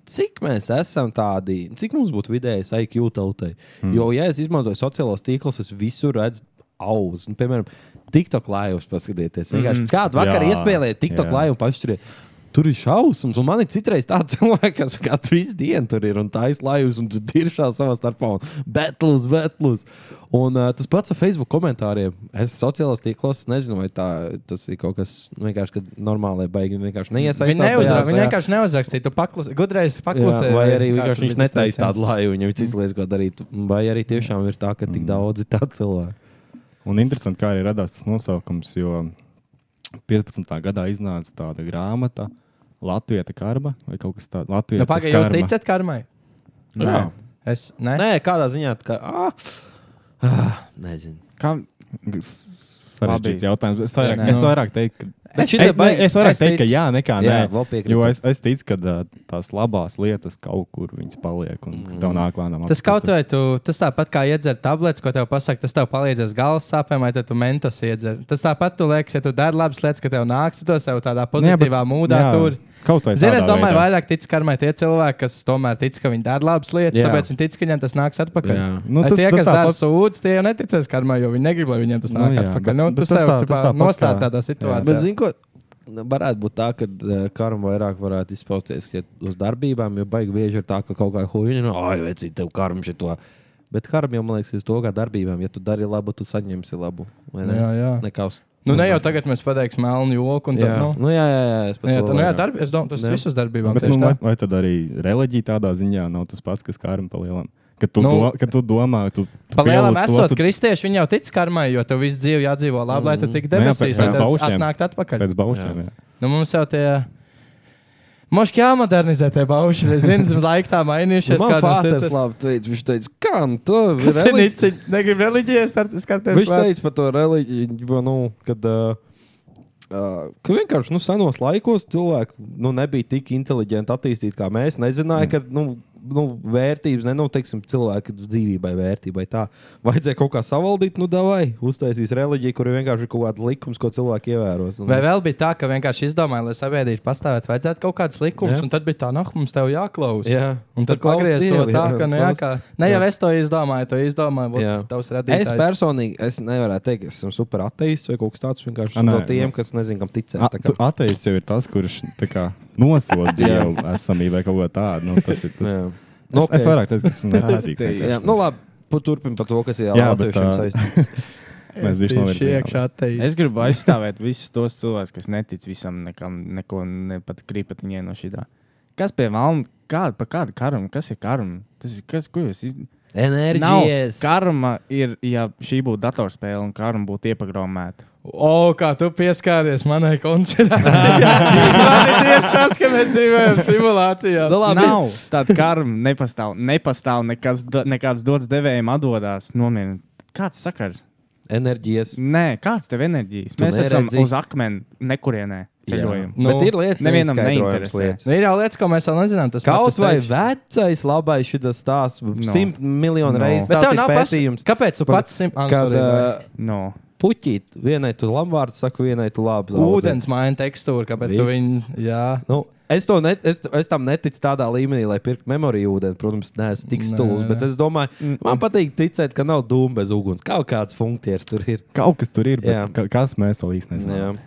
[SPEAKER 1] Cik mēs esam tādi, cik mums būtu vidējais IQ tautai?
[SPEAKER 9] Hmm.
[SPEAKER 1] Mm. Jo, ja es izmantoju sociālos tīklus, es visur redzu auzu. Nu, piemēram, TikTok laivus paskatieties. Mm. Kādu vakaru
[SPEAKER 9] Hmm. Jā,
[SPEAKER 1] iespēlēju TikTok
[SPEAKER 9] jā.
[SPEAKER 1] laivu un pašķirēju. Tur ir šausmas, un man ir citreiz tāds cilvēks, kas katru visu dienu tur ir un taisa laivas, un tur ir šā savā starpā. un Battles, battles. Un uh, tas pats ar Facebook komentāriem. Es sociālajos tīklos nezinu, vai tā, tas ir kaut kas nu, vienkārši, kad normālajai baigi vienkārši neiesaistās.
[SPEAKER 2] Viņa neuzrakstīja.
[SPEAKER 1] tajās,
[SPEAKER 2] Viņa
[SPEAKER 1] jā.
[SPEAKER 2] vienkārši neuzrakstīja. Tu paklus, gudrais paklusēji.
[SPEAKER 1] Jā, vai arī vienkārši viņš netaisa tādu laju, viņam ir cits
[SPEAKER 9] Mhm.
[SPEAKER 1] lietas, ko darīt. Vai arī tiešām ir tā, ka tik daudz ir tādu cilvēku.
[SPEAKER 9] Un interesanti, kā arī radās tas nosaukums, jo 15. gadā iznāca tāda grāmata Latvijas karma vai kaut kas tāds - Latvijas
[SPEAKER 2] Nu, Pagaidiet, jūs ticat karmai?
[SPEAKER 3] Nē.
[SPEAKER 2] Es ne?
[SPEAKER 1] Nē, kādā ziņā tā kā. Ah, ah, nezinu.
[SPEAKER 3] Kam?
[SPEAKER 9] Sarežģīts
[SPEAKER 3] Labi.
[SPEAKER 9] jautājums. Es vairāk,
[SPEAKER 2] Jā, nē.
[SPEAKER 9] es vairāk teiktu, ka
[SPEAKER 1] Bet šī
[SPEAKER 9] Es, ne, es varētu
[SPEAKER 2] es
[SPEAKER 9] teikt, ka
[SPEAKER 2] ticu.
[SPEAKER 9] jā, nekā
[SPEAKER 1] Jā,
[SPEAKER 9] nē.
[SPEAKER 1] vēl piekrītu.
[SPEAKER 9] Jo es, es ticu, ka tās labās lietas kaut kur viņas paliek un ka tev nāk lēnām.
[SPEAKER 2] Mm. Tas kaut vai tu, tas tāpat kā iedzert tabletes, ko tev pasaka, tas tev palīdzēs galvas sāpēm, vai tad tu mentos iedzer. Tas tāpat, tu liekas, ja tu dari labas lietas, ka tev nāks to sev tādā pozitīvā jā, mūdā. Tur.
[SPEAKER 9] Kaut vai
[SPEAKER 2] Zini, es
[SPEAKER 9] tādā
[SPEAKER 2] domāju,
[SPEAKER 9] veidā.
[SPEAKER 2] vairāk tic karmai tie cilvēki, kas tomēr tic, ka viņi dara labas lietas,
[SPEAKER 1] Jā.
[SPEAKER 2] jā. tāpēc viņi tic, ka viņiem tas nāks atpakaļ.
[SPEAKER 1] Jā.
[SPEAKER 9] Nu,
[SPEAKER 2] Ai,
[SPEAKER 9] tas-
[SPEAKER 2] tie,
[SPEAKER 9] tas
[SPEAKER 2] kas dara
[SPEAKER 9] tāpat-
[SPEAKER 2] sūdzes, tie jau neticēs karmai, jo viņi negrib, lai viņiem tas
[SPEAKER 9] Nu
[SPEAKER 2] nāk
[SPEAKER 9] jā,
[SPEAKER 2] atpakaļ.
[SPEAKER 9] bet-
[SPEAKER 2] Nu,
[SPEAKER 9] bet
[SPEAKER 2] tu
[SPEAKER 9] tas
[SPEAKER 2] sev
[SPEAKER 9] tā- tas
[SPEAKER 2] cipā
[SPEAKER 9] tāpat
[SPEAKER 2] nostādi
[SPEAKER 9] kā-
[SPEAKER 2] tādā
[SPEAKER 1] Bet,
[SPEAKER 2] situācijā.
[SPEAKER 1] zinu, ko varētu būt tā, ka karma vairāk varētu izpausties ja uz darbībām, jo baigi bieži ir tā, ka kaut kā huīņa, no ah, vecīt, tev karma šito. Bet karma jau, man liekas, ir uz to kā darbībām. Ja tu dari labu, tu saņemsi labu. vai Ne?
[SPEAKER 2] Jā, jā.
[SPEAKER 1] Nekaus.
[SPEAKER 2] Nu, ne jau tagad mēs pateiksim melnu joku. un tad,
[SPEAKER 1] Jā.
[SPEAKER 2] nu,
[SPEAKER 1] Nu, jā, jā, jā, es pat
[SPEAKER 2] Jā,
[SPEAKER 1] to
[SPEAKER 2] tā, nu, jā,
[SPEAKER 1] vairāk.
[SPEAKER 2] darbi, es domāju, tas
[SPEAKER 1] Jā.
[SPEAKER 2] visas darbībām
[SPEAKER 9] Bet,
[SPEAKER 2] bet,
[SPEAKER 9] nu,
[SPEAKER 2] tieši
[SPEAKER 9] vai,
[SPEAKER 2] tā.
[SPEAKER 9] vai tad arī reliģija tādā ziņā nav tas pats, kas kārma palielam? Kad tu,
[SPEAKER 2] Nu,
[SPEAKER 9] nu, do, kad tu domā, tu, tu
[SPEAKER 2] Pa lielam
[SPEAKER 9] pieliec
[SPEAKER 2] esot
[SPEAKER 9] to,
[SPEAKER 2] kristieši, viņi jau tic karmai, jo tev visu dzīvi jādzīvo labi, lai tu tik
[SPEAKER 1] Mm,
[SPEAKER 9] Nu jā,
[SPEAKER 2] debesīs,
[SPEAKER 9] pēc-
[SPEAKER 2] lai
[SPEAKER 9] pēc
[SPEAKER 2] tev
[SPEAKER 9] baušļiem.
[SPEAKER 2] atnākt
[SPEAKER 9] tu
[SPEAKER 2] atpakaļ.
[SPEAKER 9] pēc baušļiem. jā.
[SPEAKER 2] Nu, mums jau tie... Moški jāmodernizē tie bauši, es zinu, laika tā mainījušies.
[SPEAKER 1] Nu, Man
[SPEAKER 2] kā tas ir.
[SPEAKER 1] Fāters labi teica, viņš teica, kam tu?
[SPEAKER 2] Kas ir
[SPEAKER 1] reliģi-
[SPEAKER 2] nici? Negrib reliģijas, tad es skatos.
[SPEAKER 1] Viņš teica par to reliģiju, nu, kad. Uh, Uh, ka vienkārši nu, senos laikos cilvēki nu, nebija tik inteliģenti attīstīti kā mēs. Nezināja, mm. ka nu, nu, vērtības, ne, nu, teiksim, cilvēka dzīvībai, vērtībai tā. Vajadzēja kaut kā savaldīt, nu, vai uztaisīs reliģiju, kur ir vienkārši kaut kāda likums, ko cilvēki ievēros. Un,
[SPEAKER 2] Vai vēl bija tā, ka vienkārši izdomāja, lai sabiedrība pastāvētu, vajadzētu kaut kādas likumus,
[SPEAKER 1] Jā.
[SPEAKER 2] un tad bija tā, noh, mums tev jāklaus.
[SPEAKER 1] Jā.
[SPEAKER 2] Un tad
[SPEAKER 1] Klaus
[SPEAKER 2] pagriez to
[SPEAKER 1] Dievu,
[SPEAKER 2] tā,
[SPEAKER 1] jā,
[SPEAKER 2] ka, nu, jā,
[SPEAKER 1] klaus.
[SPEAKER 2] kā, ne jau
[SPEAKER 1] Jā.
[SPEAKER 2] es to izdomāju, to izdomāju,
[SPEAKER 1] Jā.
[SPEAKER 2] vot tavs
[SPEAKER 1] Es
[SPEAKER 2] radītājs.
[SPEAKER 1] personīgi es nevaru teikt, ka esmu super ateists vai kaut kas tāds. Vienkārši
[SPEAKER 9] A,
[SPEAKER 1] no
[SPEAKER 9] nē,
[SPEAKER 1] tiem,
[SPEAKER 9] nu.
[SPEAKER 1] kas nezina, kam ticēt.
[SPEAKER 9] A-
[SPEAKER 1] tā
[SPEAKER 9] tu-
[SPEAKER 1] kā-
[SPEAKER 9] Ateis jau ir tas, kurš tā kā, nosod dievu esamībai kaut ko tādu. Nu, tas ir tas.
[SPEAKER 1] Jā.
[SPEAKER 9] Nu, Es, es
[SPEAKER 1] Nopietni.
[SPEAKER 9] vairāk teicu, ka esmu neticīgs.
[SPEAKER 1] Jā,
[SPEAKER 9] vienkārši.
[SPEAKER 1] nu, labi. Turpiniet par to, kas ir
[SPEAKER 9] Jā, bet,
[SPEAKER 1] Latvijiem
[SPEAKER 9] ā,
[SPEAKER 1] saistīts.
[SPEAKER 9] Mēs visi novirzījām.
[SPEAKER 3] Es gribu aizstāvēt visus tos cilvēkus, kas netic visam, nekam, neko ne pat kripatiņai no šī. Kas pie valna, kāda par kādu karmu, kas ir karma? Tas ir kas, ko jūs iz- Nav.
[SPEAKER 1] Enerģijas.
[SPEAKER 3] Karma ir, ja šī būtu datorspēle un karma būtu iepagromēta.
[SPEAKER 2] O, kā tu pieskāries manai koncentrācijai. Man ir tieši tas, ka mēs dzīvojam simulācijā.
[SPEAKER 1] Nu, labi.
[SPEAKER 3] Nav tāda karma, nepastāv, nepastāv nekas, do- nekāds dots devējiem atdodās. Nomierināt. Kāds sakars?
[SPEAKER 1] Enerģijas.
[SPEAKER 3] Nē, kāds tev enerģijas?
[SPEAKER 1] Tu
[SPEAKER 3] Mēs esam
[SPEAKER 1] neredzi.
[SPEAKER 3] uz akmeni, nekurienē ceļojam.
[SPEAKER 1] Nu,
[SPEAKER 2] Nu,
[SPEAKER 1] bet ir lietas,
[SPEAKER 3] nevienam
[SPEAKER 1] neizskaidrojamas
[SPEAKER 3] neinteresē.
[SPEAKER 1] lietas.
[SPEAKER 2] Nu, ir jau lietas, ko mēs vēl nezinām. Tas
[SPEAKER 1] Kaut
[SPEAKER 2] pats ir
[SPEAKER 1] vai
[SPEAKER 2] teiks.
[SPEAKER 1] vecais labais šis stāsts, simt miljonu
[SPEAKER 3] No.
[SPEAKER 1] reizes.
[SPEAKER 2] Bet
[SPEAKER 1] tāds
[SPEAKER 2] tev
[SPEAKER 1] ir
[SPEAKER 2] nav
[SPEAKER 1] pētījums.
[SPEAKER 2] pētījums. Kāpēc tu
[SPEAKER 1] Par-
[SPEAKER 2] pats simt? Ah,
[SPEAKER 1] Kad
[SPEAKER 2] sorry, Daiga.
[SPEAKER 1] uh,
[SPEAKER 3] No.
[SPEAKER 1] puķīt, vienai tu labi vārdu saki, vienai tu labi zaudē.
[SPEAKER 2] Ūdens maina tekstūru, kāpēc tu
[SPEAKER 1] Viss.
[SPEAKER 2] viņu. Jā,
[SPEAKER 1] Nu, es, to net, es, es tam neticu tādā līmenī, lai pirktu memoriju ūdeni. Protams, neesmu tik
[SPEAKER 2] Nē,
[SPEAKER 1] stulbs,
[SPEAKER 2] nē.
[SPEAKER 1] bet es domāju,
[SPEAKER 3] Mm.
[SPEAKER 1] man patīk ticēt, ka nav dūma bez uguns. Kaut kāds funkcijas tur ir.
[SPEAKER 9] Kaut kas tur ir,
[SPEAKER 1] Jā.
[SPEAKER 9] bet ka, kas mēs vēl īsti
[SPEAKER 1] Jā.
[SPEAKER 9] nezinām.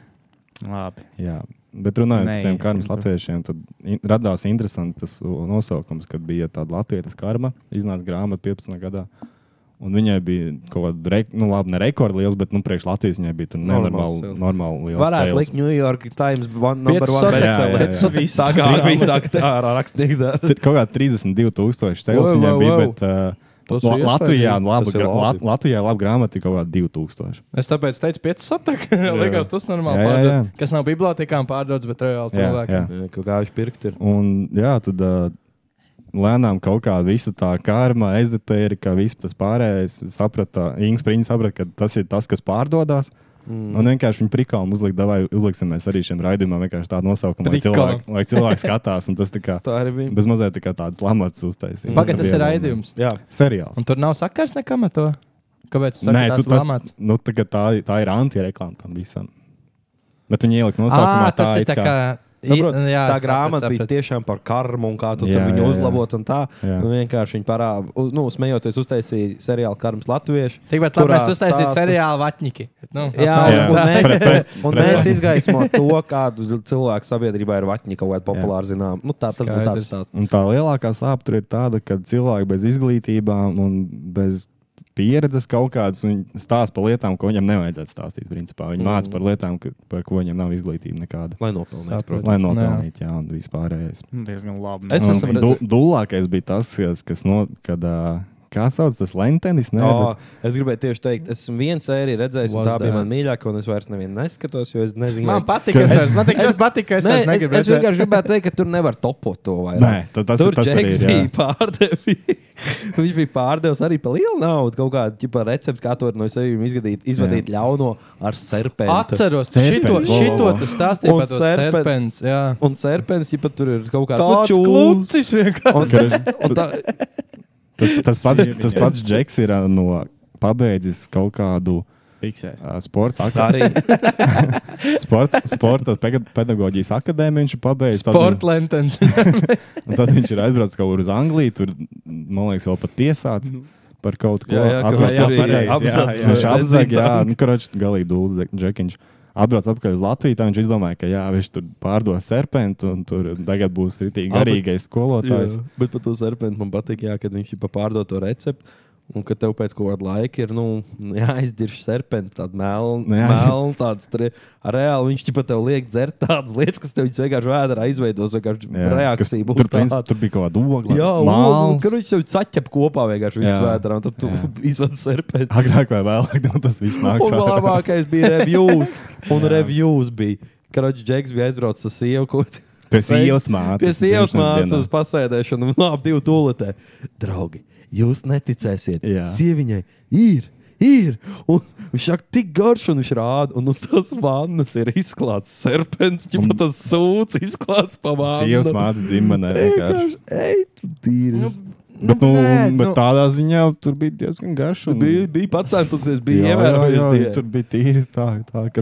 [SPEAKER 3] Labi.
[SPEAKER 9] Jā. Bet runājot par tiem
[SPEAKER 3] Neiesim
[SPEAKER 9] karmas
[SPEAKER 3] tur.
[SPEAKER 9] latviešiem, tad in- radās interesants tas uh, nosaukums, kad bija tāda latviešu karma. Iznāca grāmata 15. gadā. Un viņai bija kaut kāda, re- nu, labi, ne rekordliels, bet, nu, priekš Latvijas viņai bija tur
[SPEAKER 1] Normāls
[SPEAKER 9] nenormāli,
[SPEAKER 1] sales.
[SPEAKER 9] normāli liels.
[SPEAKER 1] Varētu
[SPEAKER 9] sales.
[SPEAKER 1] likt New York Times one, number
[SPEAKER 2] Piecas
[SPEAKER 1] one
[SPEAKER 2] sodas.
[SPEAKER 9] Jā, jā, jā.
[SPEAKER 1] bestseller.
[SPEAKER 9] Piecas sodas.
[SPEAKER 1] Tā kā arī sākta ar rakstnieku.
[SPEAKER 9] Tur kaut kā 32,000 sales
[SPEAKER 2] Wow,
[SPEAKER 9] viņai
[SPEAKER 2] wow,
[SPEAKER 9] bija,
[SPEAKER 2] wow.
[SPEAKER 9] bet uh,
[SPEAKER 2] Tas
[SPEAKER 9] La-
[SPEAKER 2] ir
[SPEAKER 9] Latvijā
[SPEAKER 2] iespaidīgi.
[SPEAKER 9] laba
[SPEAKER 1] Tas ir
[SPEAKER 9] gra-
[SPEAKER 1] labi.
[SPEAKER 9] Lat- Latvijā laba grāmata ir kaut kāda 2000.
[SPEAKER 2] es tāpēc teicu, 5 saktāk. Likās, tas normāli
[SPEAKER 9] Jā, jā,
[SPEAKER 2] pārdod.
[SPEAKER 9] jā.
[SPEAKER 2] Kas nav bibliotekām pārdodas, bet reāli
[SPEAKER 9] Jā,
[SPEAKER 2] cilvēkiem.
[SPEAKER 9] jā.
[SPEAKER 1] Kaut kā viņš pirkt ir.
[SPEAKER 9] Un, jā, tad uh, lēnām kaut kā visa tā karma, ezotērija, viss tas pārējais. Saprata, Inga Spriņa saprata, ka tas ir tas, kas pārdodas. Mm. Un vienkārši viņa prikām uzlika, vai uzliksim mēs arī šiem raidījumam vienkārši tādu nosaukumu, lai
[SPEAKER 2] Prikām.
[SPEAKER 9] cilvēki, lai cilvēki skatās. Un tas tā kā
[SPEAKER 1] Tā arī bija.
[SPEAKER 9] bez mazliet tā kā tāds lamats uztaisīts.
[SPEAKER 2] Pagaid, tas ir raidījums.
[SPEAKER 1] Jā,
[SPEAKER 9] Seriāls.
[SPEAKER 2] Un tur nav sakars nekam ar to. Kāpēc? tu saki,
[SPEAKER 9] Nē,
[SPEAKER 2] tās
[SPEAKER 9] tu, tas,
[SPEAKER 2] lamāts?
[SPEAKER 9] nu, tā, kā tā, tā ir anti-reklāma tam visam. Bet viņi ielika nosaukumā,
[SPEAKER 2] Ā, tas ir tā kā.
[SPEAKER 1] Saprot,
[SPEAKER 2] I-
[SPEAKER 1] nu jā,
[SPEAKER 2] jā,
[SPEAKER 1] tā
[SPEAKER 2] sapratu,
[SPEAKER 1] grāmata bija
[SPEAKER 2] sapratu.
[SPEAKER 1] tiešām par karmu un kā tu
[SPEAKER 9] Jā,
[SPEAKER 1] jā, viņu
[SPEAKER 9] jā, jā.
[SPEAKER 1] uzlabot. un Tā
[SPEAKER 9] Jā.
[SPEAKER 1] nu, vienkārši viņa parāda, nu, smejoties, uztaisīja seriālu Karmas Latviešu.
[SPEAKER 2] Tikpat labi,
[SPEAKER 1] kurā
[SPEAKER 2] mēs uztaisījām
[SPEAKER 1] stāsta-
[SPEAKER 2] seriālu Vatņiki. Nu,
[SPEAKER 1] Jā,
[SPEAKER 9] Jā.
[SPEAKER 1] un, un mēs,
[SPEAKER 9] Pret- pret-
[SPEAKER 1] un
[SPEAKER 9] pret-
[SPEAKER 1] mēs izgaismojam to, kādu cilvēku sabiedrībā ir vaķņi kaut kāda populāra zināmā. Nu, tā, tas būtu tāds
[SPEAKER 2] Skaidrs.
[SPEAKER 1] stāsts.
[SPEAKER 9] Un tā lielākā sāpe tur ir tāda, ka cilvēki bez izglītībām un bez pieredzes kaut kādas viņi stāsta par lietām, ko viņam nevajadzētu stāstīt. Principā.
[SPEAKER 1] Mhm.
[SPEAKER 9] Viņi mm. mācās par lietām, ka, par ko viņam nav izglītība nekāda.
[SPEAKER 1] Lai nopelnītu.
[SPEAKER 2] Saprotu.
[SPEAKER 9] Lai
[SPEAKER 2] Jā.
[SPEAKER 9] nopelnītu, jā, un vispārējais.
[SPEAKER 3] Nu, Diezgan labi.
[SPEAKER 1] Es
[SPEAKER 9] Un
[SPEAKER 1] esmu
[SPEAKER 9] du, dulākais bija tas, kas, kas no, kad, ā, kā sauc tas lentenis, ne,
[SPEAKER 1] Oh,
[SPEAKER 9] oh.
[SPEAKER 1] es gribēju tieši teikt, es esmu viens sēriju redzējis, un
[SPEAKER 2] Was
[SPEAKER 1] tā bija
[SPEAKER 2] that?
[SPEAKER 1] mana mīļākā, un es vairs nevienu neskatos, jo es nezinu,
[SPEAKER 2] Man patīk, ka es vairs- man tik ļoti patīk, ka es
[SPEAKER 1] Nē,
[SPEAKER 2] vairs negribu
[SPEAKER 1] es, es
[SPEAKER 2] redzēt.
[SPEAKER 1] vienkārši gribēju teikt, ka tur nevar topot to vairāk.
[SPEAKER 9] Nē, tad tas-
[SPEAKER 1] tur
[SPEAKER 9] tas arī
[SPEAKER 1] Džeks
[SPEAKER 9] ir,
[SPEAKER 1] bija
[SPEAKER 9] jā.
[SPEAKER 1] pārdevis. Viņš bija pārdevis arī par lielu naudu. Kaut kāda ģipa recepte, kā to no sevis izgadīt, izvadīt ļauno ar serpentu.
[SPEAKER 2] Atceros,
[SPEAKER 9] Serpents,
[SPEAKER 2] šito,
[SPEAKER 9] wow, wow,
[SPEAKER 2] šito
[SPEAKER 9] wow.
[SPEAKER 2] tu stāstīji
[SPEAKER 1] Un
[SPEAKER 2] par to
[SPEAKER 1] serpents.
[SPEAKER 2] serpents. jā.
[SPEAKER 1] Un serpents, ja tur ir kaut kāds
[SPEAKER 2] Tāds
[SPEAKER 1] nu, čūls.
[SPEAKER 2] klūcis vienkārši.
[SPEAKER 1] Un, un tā,
[SPEAKER 9] tas, tas pats, tas pats Džeks ir ā, no pabeidzis kaut kādu
[SPEAKER 3] Fiksēs.
[SPEAKER 9] ā, sports
[SPEAKER 1] tā
[SPEAKER 9] akadēmiju.
[SPEAKER 1] arī
[SPEAKER 9] Sports, sporta pega- pedagoģijas akadēmiju viņš ir pabeidzis. Tad viņ-
[SPEAKER 2] Sports lentens.
[SPEAKER 9] Un tad viņš ir aizbraucis kaut kur uz Angliju, tur, man liekas, vēl pat tiesāts. Par kaut ko
[SPEAKER 1] Jā, jā, kaut
[SPEAKER 9] Atbrauc
[SPEAKER 1] kā
[SPEAKER 9] atpakaļ.
[SPEAKER 1] arī
[SPEAKER 9] Jā,
[SPEAKER 1] apsauc,
[SPEAKER 9] jā, Viņš
[SPEAKER 1] eh,
[SPEAKER 9] apzaga, jā,
[SPEAKER 1] rezidentu.
[SPEAKER 9] nu, kurš galīgi dūlis, dze- džekiņš. Atbrauc atpakaļ uz Latviju, tā viņš izdomāja, ka jā, viņš tur pārdos serpentu un tur tagad būs rītīgi
[SPEAKER 1] Ah, bet-
[SPEAKER 9] garīgais skolotājs.
[SPEAKER 1] Jā, bet par to serpentu man patīk, jā, kad viņš jau pārdod to recepti. Un ka tev pēc kaut kāda laika ir nu, jāizdzird serpents, tāda
[SPEAKER 9] Nu jā.
[SPEAKER 1] melna, tāds tre- reāli. Viņš pat tev liek dzert tādas lietas, kas tev viņas vienkārši vēdā izveidos, vienkārši
[SPEAKER 9] Jā, kas-
[SPEAKER 1] reakcija būs
[SPEAKER 9] Tur, principā,
[SPEAKER 1] tāda.
[SPEAKER 9] tur bija kaut kāda ogla.
[SPEAKER 1] Jā, un
[SPEAKER 9] māls.
[SPEAKER 1] tur viņš jau ceļā kopā vienkārši visu
[SPEAKER 9] Jā.
[SPEAKER 1] vēdā, un tad tu
[SPEAKER 9] Jā.
[SPEAKER 1] izvedi serpentu.
[SPEAKER 9] Agrāk vai vēlāk nu, tas viss nāks.
[SPEAKER 1] Un vēl
[SPEAKER 9] ārā.
[SPEAKER 1] labākais bija reviews. Un reviews bija. Karoģis Džeks bija aizbraucis ar sievu. ko-
[SPEAKER 9] Pie sievas mātes.
[SPEAKER 1] Pie sievas
[SPEAKER 9] dzimšanas
[SPEAKER 1] mācās uz
[SPEAKER 9] dienā.
[SPEAKER 1] pasēdēšanu, un abi bija tūlītē. Draugi, jūs neticēsiet,
[SPEAKER 9] Jā.
[SPEAKER 1] sieviņai ir. Ir. Un viņš ir tik garš, un viņš rāda, un uz tās vannas ir izklāts serpents, jau tas sūds izklāts pamācīts.
[SPEAKER 9] Sievas mātes dzimtenē vienkārši.
[SPEAKER 1] Ej, tu dīri. Nu,
[SPEAKER 9] Bet, nu,
[SPEAKER 2] nē,
[SPEAKER 9] bet
[SPEAKER 2] nu.
[SPEAKER 9] tādā ziņā tur bija diezgan garš.
[SPEAKER 1] tu
[SPEAKER 9] un-
[SPEAKER 1] biji, biji pacēlusies, biji
[SPEAKER 9] Jā, jā, jā,
[SPEAKER 1] ievērojusi.
[SPEAKER 9] Tur bija tīri tā, tā ka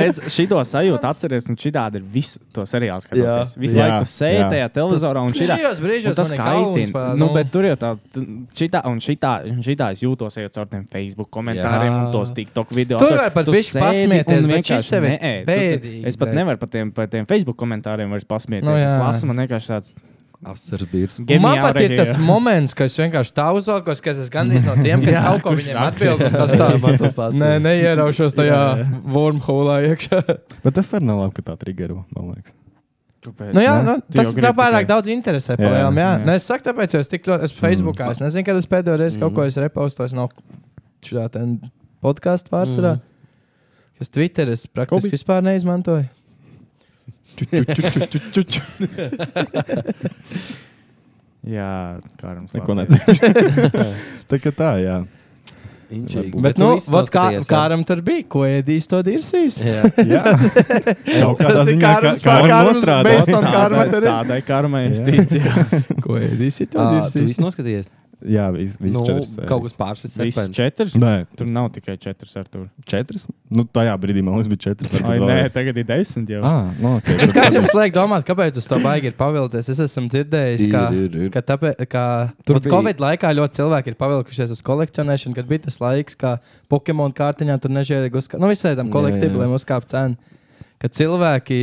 [SPEAKER 3] Redz, šito sajūtu atceries, un šī tāda ir visu to seriālu skatoties.
[SPEAKER 1] Jā.
[SPEAKER 3] Visu
[SPEAKER 9] Jā,
[SPEAKER 3] laiku tu sēdi
[SPEAKER 9] jā.
[SPEAKER 3] tajā televizorā un šitā.
[SPEAKER 2] Šajos brīžos
[SPEAKER 3] un tas
[SPEAKER 2] man ir kauns
[SPEAKER 3] kaitina.
[SPEAKER 2] par-
[SPEAKER 3] Nu,
[SPEAKER 2] nu.
[SPEAKER 3] bet tur jau tā, t- šitā un šitā, un šitā es jūtos ejot caur tiem Facebook
[SPEAKER 1] Jā.
[SPEAKER 3] komentāriem un tos TikTok video.
[SPEAKER 2] Tur var pat
[SPEAKER 3] tu
[SPEAKER 2] bišķi
[SPEAKER 3] sēdi
[SPEAKER 2] pasmieties, bet
[SPEAKER 3] un
[SPEAKER 2] šis
[SPEAKER 3] vienkārši
[SPEAKER 2] sev ir
[SPEAKER 3] neēd. Tu-
[SPEAKER 2] bēdīgi,
[SPEAKER 3] Es pat
[SPEAKER 2] bet-
[SPEAKER 3] nevaru par tiem, par tiem Facebook komentāriem vairs pasmieties.
[SPEAKER 2] Nu,
[SPEAKER 3] No, es
[SPEAKER 2] jā.
[SPEAKER 3] lasu, man vienkārši tāds.
[SPEAKER 10] Asars birs.
[SPEAKER 2] Un Man pat ir
[SPEAKER 3] Geniāli
[SPEAKER 2] tas
[SPEAKER 3] reaģēja.
[SPEAKER 2] moments, kad es vienkārši tā uzvelkos, ka es esmu gandrīz no tiem, kas
[SPEAKER 3] Jā,
[SPEAKER 2] kaut ko
[SPEAKER 3] kurš
[SPEAKER 2] viņiem
[SPEAKER 3] raksta.
[SPEAKER 2] atbild. un Tas tā
[SPEAKER 10] Jā, man tas pats
[SPEAKER 2] Nē,
[SPEAKER 10] ir.
[SPEAKER 2] neieraušos tajā
[SPEAKER 3] Jā, jā.
[SPEAKER 2] wormholā iekšā.
[SPEAKER 9] Bet tas arī nav labi, ka tā trigero, man liekas.
[SPEAKER 2] Nu, jā,
[SPEAKER 3] ne?
[SPEAKER 2] nu,
[SPEAKER 3] Tu
[SPEAKER 2] tas
[SPEAKER 3] jau
[SPEAKER 2] tā
[SPEAKER 3] gribi
[SPEAKER 2] pārāk
[SPEAKER 3] tikai-
[SPEAKER 2] daudz interesē.
[SPEAKER 9] Jā,
[SPEAKER 2] Jā, jā. jā.
[SPEAKER 3] jā.
[SPEAKER 2] Nē, es saku, tāpēc jo es tik ļoti esmu Facebookā. Es nezinu, kad es pēdējo reizi kaut ko esmu repostojis no šā podkāstu pārsvarā. Kas Twitter es praktiski
[SPEAKER 3] Kobi.
[SPEAKER 2] vispār neizmantoju.
[SPEAKER 3] Jā, kā mums
[SPEAKER 9] Neko nedarīšu. tā kā tā, jā.
[SPEAKER 10] Inčīgi.
[SPEAKER 2] Bet,
[SPEAKER 10] tu
[SPEAKER 2] nu,
[SPEAKER 10] visu
[SPEAKER 2] vot kā,
[SPEAKER 10] noskaties, jā?
[SPEAKER 2] kāram tur bija, ko ēdīs, to dirsīs.
[SPEAKER 10] Jā.
[SPEAKER 9] jā. Kaut
[SPEAKER 2] Tas
[SPEAKER 9] kādā
[SPEAKER 2] ir
[SPEAKER 9] ziņā
[SPEAKER 2] kārums
[SPEAKER 9] kā-
[SPEAKER 2] pār
[SPEAKER 9] kā
[SPEAKER 2] kārums,
[SPEAKER 9] nostrādā.
[SPEAKER 2] based on
[SPEAKER 9] Tā-
[SPEAKER 2] karma tur ir.
[SPEAKER 3] Tādai karmai es ticu. jā.
[SPEAKER 2] Ko ēdīs, to
[SPEAKER 10] Ā, Tu
[SPEAKER 2] dirsīs.
[SPEAKER 10] visu noskaties.
[SPEAKER 9] Jā, viss vis
[SPEAKER 10] Nu,
[SPEAKER 9] četras.
[SPEAKER 10] kaut kas
[SPEAKER 9] sērijas.
[SPEAKER 10] pārsits.
[SPEAKER 3] Viss
[SPEAKER 10] serpents.
[SPEAKER 3] četrs.
[SPEAKER 9] Nē,
[SPEAKER 3] Tur nav tikai četras ar to.
[SPEAKER 9] četras. Nu, tajā brīdī man liekas, bija četras.
[SPEAKER 3] Ai, nē, tagad ir desmit jau.
[SPEAKER 9] Ah, nu, okay,
[SPEAKER 2] Bet Kas jums liek domāt, kāpēc tas tā baigi ir pavilcies? Es esmu dzirdējis, ka,
[SPEAKER 9] Ir, ir, ir.
[SPEAKER 2] ka, tāpēc, ka tur
[SPEAKER 10] Tur
[SPEAKER 2] bija
[SPEAKER 10] bija-
[SPEAKER 2] Covid laikā ļoti cilvēki ir pavilkušies uz kolekcionēšanu, kad bija tas laiks, kā Pokemon kārtiņā tur nežēlīgi uzkāpa. Nu, visai tam
[SPEAKER 10] Jā,
[SPEAKER 2] kolektīviem uzkāpa cena. Ka cilvēki,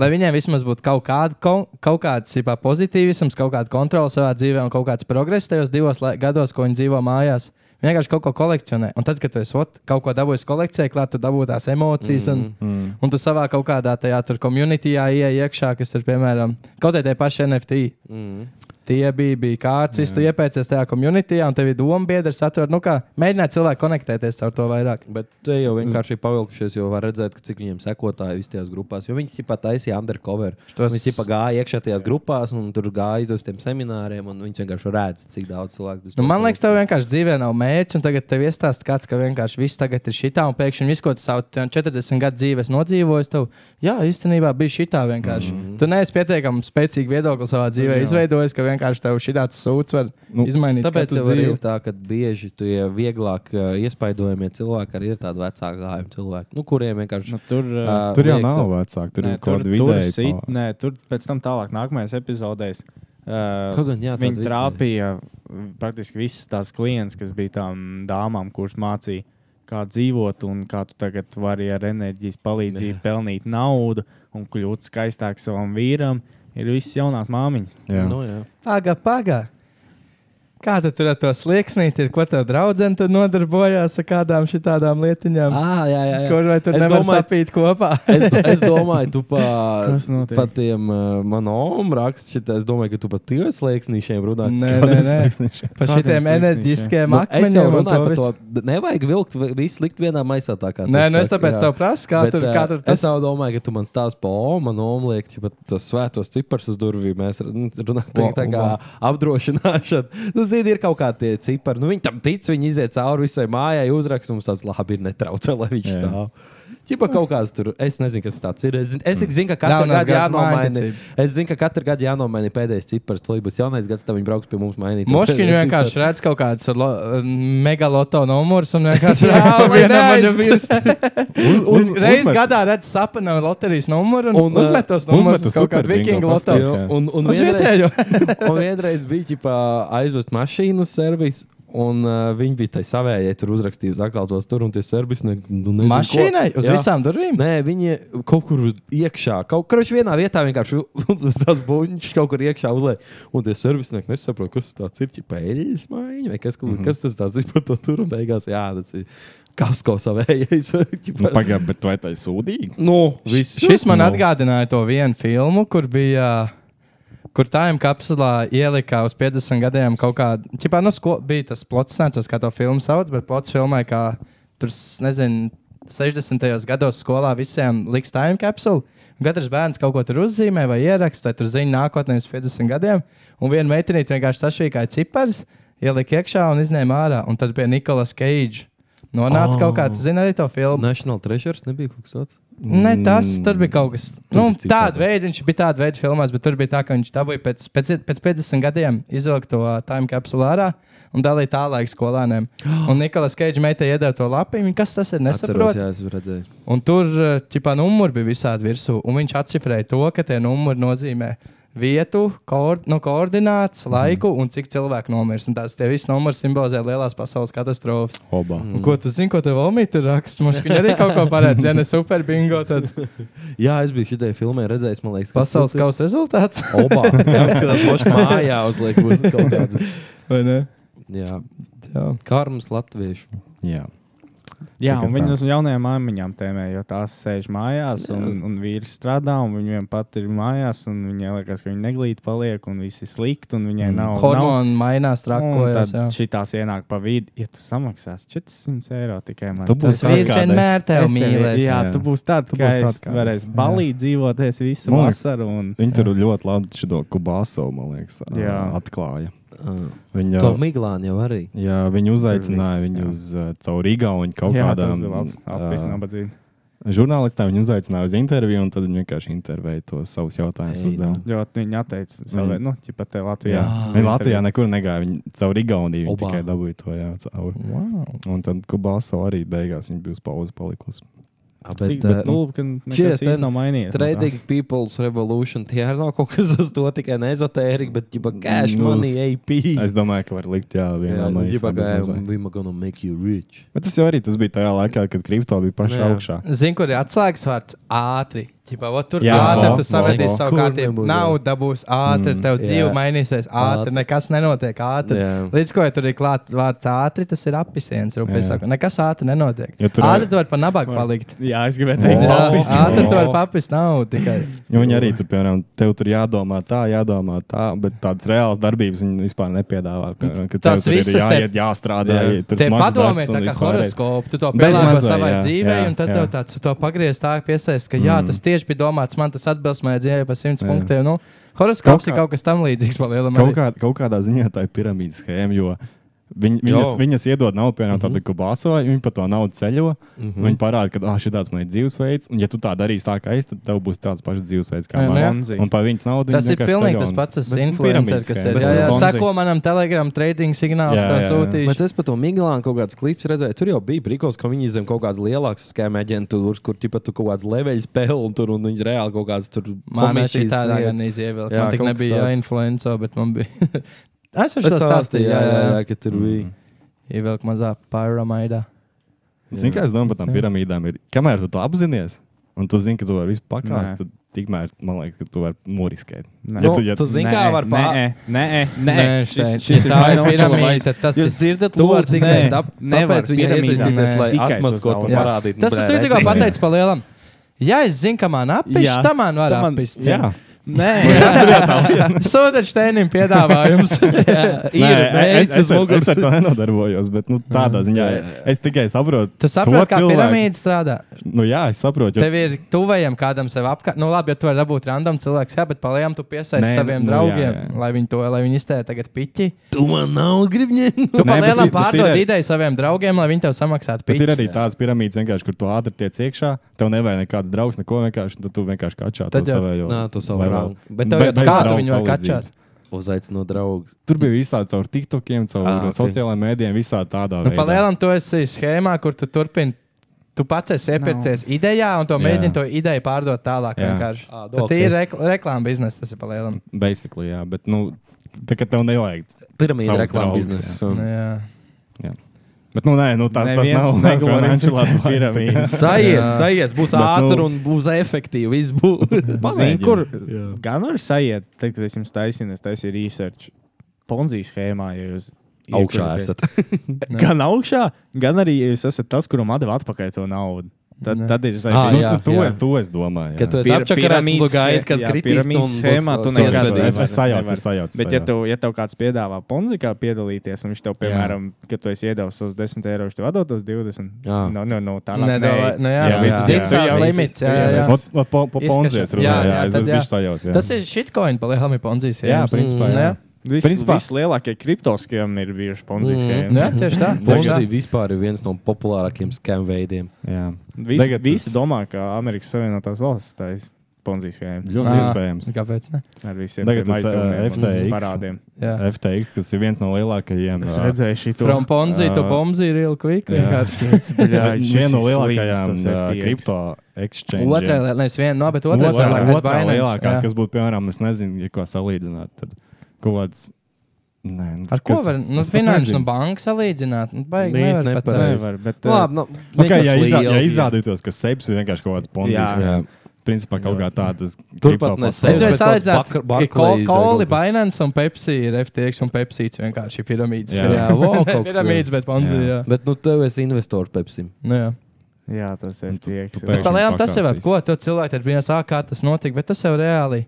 [SPEAKER 2] lai viņiem vismaz būtu kaut, kāda, ko- kaut kāds jipā, pozitīvisms, kaut kāda kontrole savā dzīvē un kaut kāds progress tajos divos lai- gados, ko viņi dzīvo mājās. Vienkārši kaut ko kolekcionē. Un tad, kad tu esi, ot, kaut ko dabūjis kolekcijai, klāt, tu dabūji tās emocijas. Mm -hmm.
[SPEAKER 10] Mhm.
[SPEAKER 2] un, Un tu savā kaut kādā tajā tur komunitijā ienāc iekšā, kas ir piemēram kaut kādā pašā NFT.
[SPEAKER 10] Mm.
[SPEAKER 2] Tie bija, bija kārts, viss tu iepēcies tajā komunitijā, un tev bija doma biedrs, atrod, nu kā mēģināt cilvēku konektēties ar to vairāk.
[SPEAKER 10] Bet te jau vienkārši ir pavilkušies, jo var redzēt, ka cik viņiem sekotāji visās tajās grupās. Jo viņi pat taisīja undercover.
[SPEAKER 2] Štos-
[SPEAKER 10] Štos... Viņi pat gāja iekšā tajās grupās un tur gāja uz tiem semināriem. un Viņi vienkārši redz, cik daudz cilvēku tas
[SPEAKER 2] Nu, man liekas, tev vienkārši dzīvē nav mērķis, un tagad tev iestāsta kāds, ka vienkārši viss tagad ir šitā, un pēkšņi viss, ko tu savu 40 gadu dzīves nodzīvojis, tev, jā, īstenībā bija šitā vienkārši.
[SPEAKER 10] Mhm.
[SPEAKER 2] Mm -hmm. Tu neesi pietiekami spēcīgi viedokli savā
[SPEAKER 10] Nu,
[SPEAKER 2] dzīvē izveidojis, ka vienkārši tev šitāds sūds var nu,
[SPEAKER 9] Nu,
[SPEAKER 2] izmainīt.
[SPEAKER 10] Tāpēc
[SPEAKER 2] skatus
[SPEAKER 10] jau arī
[SPEAKER 2] dzīvi.
[SPEAKER 10] ir tā, ka bieži tie vieglāk uh, iespaidojamie cilvēki arī ir tādi vecāki gājumi cilvēki, nu, kuriem vienkārši.
[SPEAKER 3] Nu, tur uh,
[SPEAKER 10] ā,
[SPEAKER 9] Tur jau
[SPEAKER 10] liek
[SPEAKER 9] nav
[SPEAKER 10] tā-
[SPEAKER 9] vecāka, tur
[SPEAKER 3] nē,
[SPEAKER 9] ir kaut kāda
[SPEAKER 3] tur,
[SPEAKER 9] vidēja.
[SPEAKER 3] sit,
[SPEAKER 9] pa-
[SPEAKER 3] nē, tur pēc tam tālāk, nākamajās epizodēs. Uh,
[SPEAKER 10] Kaut gan, jā, tāda
[SPEAKER 3] Viņi
[SPEAKER 10] vidēja.
[SPEAKER 3] trāpīja mm, praktiski visas tās klientes, kas bija tām dāmām, kuras mācīja, kā dzīvot un kā tu tagad vari ar enerģijas palīdzību jā. pelnīt naudu un kļūt skaistākam savam vīram. Ir visas jaunās māmiņas.
[SPEAKER 9] Jā.
[SPEAKER 10] Nu, jā.
[SPEAKER 2] Paga, paga. Kā tu tur ar to slieksnīti ir? Ko tev draudzene tur nodarbojās ar kādām šitām lietiņām?
[SPEAKER 10] Ah, jā, jā, jā.
[SPEAKER 2] Kur vai tur
[SPEAKER 10] Es
[SPEAKER 2] nevar
[SPEAKER 10] domāju-
[SPEAKER 2] sapīt kopā?
[SPEAKER 10] Es, es domāju, tu pa,
[SPEAKER 3] Kas notiek?
[SPEAKER 10] pa tiem uh, manām rakstiem, es domāju, ka tu pat tiem slēgsnīšiem runā.
[SPEAKER 2] Nē, nē,
[SPEAKER 9] Kādiem
[SPEAKER 2] nē.
[SPEAKER 9] slieksnišiem?
[SPEAKER 2] Par
[SPEAKER 3] Kādiem
[SPEAKER 2] šitiem
[SPEAKER 3] slieksnīšiem?
[SPEAKER 2] enerģiskiem
[SPEAKER 10] Nu, es jau
[SPEAKER 2] akmeņiem. un
[SPEAKER 10] runāju par
[SPEAKER 2] visu.
[SPEAKER 10] to. D- Nevajag vilkt, vi- visu likt vienā maisā. Tā kā tu
[SPEAKER 2] Nē, nu es
[SPEAKER 10] saki,
[SPEAKER 2] tāpēc
[SPEAKER 10] jā.
[SPEAKER 2] tev prasu, kā
[SPEAKER 10] Bet,
[SPEAKER 2] tur
[SPEAKER 10] eh,
[SPEAKER 2] kā tur
[SPEAKER 10] Es
[SPEAKER 2] tas
[SPEAKER 10] jau domāju, ka tu man stāsti par Oma nomlieku, ja pat tos svētos ciprus uz durvīm. Mēs nu, runājam tagad tā kā apdrošināšana. Nu, zini, ir kaut kādi tie cipari. Nu, viņi tam tic, viņi iziet cauri visai mājai, uzrakst mums tāds labi, ir netraucē, lai viņš
[SPEAKER 9] Jā.
[SPEAKER 10] stāv. Ķipa kaut kāds tur, es nezinu, kas tas ir. Es, zinu, es tik zinu, ka katru
[SPEAKER 2] Jaunās
[SPEAKER 10] gadu
[SPEAKER 2] gadas
[SPEAKER 10] jānomaina.
[SPEAKER 2] mājticība.
[SPEAKER 10] Es zinu, ka katru gadu jānomaina pēdējais cipars. Tur būs jaunais gads, tad viņi brauks pie mums mainīt.
[SPEAKER 2] Moškiņš vienkārši redz kaut kādas megaloto numurus un vienkārši raksta
[SPEAKER 10] vai
[SPEAKER 2] vienam
[SPEAKER 10] nē,
[SPEAKER 2] un mirst.
[SPEAKER 9] Uz-
[SPEAKER 2] Uz
[SPEAKER 9] uz-
[SPEAKER 2] reizes
[SPEAKER 9] uzmet-
[SPEAKER 2] gadā redz sapni loterijas numuru
[SPEAKER 10] Un,
[SPEAKER 2] un
[SPEAKER 10] eh,
[SPEAKER 2] uzmet tos numurus
[SPEAKER 9] uzmet
[SPEAKER 2] uz
[SPEAKER 9] uz
[SPEAKER 2] kaut kādu
[SPEAKER 9] Superbingo
[SPEAKER 2] vikingu
[SPEAKER 9] pastāv.
[SPEAKER 2] loteriju.
[SPEAKER 9] Jā.
[SPEAKER 10] Un, un,
[SPEAKER 2] Uz
[SPEAKER 10] vienreiz-
[SPEAKER 2] vietējo.
[SPEAKER 10] Un vienreiz bija ģipā, aizvest mašīnu uz servisu. Un uh, viņi bija tajā savējā, tur uzrakstīja uz akaltos, tur un tie servisnieki. Nu, nezinu,
[SPEAKER 2] Mašīnai?
[SPEAKER 10] ko.
[SPEAKER 2] Uz
[SPEAKER 10] Jā.
[SPEAKER 2] visām durvīm?
[SPEAKER 10] Nē, viņi kaut kur iekšā, kaut kur vienā vietā vienkārši uz tās buļbuļs kaut kur iekšā uzlēja. Un tie servisnieki nesaprot, kas tas ir. Pēļņas maiņa vai kas, mm
[SPEAKER 2] Mhm.
[SPEAKER 10] -hmm. kas tas tāds ir par to tur un beigās. Jā, tas ir kas ko savējais.
[SPEAKER 9] Nu, Pagaid, bet vai tā ir sūdīga?
[SPEAKER 10] nu,
[SPEAKER 2] Šis,
[SPEAKER 10] viss.
[SPEAKER 2] šis man
[SPEAKER 9] Nu.
[SPEAKER 2] atgādināja to vienu filmu, kur bija. Kur tā jām kapsulā ielika uz 50 gadiem kaut kāda. Čipā, nu, sko, bija tas plots, neatceros, kā to filmu sauc, bet plots filmai, kā tur, s- nezinu, 60. gados skolā visiem liks time kapsula. Katrs bērns kaut ko tur uzzīmē vai ieraksta, vai tur zina nākotnē uz 50 gadiem. Un viena meitenīte vienkārši sašķīkāja cipars, ielika iekšā un izņēma ārā. Un tad pie Nikolas Keidža nonāca oh.
[SPEAKER 10] Oh.
[SPEAKER 2] kaut kāds, zina arī to filmu.
[SPEAKER 10] National Treasures nebija kaut kas tāds.
[SPEAKER 2] Ne, tas tur bija kaut kas nu,
[SPEAKER 10] bija citādi.
[SPEAKER 2] tāds. Viņš bija tāds veids, filmās, bet tur bija tā, ka viņš dabūja pēc, pēc, pēc 50 gadiem izvilkt to time capsule ārā un dalīja tālāk skolāniem. Un Nikolais Keidžs meitai iedeva to lapiņu, kas tas ir,
[SPEAKER 10] Atceros,
[SPEAKER 2] nesaprot. eh,
[SPEAKER 10] jā, es redzēju.
[SPEAKER 2] nu, Un tur ķipā numuri bija visādi virsū, un viņš atšifrēja to, ka tie numuri nozīmē vietu, koord, no koordinātas,
[SPEAKER 10] Mhm.
[SPEAKER 2] laiku un cik cilvēku nomirs. Un tās tie visi numuri simbolizē lielās pasaules katastrofas.
[SPEAKER 9] Obā.
[SPEAKER 3] Mm.
[SPEAKER 10] Mhm.
[SPEAKER 2] Un ko tu zini, ko tev omīte raksta? Mums viņa arī kaut ko parādīja. Ja ne super bingo, tad
[SPEAKER 1] Jā, es biju šitai filmai redzējis, man liekas,
[SPEAKER 2] pasaules kausa rezultāts.
[SPEAKER 1] Oba. Jā, skatās, moši mājā uzliek uz kaut kādu.
[SPEAKER 2] Vai ne?
[SPEAKER 1] Jā,
[SPEAKER 2] Jā.
[SPEAKER 1] karmas latviešu.
[SPEAKER 9] Jā.
[SPEAKER 3] Jā,
[SPEAKER 9] Tikai
[SPEAKER 3] un
[SPEAKER 9] tā.
[SPEAKER 3] viņi uz jaunajām māmiņām tēmē, jo tās sēž mājās, un, un vīrs strādā, un viņa vien pati ir mājās, un viņai liekas, ka viņa neglīti paliek, un viss ir slikti, un viņai nav nav-
[SPEAKER 2] Hormoni mainās,
[SPEAKER 3] Un
[SPEAKER 2] trakojas. jā.
[SPEAKER 3] tad šitās ienāk pa vidu, ja tu samaksās 400 eiro tikai man.
[SPEAKER 9] Tu
[SPEAKER 3] tad
[SPEAKER 9] būsi
[SPEAKER 2] Tas vīrs
[SPEAKER 9] Kādreiz.
[SPEAKER 2] vienmēr tevi
[SPEAKER 3] es
[SPEAKER 2] mīlēs.
[SPEAKER 3] Jā,
[SPEAKER 9] jā.
[SPEAKER 3] tu būsi tāds,
[SPEAKER 9] Tu
[SPEAKER 3] ka
[SPEAKER 9] būsi
[SPEAKER 3] es
[SPEAKER 9] tāds, kā es.
[SPEAKER 3] varēšu balīt, dzīvoties visu
[SPEAKER 9] Man liekas-
[SPEAKER 3] vasaru. Un...
[SPEAKER 9] Viņi tur ļoti labi šo kubāso, man liekas,
[SPEAKER 3] Jā.
[SPEAKER 9] atklāja.
[SPEAKER 1] Uh,
[SPEAKER 9] Viņa,
[SPEAKER 1] to Miglānu jau arī.
[SPEAKER 9] jā, viņi uzaicināja
[SPEAKER 3] viss,
[SPEAKER 9] viņu
[SPEAKER 3] jā.
[SPEAKER 9] uz uh, caur Igauni kaut
[SPEAKER 3] Jā, tas
[SPEAKER 9] kādām
[SPEAKER 3] bija labs. Apis
[SPEAKER 9] ā,
[SPEAKER 3] nabadzīgi.
[SPEAKER 9] žurnālistām. Viņu uzaicināja uz interviju, un tad viņi vienkārši intervēja tos savus jautājumus.
[SPEAKER 1] Ei,
[SPEAKER 9] uzdeva.
[SPEAKER 3] Jo viņi atteica savu,
[SPEAKER 9] Mm.
[SPEAKER 3] nu, ķipa te Latvijā.
[SPEAKER 9] Jā,
[SPEAKER 1] Jā.
[SPEAKER 9] viņa Latvijā nekur negāja. Viņa caur Igauniju viņa
[SPEAKER 1] Obā.
[SPEAKER 9] tikai dabūja to jā, cauri.
[SPEAKER 2] Wow.
[SPEAKER 9] Un tad Kubāso arī beigās viņa bija uz pauzes palikusi.
[SPEAKER 1] Ah,
[SPEAKER 3] Tik
[SPEAKER 1] Bet, uh,
[SPEAKER 3] stulbi, ka
[SPEAKER 1] šie
[SPEAKER 3] nekas
[SPEAKER 1] te
[SPEAKER 3] īsti nav mainījies. no tā.
[SPEAKER 1] Trading People's Revolution. Tie arī nav kaut kas uz to tikai nezotērika, bet jau cash
[SPEAKER 9] Nu,
[SPEAKER 1] money,
[SPEAKER 9] s-
[SPEAKER 1] AP.
[SPEAKER 9] Es domāju, ka var likt, jā, nu, vienā
[SPEAKER 1] Jā,
[SPEAKER 9] maisā,
[SPEAKER 1] jau
[SPEAKER 9] bet
[SPEAKER 1] gājām,
[SPEAKER 9] mazliet.
[SPEAKER 1] we were gonna make you rich.
[SPEAKER 9] Bet tas jau arī tas bija tajā laikā, kad kripto bija
[SPEAKER 2] Nu
[SPEAKER 9] pašā
[SPEAKER 1] Jā.
[SPEAKER 9] augšā.
[SPEAKER 2] Zini, kur ir atslēgas vārds ātri. Ķipā, ot, tur jā,
[SPEAKER 9] Jā,
[SPEAKER 2] ātri
[SPEAKER 9] bo,
[SPEAKER 2] tu
[SPEAKER 9] bo,
[SPEAKER 2] savādīsi
[SPEAKER 9] bo.
[SPEAKER 2] savu
[SPEAKER 1] Kur
[SPEAKER 2] kārtību.
[SPEAKER 1] nebūs,
[SPEAKER 2] Nauda būs ātri, mm, tev
[SPEAKER 1] jā.
[SPEAKER 2] dzīve mainīsies ātri,
[SPEAKER 1] Ātri.
[SPEAKER 2] nekas nenotiek ātri.
[SPEAKER 1] Jā.
[SPEAKER 2] Līdz ko ja tur ir klāts vārds ātri, tas ir apziņas.
[SPEAKER 9] Jā.
[SPEAKER 2] Nekas ātri nenotiek.
[SPEAKER 9] Jo tur-
[SPEAKER 2] Ātri tu vari pa nabaga palikt.
[SPEAKER 3] Jā, es gribēju teikt,
[SPEAKER 2] Jā,
[SPEAKER 3] labi.
[SPEAKER 2] ātri tu vari papist naudu tikai.
[SPEAKER 9] Jo viņi arī tur, piemēram, tev tur jādomā tā, jādomā tā, bet tādas reālas darbības viņi vispār nepiedāvā. Piemēram, ka tev
[SPEAKER 2] Nu, Tas
[SPEAKER 9] tur ir
[SPEAKER 2] visas te-
[SPEAKER 9] jāiet, jāstrādā,
[SPEAKER 1] Jā.
[SPEAKER 9] jā. tur
[SPEAKER 2] Tie
[SPEAKER 9] smags
[SPEAKER 2] padomē,
[SPEAKER 9] darbs un
[SPEAKER 2] tā kā
[SPEAKER 9] vispārējais.
[SPEAKER 2] horoskopu, tu to
[SPEAKER 9] Bez
[SPEAKER 2] pielāgo
[SPEAKER 9] mazā,
[SPEAKER 2] savai
[SPEAKER 9] jā,
[SPEAKER 2] dzīvei,
[SPEAKER 9] jā,
[SPEAKER 2] un tad
[SPEAKER 9] jā. Mm.
[SPEAKER 2] tev tāds tu to pagriez tā, piesaist, ka jā, tas tieši bija domāts, man tas atbilst manai dzīvei pa simts
[SPEAKER 9] Jā.
[SPEAKER 2] punktiem. Nu, horoskops
[SPEAKER 9] Kaut
[SPEAKER 2] ir
[SPEAKER 9] kā-
[SPEAKER 2] kaut kas tam līdzīgs, man lielam. arī.
[SPEAKER 9] Kaut, kā, kaut kādā ziņā tā ir piramīdas schēma, jo viņ, viņas,
[SPEAKER 1] Jo.
[SPEAKER 9] viņas iedod naudu, piemēram,
[SPEAKER 2] Mhm.
[SPEAKER 9] tādu kubāso, viņi par to naudu ceļo. Mm
[SPEAKER 1] Mhm.
[SPEAKER 9] -hmm. Viņi parāda, ka ah, šī tāds man ir dzīvesveids, un ja tu tā darīsi tā kā es, tad tev būs tāds pašs dzīvesveids kā
[SPEAKER 2] Jā, jā.
[SPEAKER 9] man. Un par viņas naudu
[SPEAKER 2] Tas
[SPEAKER 9] viņi
[SPEAKER 2] ir
[SPEAKER 9] vienkārši
[SPEAKER 2] pilnīgi
[SPEAKER 9] ceļo
[SPEAKER 2] tas
[SPEAKER 9] un-
[SPEAKER 2] pats, tas
[SPEAKER 9] Bet
[SPEAKER 2] influencer,
[SPEAKER 9] piramīdas
[SPEAKER 2] kas
[SPEAKER 9] schēma.
[SPEAKER 2] ir.
[SPEAKER 1] bet
[SPEAKER 2] Jā, jā,
[SPEAKER 1] bonzi.
[SPEAKER 2] sako manam telegram trading signāls,
[SPEAKER 9] Jā,
[SPEAKER 2] tā
[SPEAKER 9] jā, jā.
[SPEAKER 1] Bet
[SPEAKER 2] sūtīšu.
[SPEAKER 1] es par to Miglānu kaut kādas klips redzēju. Tur jau bija brīvs, ka viņi zem kaut kādas lielākas skēma aģentūras, kur tipā tu kaut kādas leveļas spēlē un tur un viņi reāli kaut kādas tur
[SPEAKER 2] Man bija šī
[SPEAKER 1] komisijas
[SPEAKER 2] tādā
[SPEAKER 1] lietas.
[SPEAKER 2] gan izievilka.
[SPEAKER 1] Jā,
[SPEAKER 2] Man tik
[SPEAKER 1] kaut kas
[SPEAKER 2] nebija
[SPEAKER 1] tāds.
[SPEAKER 2] jāinfluenco, bet man bija. Es jau
[SPEAKER 1] Es
[SPEAKER 2] šo stāstīju, jā, jā, jā.
[SPEAKER 1] ka tur bija.
[SPEAKER 2] Ievilk mazā pyramidā.
[SPEAKER 9] Zini, kā es domāju par tām piramīdām? Ir, kamēr tu to apzinājies, un tu zini, ka tu vari visu
[SPEAKER 3] Nē.
[SPEAKER 9] pakāst, tad tikmēr man liekas, ka tu vari noriskēt.
[SPEAKER 3] Nē.
[SPEAKER 9] Ja
[SPEAKER 1] Nu,
[SPEAKER 9] tu, ja,
[SPEAKER 1] tu zini, kā var
[SPEAKER 3] Nē,
[SPEAKER 1] pār-
[SPEAKER 3] nē, nē, šis,
[SPEAKER 2] šeit-
[SPEAKER 3] šis ir
[SPEAKER 2] tā ir
[SPEAKER 3] financial advice.
[SPEAKER 2] piramīda, tas
[SPEAKER 3] Jūs
[SPEAKER 2] ir.
[SPEAKER 3] dzirdat,
[SPEAKER 1] Tu vari
[SPEAKER 3] lūdzu,
[SPEAKER 1] tikai
[SPEAKER 3] nē,
[SPEAKER 1] tāp-
[SPEAKER 3] nevar
[SPEAKER 1] tāpēc viņi
[SPEAKER 3] piramīdā.
[SPEAKER 1] iesaistīties,
[SPEAKER 2] Nē,
[SPEAKER 1] lai
[SPEAKER 3] tikai tu
[SPEAKER 1] atmaskotu
[SPEAKER 3] savu-
[SPEAKER 1] un
[SPEAKER 3] Jā.
[SPEAKER 1] parādītu. nu,
[SPEAKER 2] Tas tu
[SPEAKER 1] brē,
[SPEAKER 2] tikko
[SPEAKER 1] redzi,
[SPEAKER 2] pateici pa lielam. Jā, es zinu, ka man apgūst,
[SPEAKER 3] Jā.
[SPEAKER 2] tā man var
[SPEAKER 3] Tu man-
[SPEAKER 2] apgūst.
[SPEAKER 9] Jā,
[SPEAKER 3] Nē,
[SPEAKER 2] Sūdeņš piedāvājums.
[SPEAKER 9] Nē, es,
[SPEAKER 1] mērķis
[SPEAKER 9] es,
[SPEAKER 1] uz
[SPEAKER 9] ar-
[SPEAKER 1] muguras.
[SPEAKER 9] es ar to nenodarbojos, bet nu, tādā ziņā es tikai saprotu.
[SPEAKER 2] Tu
[SPEAKER 9] to
[SPEAKER 2] saproti, kā
[SPEAKER 9] cilvēku.
[SPEAKER 2] piramīda strādā.
[SPEAKER 9] Nu, jā, es saprotu.
[SPEAKER 2] Tev ir tuvējiem kādam sev apkārt. Nu, labi, ja tu vari dabūt random cilvēku, jā, bet palējām tu piesaisti
[SPEAKER 9] Nē,
[SPEAKER 2] saviem
[SPEAKER 9] nu, jā,
[SPEAKER 2] draugiem,
[SPEAKER 9] jā.
[SPEAKER 2] lai viņi to, lai viņi iztērē tagad piķi.
[SPEAKER 1] Tu man nav gribņēmis.
[SPEAKER 2] Tu palējām
[SPEAKER 9] bet- bet ir
[SPEAKER 2] pārdod
[SPEAKER 9] arī-
[SPEAKER 2] ideju saviem draugiem, lai viņi tev samaksātu
[SPEAKER 9] Bet
[SPEAKER 2] piķi.
[SPEAKER 9] ir arī tādas piramīdas, vienkārši, kur tu ātri tiec iekšā, tev nevajag nekāds draugs, neko vienkārši. un Tad tu vienkārši kačā to
[SPEAKER 2] Tad jau-
[SPEAKER 9] savējo.
[SPEAKER 1] Nā, to savu
[SPEAKER 9] Vai
[SPEAKER 1] draugu.
[SPEAKER 9] vēl-
[SPEAKER 1] Bet tev
[SPEAKER 9] be-
[SPEAKER 1] jau-
[SPEAKER 9] bez
[SPEAKER 2] Kā tu
[SPEAKER 9] draugu
[SPEAKER 2] viņu vari
[SPEAKER 9] palīdzības.
[SPEAKER 2] kačāt?
[SPEAKER 1] Uzaicinu draugus.
[SPEAKER 9] Tur bija visādi caur TikTokiem, caur
[SPEAKER 1] Ah, ok.
[SPEAKER 9] ah, okay. sociālajiem mēdiem, visādi tādā.
[SPEAKER 2] Nu,
[SPEAKER 9] veidā.
[SPEAKER 2] palielam, tu esi schēmā, kur tu turpini. Tu pats esi iepircies no. idejā, un tu
[SPEAKER 9] Jā.
[SPEAKER 2] mēģini to ideju pārdot tālāk.
[SPEAKER 9] Jā.
[SPEAKER 1] Ā,
[SPEAKER 2] vienkārši. Tā
[SPEAKER 1] ok.
[SPEAKER 2] okay. ir rekl reklāmas biznesa, tas ir palielam.
[SPEAKER 9] Basically, jā, bet nu, tā kā tev nevajag.
[SPEAKER 1] Piramīda
[SPEAKER 9] Savus
[SPEAKER 1] reklāmas
[SPEAKER 9] draugus,
[SPEAKER 1] biznesa.
[SPEAKER 2] Nu, jā.
[SPEAKER 9] Bet, nu, nē, nu, tas, tas
[SPEAKER 3] Neviens
[SPEAKER 9] nav Nu,
[SPEAKER 3] neglorificē
[SPEAKER 9] piramīdas.
[SPEAKER 1] Sajies,
[SPEAKER 2] Jā.
[SPEAKER 1] sajies, būs
[SPEAKER 9] Bet, nu-
[SPEAKER 1] ātri un būs efektīvi. Viss būs.
[SPEAKER 3] Zini,
[SPEAKER 9] Pamēģini.
[SPEAKER 3] kur
[SPEAKER 9] Jā.
[SPEAKER 3] gan var sajiet, teikt, ka es jums taisinu, es taisīju research Ponzi schēmā, ja jūs
[SPEAKER 1] Augšā
[SPEAKER 3] iekļauties.
[SPEAKER 1] esat.
[SPEAKER 3] Gan augšā, gan arī ja jūs esat tas, kuram atdeva atpakaļ to naudu. Tad,
[SPEAKER 2] Nē.
[SPEAKER 3] tad ir
[SPEAKER 1] Ah,
[SPEAKER 9] Nu,
[SPEAKER 3] saistīts.
[SPEAKER 1] jā,
[SPEAKER 9] nu, to,
[SPEAKER 1] jā.
[SPEAKER 9] Es, to es domāju.
[SPEAKER 1] Kad tu
[SPEAKER 9] jā.
[SPEAKER 1] esi
[SPEAKER 3] Pir-
[SPEAKER 1] apčakarēts, un tu
[SPEAKER 3] piramīdas
[SPEAKER 1] gaidi, kad
[SPEAKER 3] schē- jā,
[SPEAKER 1] kritīs.
[SPEAKER 3] piramīdas schēmā tu
[SPEAKER 9] Es-
[SPEAKER 3] nekad
[SPEAKER 9] es-
[SPEAKER 3] nevari.
[SPEAKER 9] es sajaucu,
[SPEAKER 3] Nevar.
[SPEAKER 9] es sajaucu.
[SPEAKER 3] Bet, ja
[SPEAKER 9] sajaucu.
[SPEAKER 3] tev, ja tev kāds piedāvā ponzikā piedalīties, un viņš tev, piemēram, jā. ka tu esi iedavis uz 10 eiro, viņš tev atdod tos Nu, 20.
[SPEAKER 1] Jā.
[SPEAKER 3] no, no, no, tā nav.
[SPEAKER 2] Nedala, nu, jā.
[SPEAKER 9] Jā,
[SPEAKER 2] jā, jā.
[SPEAKER 9] jā, jā.
[SPEAKER 2] Zini, savs
[SPEAKER 9] Jā,
[SPEAKER 2] limits. Jā, jā, jā.
[SPEAKER 9] Ot- ot, Po, po ponzies
[SPEAKER 2] Izkašot.
[SPEAKER 9] runā,
[SPEAKER 2] Jā,
[SPEAKER 9] jā,
[SPEAKER 2] jā,
[SPEAKER 9] es
[SPEAKER 2] tad
[SPEAKER 9] esmu
[SPEAKER 2] jā.
[SPEAKER 9] bišķi sajauts. Jā.
[SPEAKER 2] Tas ir shitcoin, palielam, ir ponzijas.
[SPEAKER 9] jā, principā. Jā.
[SPEAKER 2] jā.
[SPEAKER 3] Vis,
[SPEAKER 9] Principā-
[SPEAKER 3] vislielākie kriptoskēmi ir bijuši ponzi
[SPEAKER 1] Mm.
[SPEAKER 3] schēmas.
[SPEAKER 2] jā, tieši tā.
[SPEAKER 1] Ponzi vispār ir viens no populārākajiem skam veidiem.
[SPEAKER 9] jā.
[SPEAKER 3] Visi,
[SPEAKER 9] Tagad
[SPEAKER 3] visi
[SPEAKER 9] tas-
[SPEAKER 3] domā, ka Amerikas Savienotās valstis taisa Ponzi schēma.
[SPEAKER 9] Ļoti
[SPEAKER 2] Ā.
[SPEAKER 9] iespējams.
[SPEAKER 2] Kāpēc? Ne?
[SPEAKER 3] Ar visiem
[SPEAKER 9] Tagad
[SPEAKER 3] tiem
[SPEAKER 9] tas, ā,
[SPEAKER 3] aizdevumiem un
[SPEAKER 9] FTX.
[SPEAKER 3] parādiem.
[SPEAKER 2] Jā.
[SPEAKER 9] FTX, kas ir viens no lielākajiem.
[SPEAKER 3] Es
[SPEAKER 9] ā,
[SPEAKER 3] redzēju šo
[SPEAKER 2] From Ponzi to
[SPEAKER 9] Ā.
[SPEAKER 2] Bomzi ir real quick.
[SPEAKER 9] Jā.
[SPEAKER 3] Jā,
[SPEAKER 9] Viena no lielākajām
[SPEAKER 3] tas
[SPEAKER 9] ā,
[SPEAKER 3] FTX.
[SPEAKER 9] kripto ekstrēmiem.
[SPEAKER 2] Otra lielākā, nevis viena, no, bet otrā
[SPEAKER 9] Otrā
[SPEAKER 2] lielākā.
[SPEAKER 9] otrā lielākā,
[SPEAKER 2] Binance, jā.
[SPEAKER 9] kas būtu, piemēram, es nezinu, ja ko salīdzināt. Tad kaut kāds. Nē, nu,
[SPEAKER 2] Ar ko
[SPEAKER 9] kas-
[SPEAKER 2] var nu,
[SPEAKER 9] es pat
[SPEAKER 2] finanšu
[SPEAKER 9] nezinu.
[SPEAKER 2] un banku salīdzināt? Nu, Baigi
[SPEAKER 1] Īsti
[SPEAKER 2] nevar pat
[SPEAKER 1] nepareizi.
[SPEAKER 2] tā.
[SPEAKER 3] Nevar, bet, eh,
[SPEAKER 1] Labi, nu,
[SPEAKER 9] Nu, kā, ja,
[SPEAKER 1] vienkārši
[SPEAKER 9] izrā, ja
[SPEAKER 1] liels, jā.
[SPEAKER 9] izrādītos, ka seps ir vienkārši kaut kāds
[SPEAKER 3] Jā.
[SPEAKER 9] poncīns,
[SPEAKER 1] Jā.
[SPEAKER 9] principā kaut kā tāds -
[SPEAKER 1] Turpat ne
[SPEAKER 2] Es
[SPEAKER 1] Seps,
[SPEAKER 2] gribēju
[SPEAKER 1] bet kāds
[SPEAKER 2] salīdzināt,
[SPEAKER 1] Bark-
[SPEAKER 2] ka
[SPEAKER 1] Barclays vai
[SPEAKER 2] Koli,
[SPEAKER 1] kaut kas.
[SPEAKER 2] Binance un Pepsi ir FTX un Pepsi vienkārši ir piramīdas.
[SPEAKER 9] Jā.
[SPEAKER 1] Jā, wow, kaut kas.
[SPEAKER 2] piramīdas, bet Ponzi.
[SPEAKER 9] Jā.
[SPEAKER 2] Jā.
[SPEAKER 1] Bet, nu, tev ir investors Pepsi.
[SPEAKER 2] Nu, jā.
[SPEAKER 3] Jā, tas ir
[SPEAKER 9] Nu, tu-
[SPEAKER 3] FTX.
[SPEAKER 9] tu
[SPEAKER 3] ir-
[SPEAKER 9] pēkšņi-
[SPEAKER 2] Bet, lēm, tas jau ir
[SPEAKER 9] pakāpsies.
[SPEAKER 2] ko tu cilvēki tad brīnās, "Ā, kā tas notika, bet tas jau reāli.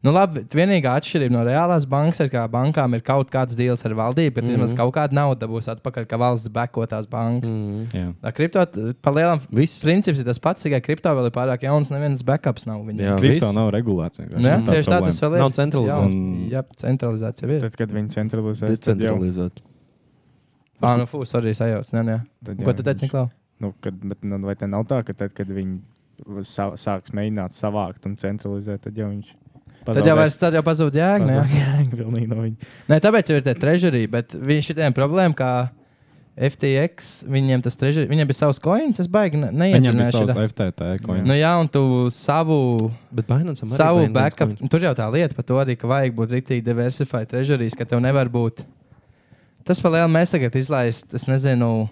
[SPEAKER 2] Nu, labi, vienīgā atšķirība no reālās bankas ir, ka bankām ir kaut kāds deals ar valdību, ka mm -hmm. vismaz kaut kāda nauda būs atpakaļ, ka valsts bekotās bankas. Mm.
[SPEAKER 9] Jā.
[SPEAKER 2] Kripto, pa lielam,
[SPEAKER 1] Viss.
[SPEAKER 2] princips ir tas pats, tikai kripto vēl ir pārāk jauns, nevienas backups nav viņam.
[SPEAKER 1] Jā,
[SPEAKER 9] Kripto
[SPEAKER 1] viss.
[SPEAKER 9] nav regulēts. vienkārši.
[SPEAKER 2] Nē,
[SPEAKER 9] Tā
[SPEAKER 2] tieši tā tas vēl
[SPEAKER 9] problēma.
[SPEAKER 2] ir.
[SPEAKER 1] Nav centralizēts.
[SPEAKER 2] Jā,
[SPEAKER 9] Un-
[SPEAKER 2] jā, centralizācija ir.
[SPEAKER 3] Tad, kad viņi centralizēs, tad jau,
[SPEAKER 1] Decentralizēt.
[SPEAKER 2] Ah, nu, fūs, arī sajauts. Nē, nē.
[SPEAKER 3] tad
[SPEAKER 2] Un
[SPEAKER 3] jau
[SPEAKER 2] Ko tu teici,
[SPEAKER 3] viņš-
[SPEAKER 2] Niklau?
[SPEAKER 3] Nu, kad, bet, nu, vai te nav tā, ka tad, kad viņi sa sāks mēģināt savākt un centralizēt, tad jau viņš
[SPEAKER 2] Tad jau, vairs, tad jau pazūd jēga. nē?
[SPEAKER 3] Pilnīgi no viņa.
[SPEAKER 2] Nē, tāpēc jau ir tā trežerī, bet viņš šitiem problēma, ka FTX, viņiem tas trežerī, viņiem bija savs coins, es baigi ne-
[SPEAKER 9] Viņam bija
[SPEAKER 2] neiedzināju
[SPEAKER 9] savs
[SPEAKER 2] šitā.
[SPEAKER 9] FTT coin.
[SPEAKER 2] Nu jā, un tu savu,
[SPEAKER 1] Bet Binance arī
[SPEAKER 2] savu
[SPEAKER 1] Binance
[SPEAKER 2] backup,
[SPEAKER 1] coin.
[SPEAKER 2] tur jau tā lieta par to arī, ka vajag būt rītīgi diversificēt trežerīs, ka tev nevar būt. Tas palielina, mēs tagad izlaist, es nezinu,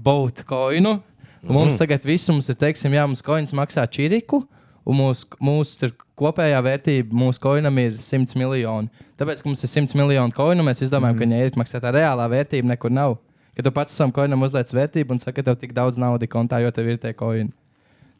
[SPEAKER 2] boat coinu. Mm. Mums tagad viss mums ir, teiksim, jā, mums coins maksā čiriku. Un mūsu mūs tur kopējā vērtība mūsu koinam ir 100 miljoni. Tāpēc, ka mums ir 100 miljoni koinu, mēs izdomājam, mm.
[SPEAKER 9] Mhm.
[SPEAKER 2] ka viņa ir maksā tā reālā vērtība, nekur nav. Kad tu pats savam koinam uzliec vērtību un saki, ka tev tik daudz naudas kontā, jo tev ir tie koini.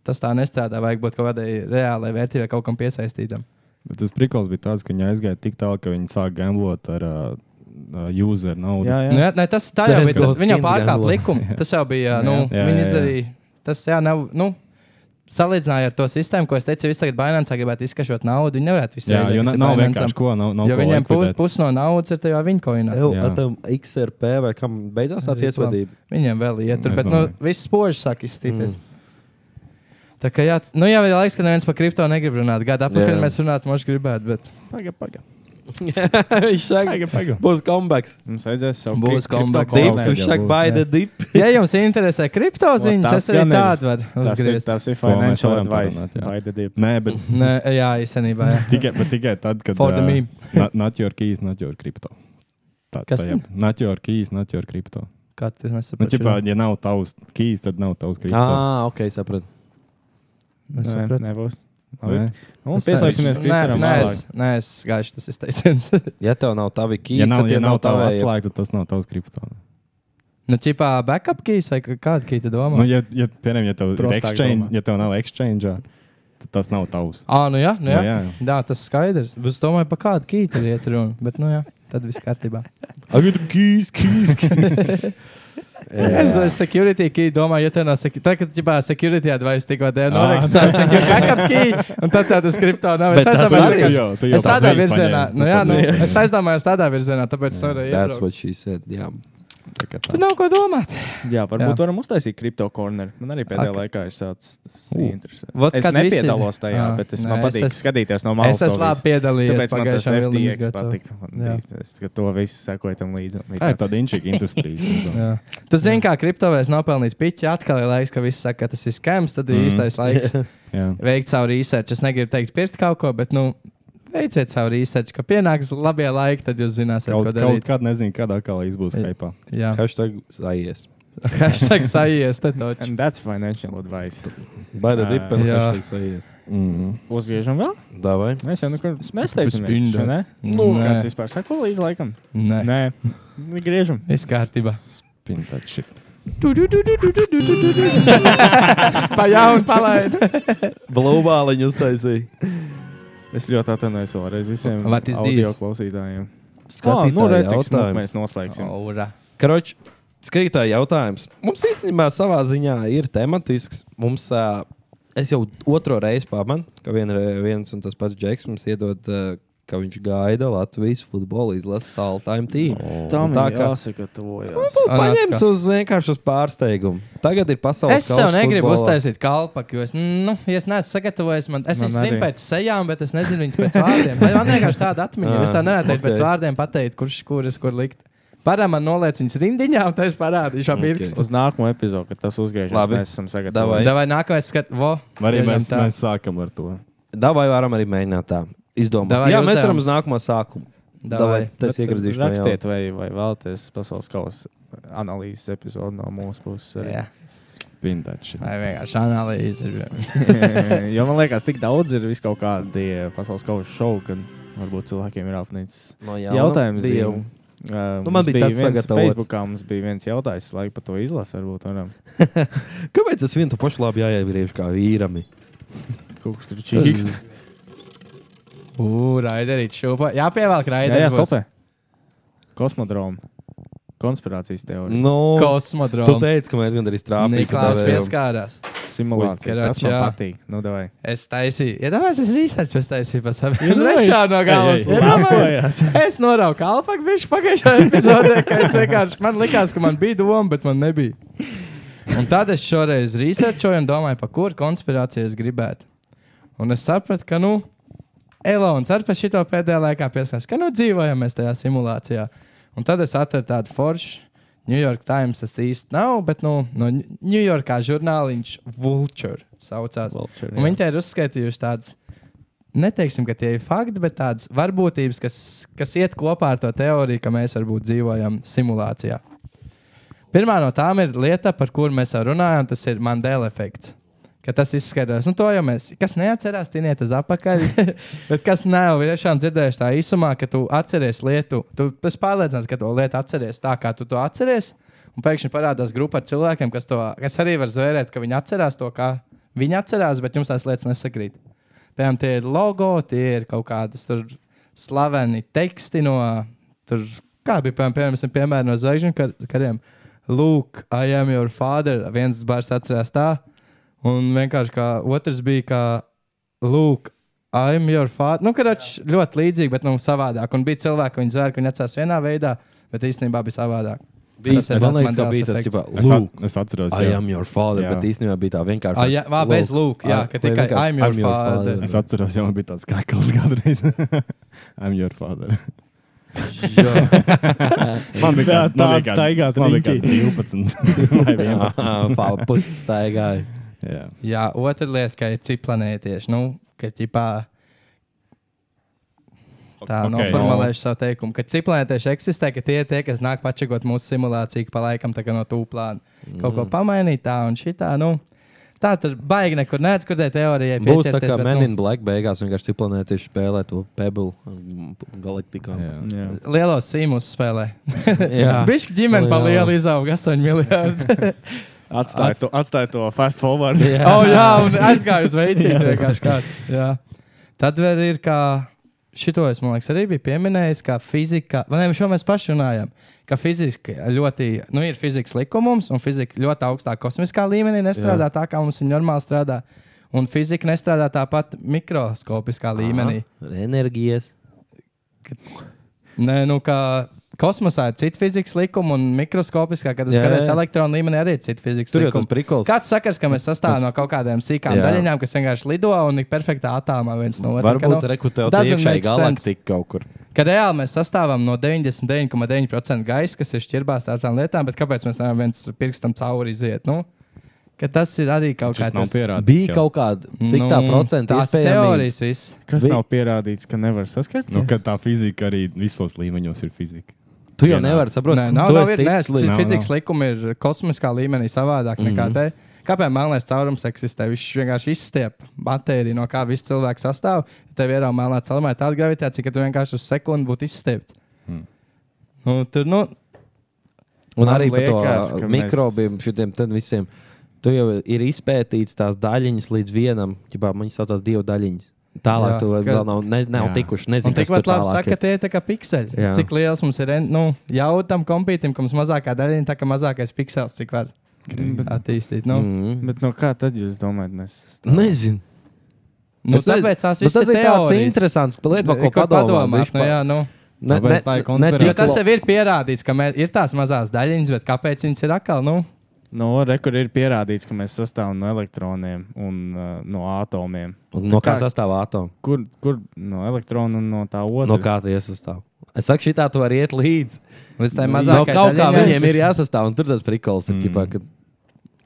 [SPEAKER 2] Tas tā nestrādā. Vajag būt kaut kādai reālai vērtībai, kaut kam piesaistītam.
[SPEAKER 9] Bet tas prikals bija tāds, ka viņi aizgāja tik tālu, ka viņi sāk gamblot ar uh, user naudu.
[SPEAKER 3] Jā, jā.
[SPEAKER 2] Nē, nē, Nu, tas tā jau
[SPEAKER 1] Cerēs,
[SPEAKER 2] bija.
[SPEAKER 1] ka
[SPEAKER 2] tā-
[SPEAKER 1] būs
[SPEAKER 2] Viņa
[SPEAKER 1] skins
[SPEAKER 2] pārkāpa
[SPEAKER 1] gandula.
[SPEAKER 2] likumu. Tas jau bija. Nu,
[SPEAKER 9] Jā,
[SPEAKER 2] viņa
[SPEAKER 9] jā, jā.
[SPEAKER 2] izdarīja. Tas jā, nav. Nu, Salīdzināju ar to sistēmu, ko es teicu, ja viss tagad Binance gribētu izkašot naudu. Viņi nevarētu visu
[SPEAKER 9] jā jo na, nav vienkārši ko. Nav, nav
[SPEAKER 2] Jo
[SPEAKER 9] ko
[SPEAKER 2] viņiem pu-
[SPEAKER 9] likvidēt.
[SPEAKER 2] pusi no naudas ir tajā viņa koinā.
[SPEAKER 1] Tev
[SPEAKER 9] Jā.
[SPEAKER 1] ar tam XRP vai kam beidzās tā
[SPEAKER 2] Arī
[SPEAKER 1] tiesvedība?
[SPEAKER 2] Viņiem vēl ir tur,
[SPEAKER 9] Es
[SPEAKER 2] bet nu,
[SPEAKER 9] domāju.
[SPEAKER 2] viss spožs sāk izstīties.
[SPEAKER 3] Mm.
[SPEAKER 2] Tā kā jā, nu jau ir laiks, ka neviens par kripto negrib runāt. Gada apakaļ
[SPEAKER 1] Jā.
[SPEAKER 2] mēs runāt, mums gribētu, bet
[SPEAKER 9] Paga, paga.
[SPEAKER 1] Viņš saka,
[SPEAKER 9] Paga, paga.
[SPEAKER 1] būs kombeks.
[SPEAKER 3] Mums vajadzēs savu
[SPEAKER 2] Būs
[SPEAKER 3] kri-
[SPEAKER 2] comeback.
[SPEAKER 1] Dips,
[SPEAKER 2] Kombeks,
[SPEAKER 3] kripto koloniju.
[SPEAKER 1] viņš saka,
[SPEAKER 9] būs,
[SPEAKER 1] baida dip.
[SPEAKER 2] ja jums interesē kripto ziņas,
[SPEAKER 3] tas
[SPEAKER 2] es arī
[SPEAKER 3] gan ir.
[SPEAKER 2] tādu varu
[SPEAKER 3] Tas ir,
[SPEAKER 2] uzgriezt.
[SPEAKER 3] tas ir
[SPEAKER 9] To mēs
[SPEAKER 3] financial
[SPEAKER 9] varam
[SPEAKER 3] advice.
[SPEAKER 9] parunāt, jā.
[SPEAKER 3] By the dip.
[SPEAKER 9] Nē, bet
[SPEAKER 2] Nē, jā, īstenībā. Jā.
[SPEAKER 9] tikai, bet tikai tad, kad.
[SPEAKER 2] For the
[SPEAKER 9] ā,
[SPEAKER 2] meme.
[SPEAKER 9] na- Not your keys, not your crypto. Tā,
[SPEAKER 2] Kas
[SPEAKER 9] tajā. Not your keys, not your crypto.
[SPEAKER 2] Kā tu
[SPEAKER 9] Nu,
[SPEAKER 2] nesaproti?
[SPEAKER 9] ķipā, ja nav tavs keys, tad nav tavs crypto.
[SPEAKER 1] Ah, ok, sapratu.
[SPEAKER 2] Es
[SPEAKER 3] Nē,
[SPEAKER 2] sapratu.
[SPEAKER 3] Nebūs. Labi.
[SPEAKER 9] Nē.
[SPEAKER 3] Nu, Pieslēgsimies
[SPEAKER 2] Nē,
[SPEAKER 3] Kristēnam.
[SPEAKER 2] nē,
[SPEAKER 3] vēlāk.
[SPEAKER 2] es- Nē, es gaiši tas izteiciens.
[SPEAKER 1] Ja tev nav tavi kīsti,
[SPEAKER 9] Ja nav,
[SPEAKER 1] tad
[SPEAKER 9] ja
[SPEAKER 1] tie
[SPEAKER 9] nav
[SPEAKER 1] nav
[SPEAKER 9] tava
[SPEAKER 1] tavi
[SPEAKER 9] atslēga, tad tas nav tavs crypto.
[SPEAKER 2] nu, čipā backup keys vai kā- kāda key tu domā?
[SPEAKER 9] Nu, ja, ja, piemēram, ja tev, ir
[SPEAKER 3] Prostāk
[SPEAKER 9] exchange,
[SPEAKER 3] domā.
[SPEAKER 9] ja tev nav exchange, tad tas nav tavs.
[SPEAKER 2] Ā, nu jā, nu
[SPEAKER 9] Nu,
[SPEAKER 2] jā.
[SPEAKER 9] jā.
[SPEAKER 2] jā, tas skaidrs. Bet Es domāju, pa kādu key tur iet runa. Bet, nu jā, tad viss kārtībā.
[SPEAKER 1] Agri kīs, kīs, kīs.
[SPEAKER 2] Es domāju, security key domāju, ja tev nav security. Tā, kad ķipā security advice tikko te
[SPEAKER 1] Ah.
[SPEAKER 2] norakstā,
[SPEAKER 9] nē.
[SPEAKER 2] security backup key, un tad tā tas kripto nav. Es
[SPEAKER 1] Bet tas
[SPEAKER 2] aizdomājos
[SPEAKER 1] arī
[SPEAKER 2] vienkārši-
[SPEAKER 9] jau- tu jau
[SPEAKER 2] Es tādā
[SPEAKER 9] pazeļ
[SPEAKER 2] virzienā,
[SPEAKER 9] paņēmi,
[SPEAKER 2] nu
[SPEAKER 9] tu
[SPEAKER 2] jā, nu,
[SPEAKER 9] pazeļ.
[SPEAKER 2] es aizdomājos tādā virzienā, tāpēc es nevaru
[SPEAKER 1] That's
[SPEAKER 2] iet.
[SPEAKER 1] what she said. Jā.
[SPEAKER 2] Tu nav ko domāt.
[SPEAKER 3] Jā, varbūt
[SPEAKER 2] Jā.
[SPEAKER 3] jā. varam uztaisīt kripto korneri. Man arī pēdējā
[SPEAKER 2] Ak.
[SPEAKER 3] laikā ir sācis tas
[SPEAKER 9] U.
[SPEAKER 3] interesants.
[SPEAKER 2] Vot,
[SPEAKER 3] Es
[SPEAKER 2] kad visi-
[SPEAKER 3] nepiedalos tajā,
[SPEAKER 2] Jā.
[SPEAKER 3] bet es
[SPEAKER 2] Nē,
[SPEAKER 3] man
[SPEAKER 2] es
[SPEAKER 3] patīk es
[SPEAKER 2] esmu-
[SPEAKER 3] skatīties no malas.
[SPEAKER 2] Es esmu labi piedalījies
[SPEAKER 3] Tāpēc man tas
[SPEAKER 2] pagājušajā vilnijas
[SPEAKER 3] FTX
[SPEAKER 2] gadā.
[SPEAKER 3] patika. Man
[SPEAKER 2] Jā.
[SPEAKER 3] bija Tas, ka to visu sekoja tam līdzi. un bija
[SPEAKER 9] Tā ir
[SPEAKER 3] tāds-
[SPEAKER 9] tāda inčīga industrija.
[SPEAKER 2] Jā. Tu zini, kā kriptovalūtas nopelnīt piķi. Atkal ir laiks, ka viss saka, ka tas ir skams. Tad ir
[SPEAKER 9] Mhm.
[SPEAKER 2] mm. īstais laiks
[SPEAKER 9] Jā.
[SPEAKER 2] veikt savu research. Es negribu teikt, pirkt kaut ko, bet nu, veiciet savu research. Kad pienāks labie laiki, tad jūs zināsiet,
[SPEAKER 9] Kaut,
[SPEAKER 2] ko
[SPEAKER 9] kaut
[SPEAKER 2] darīt.
[SPEAKER 9] kādā nezinu, kādā kalā būs
[SPEAKER 2] Jā.
[SPEAKER 9] hype.
[SPEAKER 2] Jā,
[SPEAKER 1] Hashtag saies.
[SPEAKER 2] hashtag sajies. te toč.
[SPEAKER 3] And that's financial advice.
[SPEAKER 1] Baida
[SPEAKER 3] Ā.
[SPEAKER 1] dip, bet
[SPEAKER 2] Jā.
[SPEAKER 1] hashtag saies.
[SPEAKER 9] Mm.
[SPEAKER 3] Uzgriežam vēl?
[SPEAKER 1] Davai.
[SPEAKER 3] Mēs jau nekur
[SPEAKER 2] Tāpēc
[SPEAKER 3] smēstējamies.
[SPEAKER 2] spindēt.
[SPEAKER 3] Ne? Nu,
[SPEAKER 2] Nē.
[SPEAKER 3] kāds vispār sako līdzi laikam?
[SPEAKER 2] Nē,
[SPEAKER 3] Nē. Nu, Griežam.
[SPEAKER 2] viss kārtībā.
[SPEAKER 9] Pintāt šit.
[SPEAKER 2] Pa jaunu palaid.
[SPEAKER 1] Blūvāliņu uztaisīja.
[SPEAKER 3] Es ļoti atvainojos vēlreiz visiem
[SPEAKER 2] What is
[SPEAKER 3] audio
[SPEAKER 2] this?
[SPEAKER 3] klausītājiem.
[SPEAKER 1] Skatītāji
[SPEAKER 3] nu redz, cik smuk
[SPEAKER 1] jautājums.
[SPEAKER 3] mēs noslēgsim.
[SPEAKER 2] Aura.
[SPEAKER 1] Kroč, skatītāji jautājums. Mums īstenībā savā ziņā ir tematisks. Mums, ā, es jau otro reizi pamanu, ka vien, viens un tas pats džeks mums iedod ā,
[SPEAKER 10] ka viņš gaida Latvijas futbola izlases all-time team.
[SPEAKER 11] Tam
[SPEAKER 10] Un tā
[SPEAKER 11] ir
[SPEAKER 10] kā
[SPEAKER 11] jāsagatavojas.
[SPEAKER 10] Nu,
[SPEAKER 2] Ar
[SPEAKER 10] paņems uz vienkārši uz pārsteigumu. Tagad ir pasaules
[SPEAKER 2] Es sev
[SPEAKER 10] kausa
[SPEAKER 2] negribu
[SPEAKER 10] futbolā.
[SPEAKER 2] uztaisīt kalpaku, jo es, nu, ja es neesmu sagatavojies. Man, es
[SPEAKER 3] Man
[SPEAKER 2] viņu zinu
[SPEAKER 3] arī.
[SPEAKER 2] pēc sejām, bet es nezinu viņas pēc vārdiem. Man- Man vienkārši tāda atmiņa. Es tā
[SPEAKER 10] Ā,
[SPEAKER 2] nevaru okay. pēc
[SPEAKER 10] ok.
[SPEAKER 2] vārdiem pateikt, kurš kuras kur likt. Parāda man noliec viņas rindiņā, un tas parādīšu ap
[SPEAKER 10] Ok.
[SPEAKER 2] pirkstu.
[SPEAKER 3] Uz nākamo epizodu, kad tas uzgriežas,
[SPEAKER 10] Labi.
[SPEAKER 3] mēs esam
[SPEAKER 10] Davai.
[SPEAKER 3] sagatavojušies.
[SPEAKER 2] Davai nākamais skat, vo. tieši
[SPEAKER 9] Arī mēs,
[SPEAKER 2] tā.
[SPEAKER 9] mēs sākam ar to.
[SPEAKER 10] Davai varam arī mēģināt tā. Izdomāt.
[SPEAKER 2] Davai
[SPEAKER 10] Jā, mēs
[SPEAKER 2] uzdevums.
[SPEAKER 10] varam uz nākamo sākumu.
[SPEAKER 2] Davai.
[SPEAKER 10] Davai, tas iegrazīšu no jauna.
[SPEAKER 3] eh, Rakstiet, vai, vai vēlaties pasaules kausa analīzes epizodu no mūsu puses. arī.
[SPEAKER 2] Jā,
[SPEAKER 9] Vintage.
[SPEAKER 2] vai vienkārši analīze. ir.
[SPEAKER 3] jo man liekas, tik daudz ir vis kaut kādi eh, pasaules kausa šovi, ka varbūt cilvēkiem ir apnicis.
[SPEAKER 10] No jauna
[SPEAKER 3] Jautājums
[SPEAKER 10] bija
[SPEAKER 3] bija.
[SPEAKER 10] jau.
[SPEAKER 3] Uh,
[SPEAKER 10] Nu, man bija tāds
[SPEAKER 3] viens
[SPEAKER 10] sagatavots.
[SPEAKER 3] Facebookā mums bija viens jautājums, laika par to izlasi, varbūt varam.
[SPEAKER 10] Kāpēc tas vienu to pašu labi jāieviriež kā vīram?
[SPEAKER 3] Kaut kas tur čīkst.
[SPEAKER 2] Ū, raiderīt šūpa. Jā, pievelk
[SPEAKER 3] Jā, jā,
[SPEAKER 2] raiderīt.
[SPEAKER 3] stopē. Kosmodroma. Konspirācijas teorija. No.
[SPEAKER 10] No, tu
[SPEAKER 2] Kosmodroma.
[SPEAKER 10] teici, ka mēs gandrīz trāpījām.
[SPEAKER 2] Niklaus pieskārās.
[SPEAKER 3] Simulācija.
[SPEAKER 2] Ui,
[SPEAKER 3] Tas man
[SPEAKER 2] karačā.
[SPEAKER 3] patīk. Nu, davai.
[SPEAKER 2] Es taisīju, ja tāpēc es researchu es taisīju pa savu.
[SPEAKER 3] Ja
[SPEAKER 2] Ja Nešā no galvas.
[SPEAKER 3] Ei, ei,
[SPEAKER 2] Ja tāpēc,
[SPEAKER 3] labojās.
[SPEAKER 2] es norauju kalpaku bišķi pagājušā epizodē, ka es vienkārši, man likās, ka man bija doma, bet man nebija. Un tad es šoreiz researchoju un domāju, pa kur konspirāciju es gribētu. Un es sapratu, ka, nu, Elonas ar pa šito pēdējā laikā piesakās, ka, nu, dzīvojam mēs tajā simulācijā. Un tad es atradu tādu foršu. New York Times tas īsti nav, bet nu, no Ņu- New Yorkā žurnāliņš Vulture saucās.
[SPEAKER 3] Vulture,
[SPEAKER 2] Un
[SPEAKER 3] jā.
[SPEAKER 2] viņi te ir uzskaitījuši tādas, neteiksim, ka tie ir fakti, bet tādas varbūtības, kas, kas iet kopā ar to teoriju, ka mēs varbūt dzīvojam simulācijā. Pirmā no tām ir lieta, par kuru mēs jau runājam, tas ir Mandela efekts. Ka tas izskaidrojas, nu, to jau mēs, kas neatcerās, tiniet uz apakaļ. Bet kas nav tiešām dzirdējuši tā īsumā, ka tu atceries lietu, tu esi pārliecināts, ka to lietu atceries tā, kā tu to atceries. Un pēkšņi parādās grupa ar cilvēkiem, kas, to, kas arī var zvērēt, ka viņi atcerās to, kā viņi atcerās, bet jums tās lietas nesakrīt. Piemēram, tie ir logo, tie ir kaut kādas tur slaveni teksti no, tur, kā bija piemēram, piemēram, piemēram no zvaigžņu kar kariem. Lūk, I am your father. Viens bars atcerās tā, un vienkārši kā otrs bija, kā Lūk, I am your father. Nu, karač, ļoti līdzīgi, bet nu, savādāk. Un bija cilvēki, viņi zvēra, ka viņi atcerās vienā veidā, bet īstenībā bija savādāk.
[SPEAKER 10] Bija,
[SPEAKER 2] Tas ir
[SPEAKER 10] man
[SPEAKER 2] tāds
[SPEAKER 10] liekas, ka
[SPEAKER 2] Mandelas
[SPEAKER 10] bija tas,
[SPEAKER 2] efekts.
[SPEAKER 10] ka
[SPEAKER 9] Es, at,
[SPEAKER 10] Lūk,
[SPEAKER 9] es atceros,
[SPEAKER 10] I
[SPEAKER 9] jā.
[SPEAKER 10] am your father,
[SPEAKER 9] Jā.
[SPEAKER 10] jā. bet īstenībā bija tā vienkārši.
[SPEAKER 2] Ah, jā, vā, bez lūk, jā, ka
[SPEAKER 10] vai
[SPEAKER 2] tikai
[SPEAKER 10] vienkārši
[SPEAKER 2] I'm your
[SPEAKER 10] I'm
[SPEAKER 2] father.
[SPEAKER 9] es atceros, jau man bija tāds krāklis kādreiz. I'm your father. man bija
[SPEAKER 3] Tā- tāds staigāt
[SPEAKER 9] man
[SPEAKER 3] riņķī.
[SPEAKER 9] bija kādi 12 vai 11.
[SPEAKER 10] Fāla puts staigāja.
[SPEAKER 9] Jā.
[SPEAKER 2] Jā, otra lieta, ka ir ciplanētieši. Nu, ka ķipā, tā okay,
[SPEAKER 9] Ok.
[SPEAKER 2] noformulēšu savu teikumu, ka ciplanētieši eksistē, ka tie ir tie, kas nāk pačakot mūsu simulāciju, ka pa laikam tā kā no tūplāna kaut
[SPEAKER 10] Mm.
[SPEAKER 2] ko pamainīt tā un šitā. Nu, tā tur baigi nekur nec, kur tai teorijai
[SPEAKER 10] Būs tā,
[SPEAKER 2] pieķerties,
[SPEAKER 10] ka
[SPEAKER 2] bet,
[SPEAKER 10] Men in Black beigās vienkārši ciplanētieši spēlē to pebble mm, galaktikā.
[SPEAKER 9] Jā.
[SPEAKER 3] Jā.
[SPEAKER 2] nu, Lielos sīmus spēlē.
[SPEAKER 10] Jā.
[SPEAKER 2] Bišķi ģimene pa
[SPEAKER 10] Liela.
[SPEAKER 2] lielu izauga 8 miljardi.
[SPEAKER 3] Atstāj, to, atstāj to fast forward.
[SPEAKER 10] Jā.
[SPEAKER 2] oh, jā, un aizgāju uz veicīt vienkārši kāds. Jā. Tad vēl ir kā. Šito es, man liekas, arī biju pieminējis, ka fizika, vai ne, šo mēs paši runājam, ka fizika ļoti, nu, ir fizikas likumums, un fizika ļoti augstā kosmiskā līmenī nestrādā tā, kā mums viņa normāli strādā. Un fizika nestrādā tāpat mikroskopiskā līmenī.
[SPEAKER 10] Aha, Enerģijas.
[SPEAKER 2] Nē, nu, kā kosmosā ir cita fizikas likuma, un mikroskopiskā, kad jūs
[SPEAKER 10] Jā,
[SPEAKER 2] skatāties
[SPEAKER 10] jā.
[SPEAKER 2] elektronu līmenī, arī ir cita fizikas
[SPEAKER 10] Tur jau tas
[SPEAKER 2] likuma.
[SPEAKER 10] prikols.
[SPEAKER 2] Kāds sakars, ka mēs sastāvam
[SPEAKER 10] Tas-
[SPEAKER 2] no kaut kādām sīkām
[SPEAKER 10] Jā.
[SPEAKER 2] jā. daļiņām, kas vienkārši lido un ir perfektā attālumā viens no otra?
[SPEAKER 10] Varbūt
[SPEAKER 2] ka,
[SPEAKER 10] rekrutēt
[SPEAKER 2] nu, doesn't
[SPEAKER 10] iekšā
[SPEAKER 2] make
[SPEAKER 10] galaktika kaut kur.
[SPEAKER 2] nu, ka reāli mēs sastāvam no 99,9% gaisa, kas ir šķirbās ar tām lietām, bet kāpēc mēs nevaram viens pirkstam cauri iziet? Nu? ka Tas ir arī kaut
[SPEAKER 9] Tas
[SPEAKER 2] kāds
[SPEAKER 9] nav pierādīts.
[SPEAKER 10] Bija
[SPEAKER 9] jau.
[SPEAKER 10] kaut kāda, cik tā procenta
[SPEAKER 2] Nu, tās
[SPEAKER 10] iespējams.
[SPEAKER 2] teorijas viss.
[SPEAKER 3] Kas
[SPEAKER 10] Vi-
[SPEAKER 3] nav pierādīts, ka nevar saskarties?
[SPEAKER 9] Nu, ka tā fizika arī visos līmeņos ir fizika.
[SPEAKER 10] Tu jau
[SPEAKER 9] Vienā.
[SPEAKER 10] nevari saprast,
[SPEAKER 2] Nē, nav,
[SPEAKER 10] tu
[SPEAKER 2] nav
[SPEAKER 10] esi
[SPEAKER 2] viet, nē,
[SPEAKER 10] ticis līdz-
[SPEAKER 9] Nav,
[SPEAKER 2] nav, fizikas
[SPEAKER 9] nav.
[SPEAKER 2] likumi ir kosmiskā līmenī savādāk nekā
[SPEAKER 10] Mhm.
[SPEAKER 2] mm -hmm. te. Kāpēc melnēs caurums eksistē? Viņš vienkārši izstiep matēriju, no kā viss cilvēks sastāv. Ja Tev ir jau melnā caurumā ir tāda gravitācija, ka tu vienkārši uz sekundi būtu izstiepts.
[SPEAKER 10] Mhm.
[SPEAKER 2] Mm. Nu, tur, nu,
[SPEAKER 10] Un
[SPEAKER 3] Man
[SPEAKER 10] arī par
[SPEAKER 3] liekas,
[SPEAKER 10] to
[SPEAKER 3] ka
[SPEAKER 10] ā,
[SPEAKER 3] mēs-
[SPEAKER 10] mikrobiem, šitiem tad visiem. Tu jau ir izpētīts tās daļiņas līdz vienam, jau viņas saucās divu daļiņas. Tālāk
[SPEAKER 2] Jā,
[SPEAKER 10] tu
[SPEAKER 2] ka-
[SPEAKER 10] vēl nav, ne, nav
[SPEAKER 9] Jā.
[SPEAKER 10] tikuši.
[SPEAKER 2] un
[SPEAKER 10] Nezinu, kas tur
[SPEAKER 2] tikpat labi
[SPEAKER 10] tālāk
[SPEAKER 2] saka,
[SPEAKER 10] ir.
[SPEAKER 2] tie ir tā kā pikseli.
[SPEAKER 10] Jā.
[SPEAKER 2] Jā. Cik liels mums ir en- nu, jau tam kompītam, ka mums mazākā daļiņa, tā kā mazākais piksels, cik var attīstīt. Nu, mm.
[SPEAKER 10] Mm.
[SPEAKER 3] Nu- Bet no kā tad jūs domājat? Mēs
[SPEAKER 10] Nezinu.
[SPEAKER 2] Nu,
[SPEAKER 10] Es nezinu,
[SPEAKER 2] tāpēc tās
[SPEAKER 10] bet
[SPEAKER 2] visas
[SPEAKER 10] tas ir tāds
[SPEAKER 2] teorijas.
[SPEAKER 10] interesants lietas, ko
[SPEAKER 2] Ko
[SPEAKER 10] padomāt.
[SPEAKER 2] padomāt, nu, jā, nu.
[SPEAKER 10] Ne,
[SPEAKER 9] Tāpēc tā ir
[SPEAKER 2] Jo
[SPEAKER 9] konspirācija.
[SPEAKER 10] tik
[SPEAKER 2] tas
[SPEAKER 10] lo-
[SPEAKER 2] jau ir pierādīts, ka mē- ir tās mazās daļiņas, bet kāpēc viņas ir atkal? Nu,
[SPEAKER 3] No rekur ir pierādīts, ka mēs sastāvam no elektroniem un uh, no atomiem.
[SPEAKER 10] No kā
[SPEAKER 3] kā-
[SPEAKER 10] sastāv atoms?
[SPEAKER 3] Kur, kur no elektrona un no tā otras?
[SPEAKER 10] No kā tie sastāv? Es saku, šī tā tu vari iet līdzi.
[SPEAKER 2] līdz tai
[SPEAKER 10] No
[SPEAKER 2] mazākajai
[SPEAKER 10] Nu, kaut kā
[SPEAKER 2] daļiņai.
[SPEAKER 10] viņiem ir jāsastāv, un tur tas prikols ir. Ķipā,
[SPEAKER 2] Mm.
[SPEAKER 10] ka,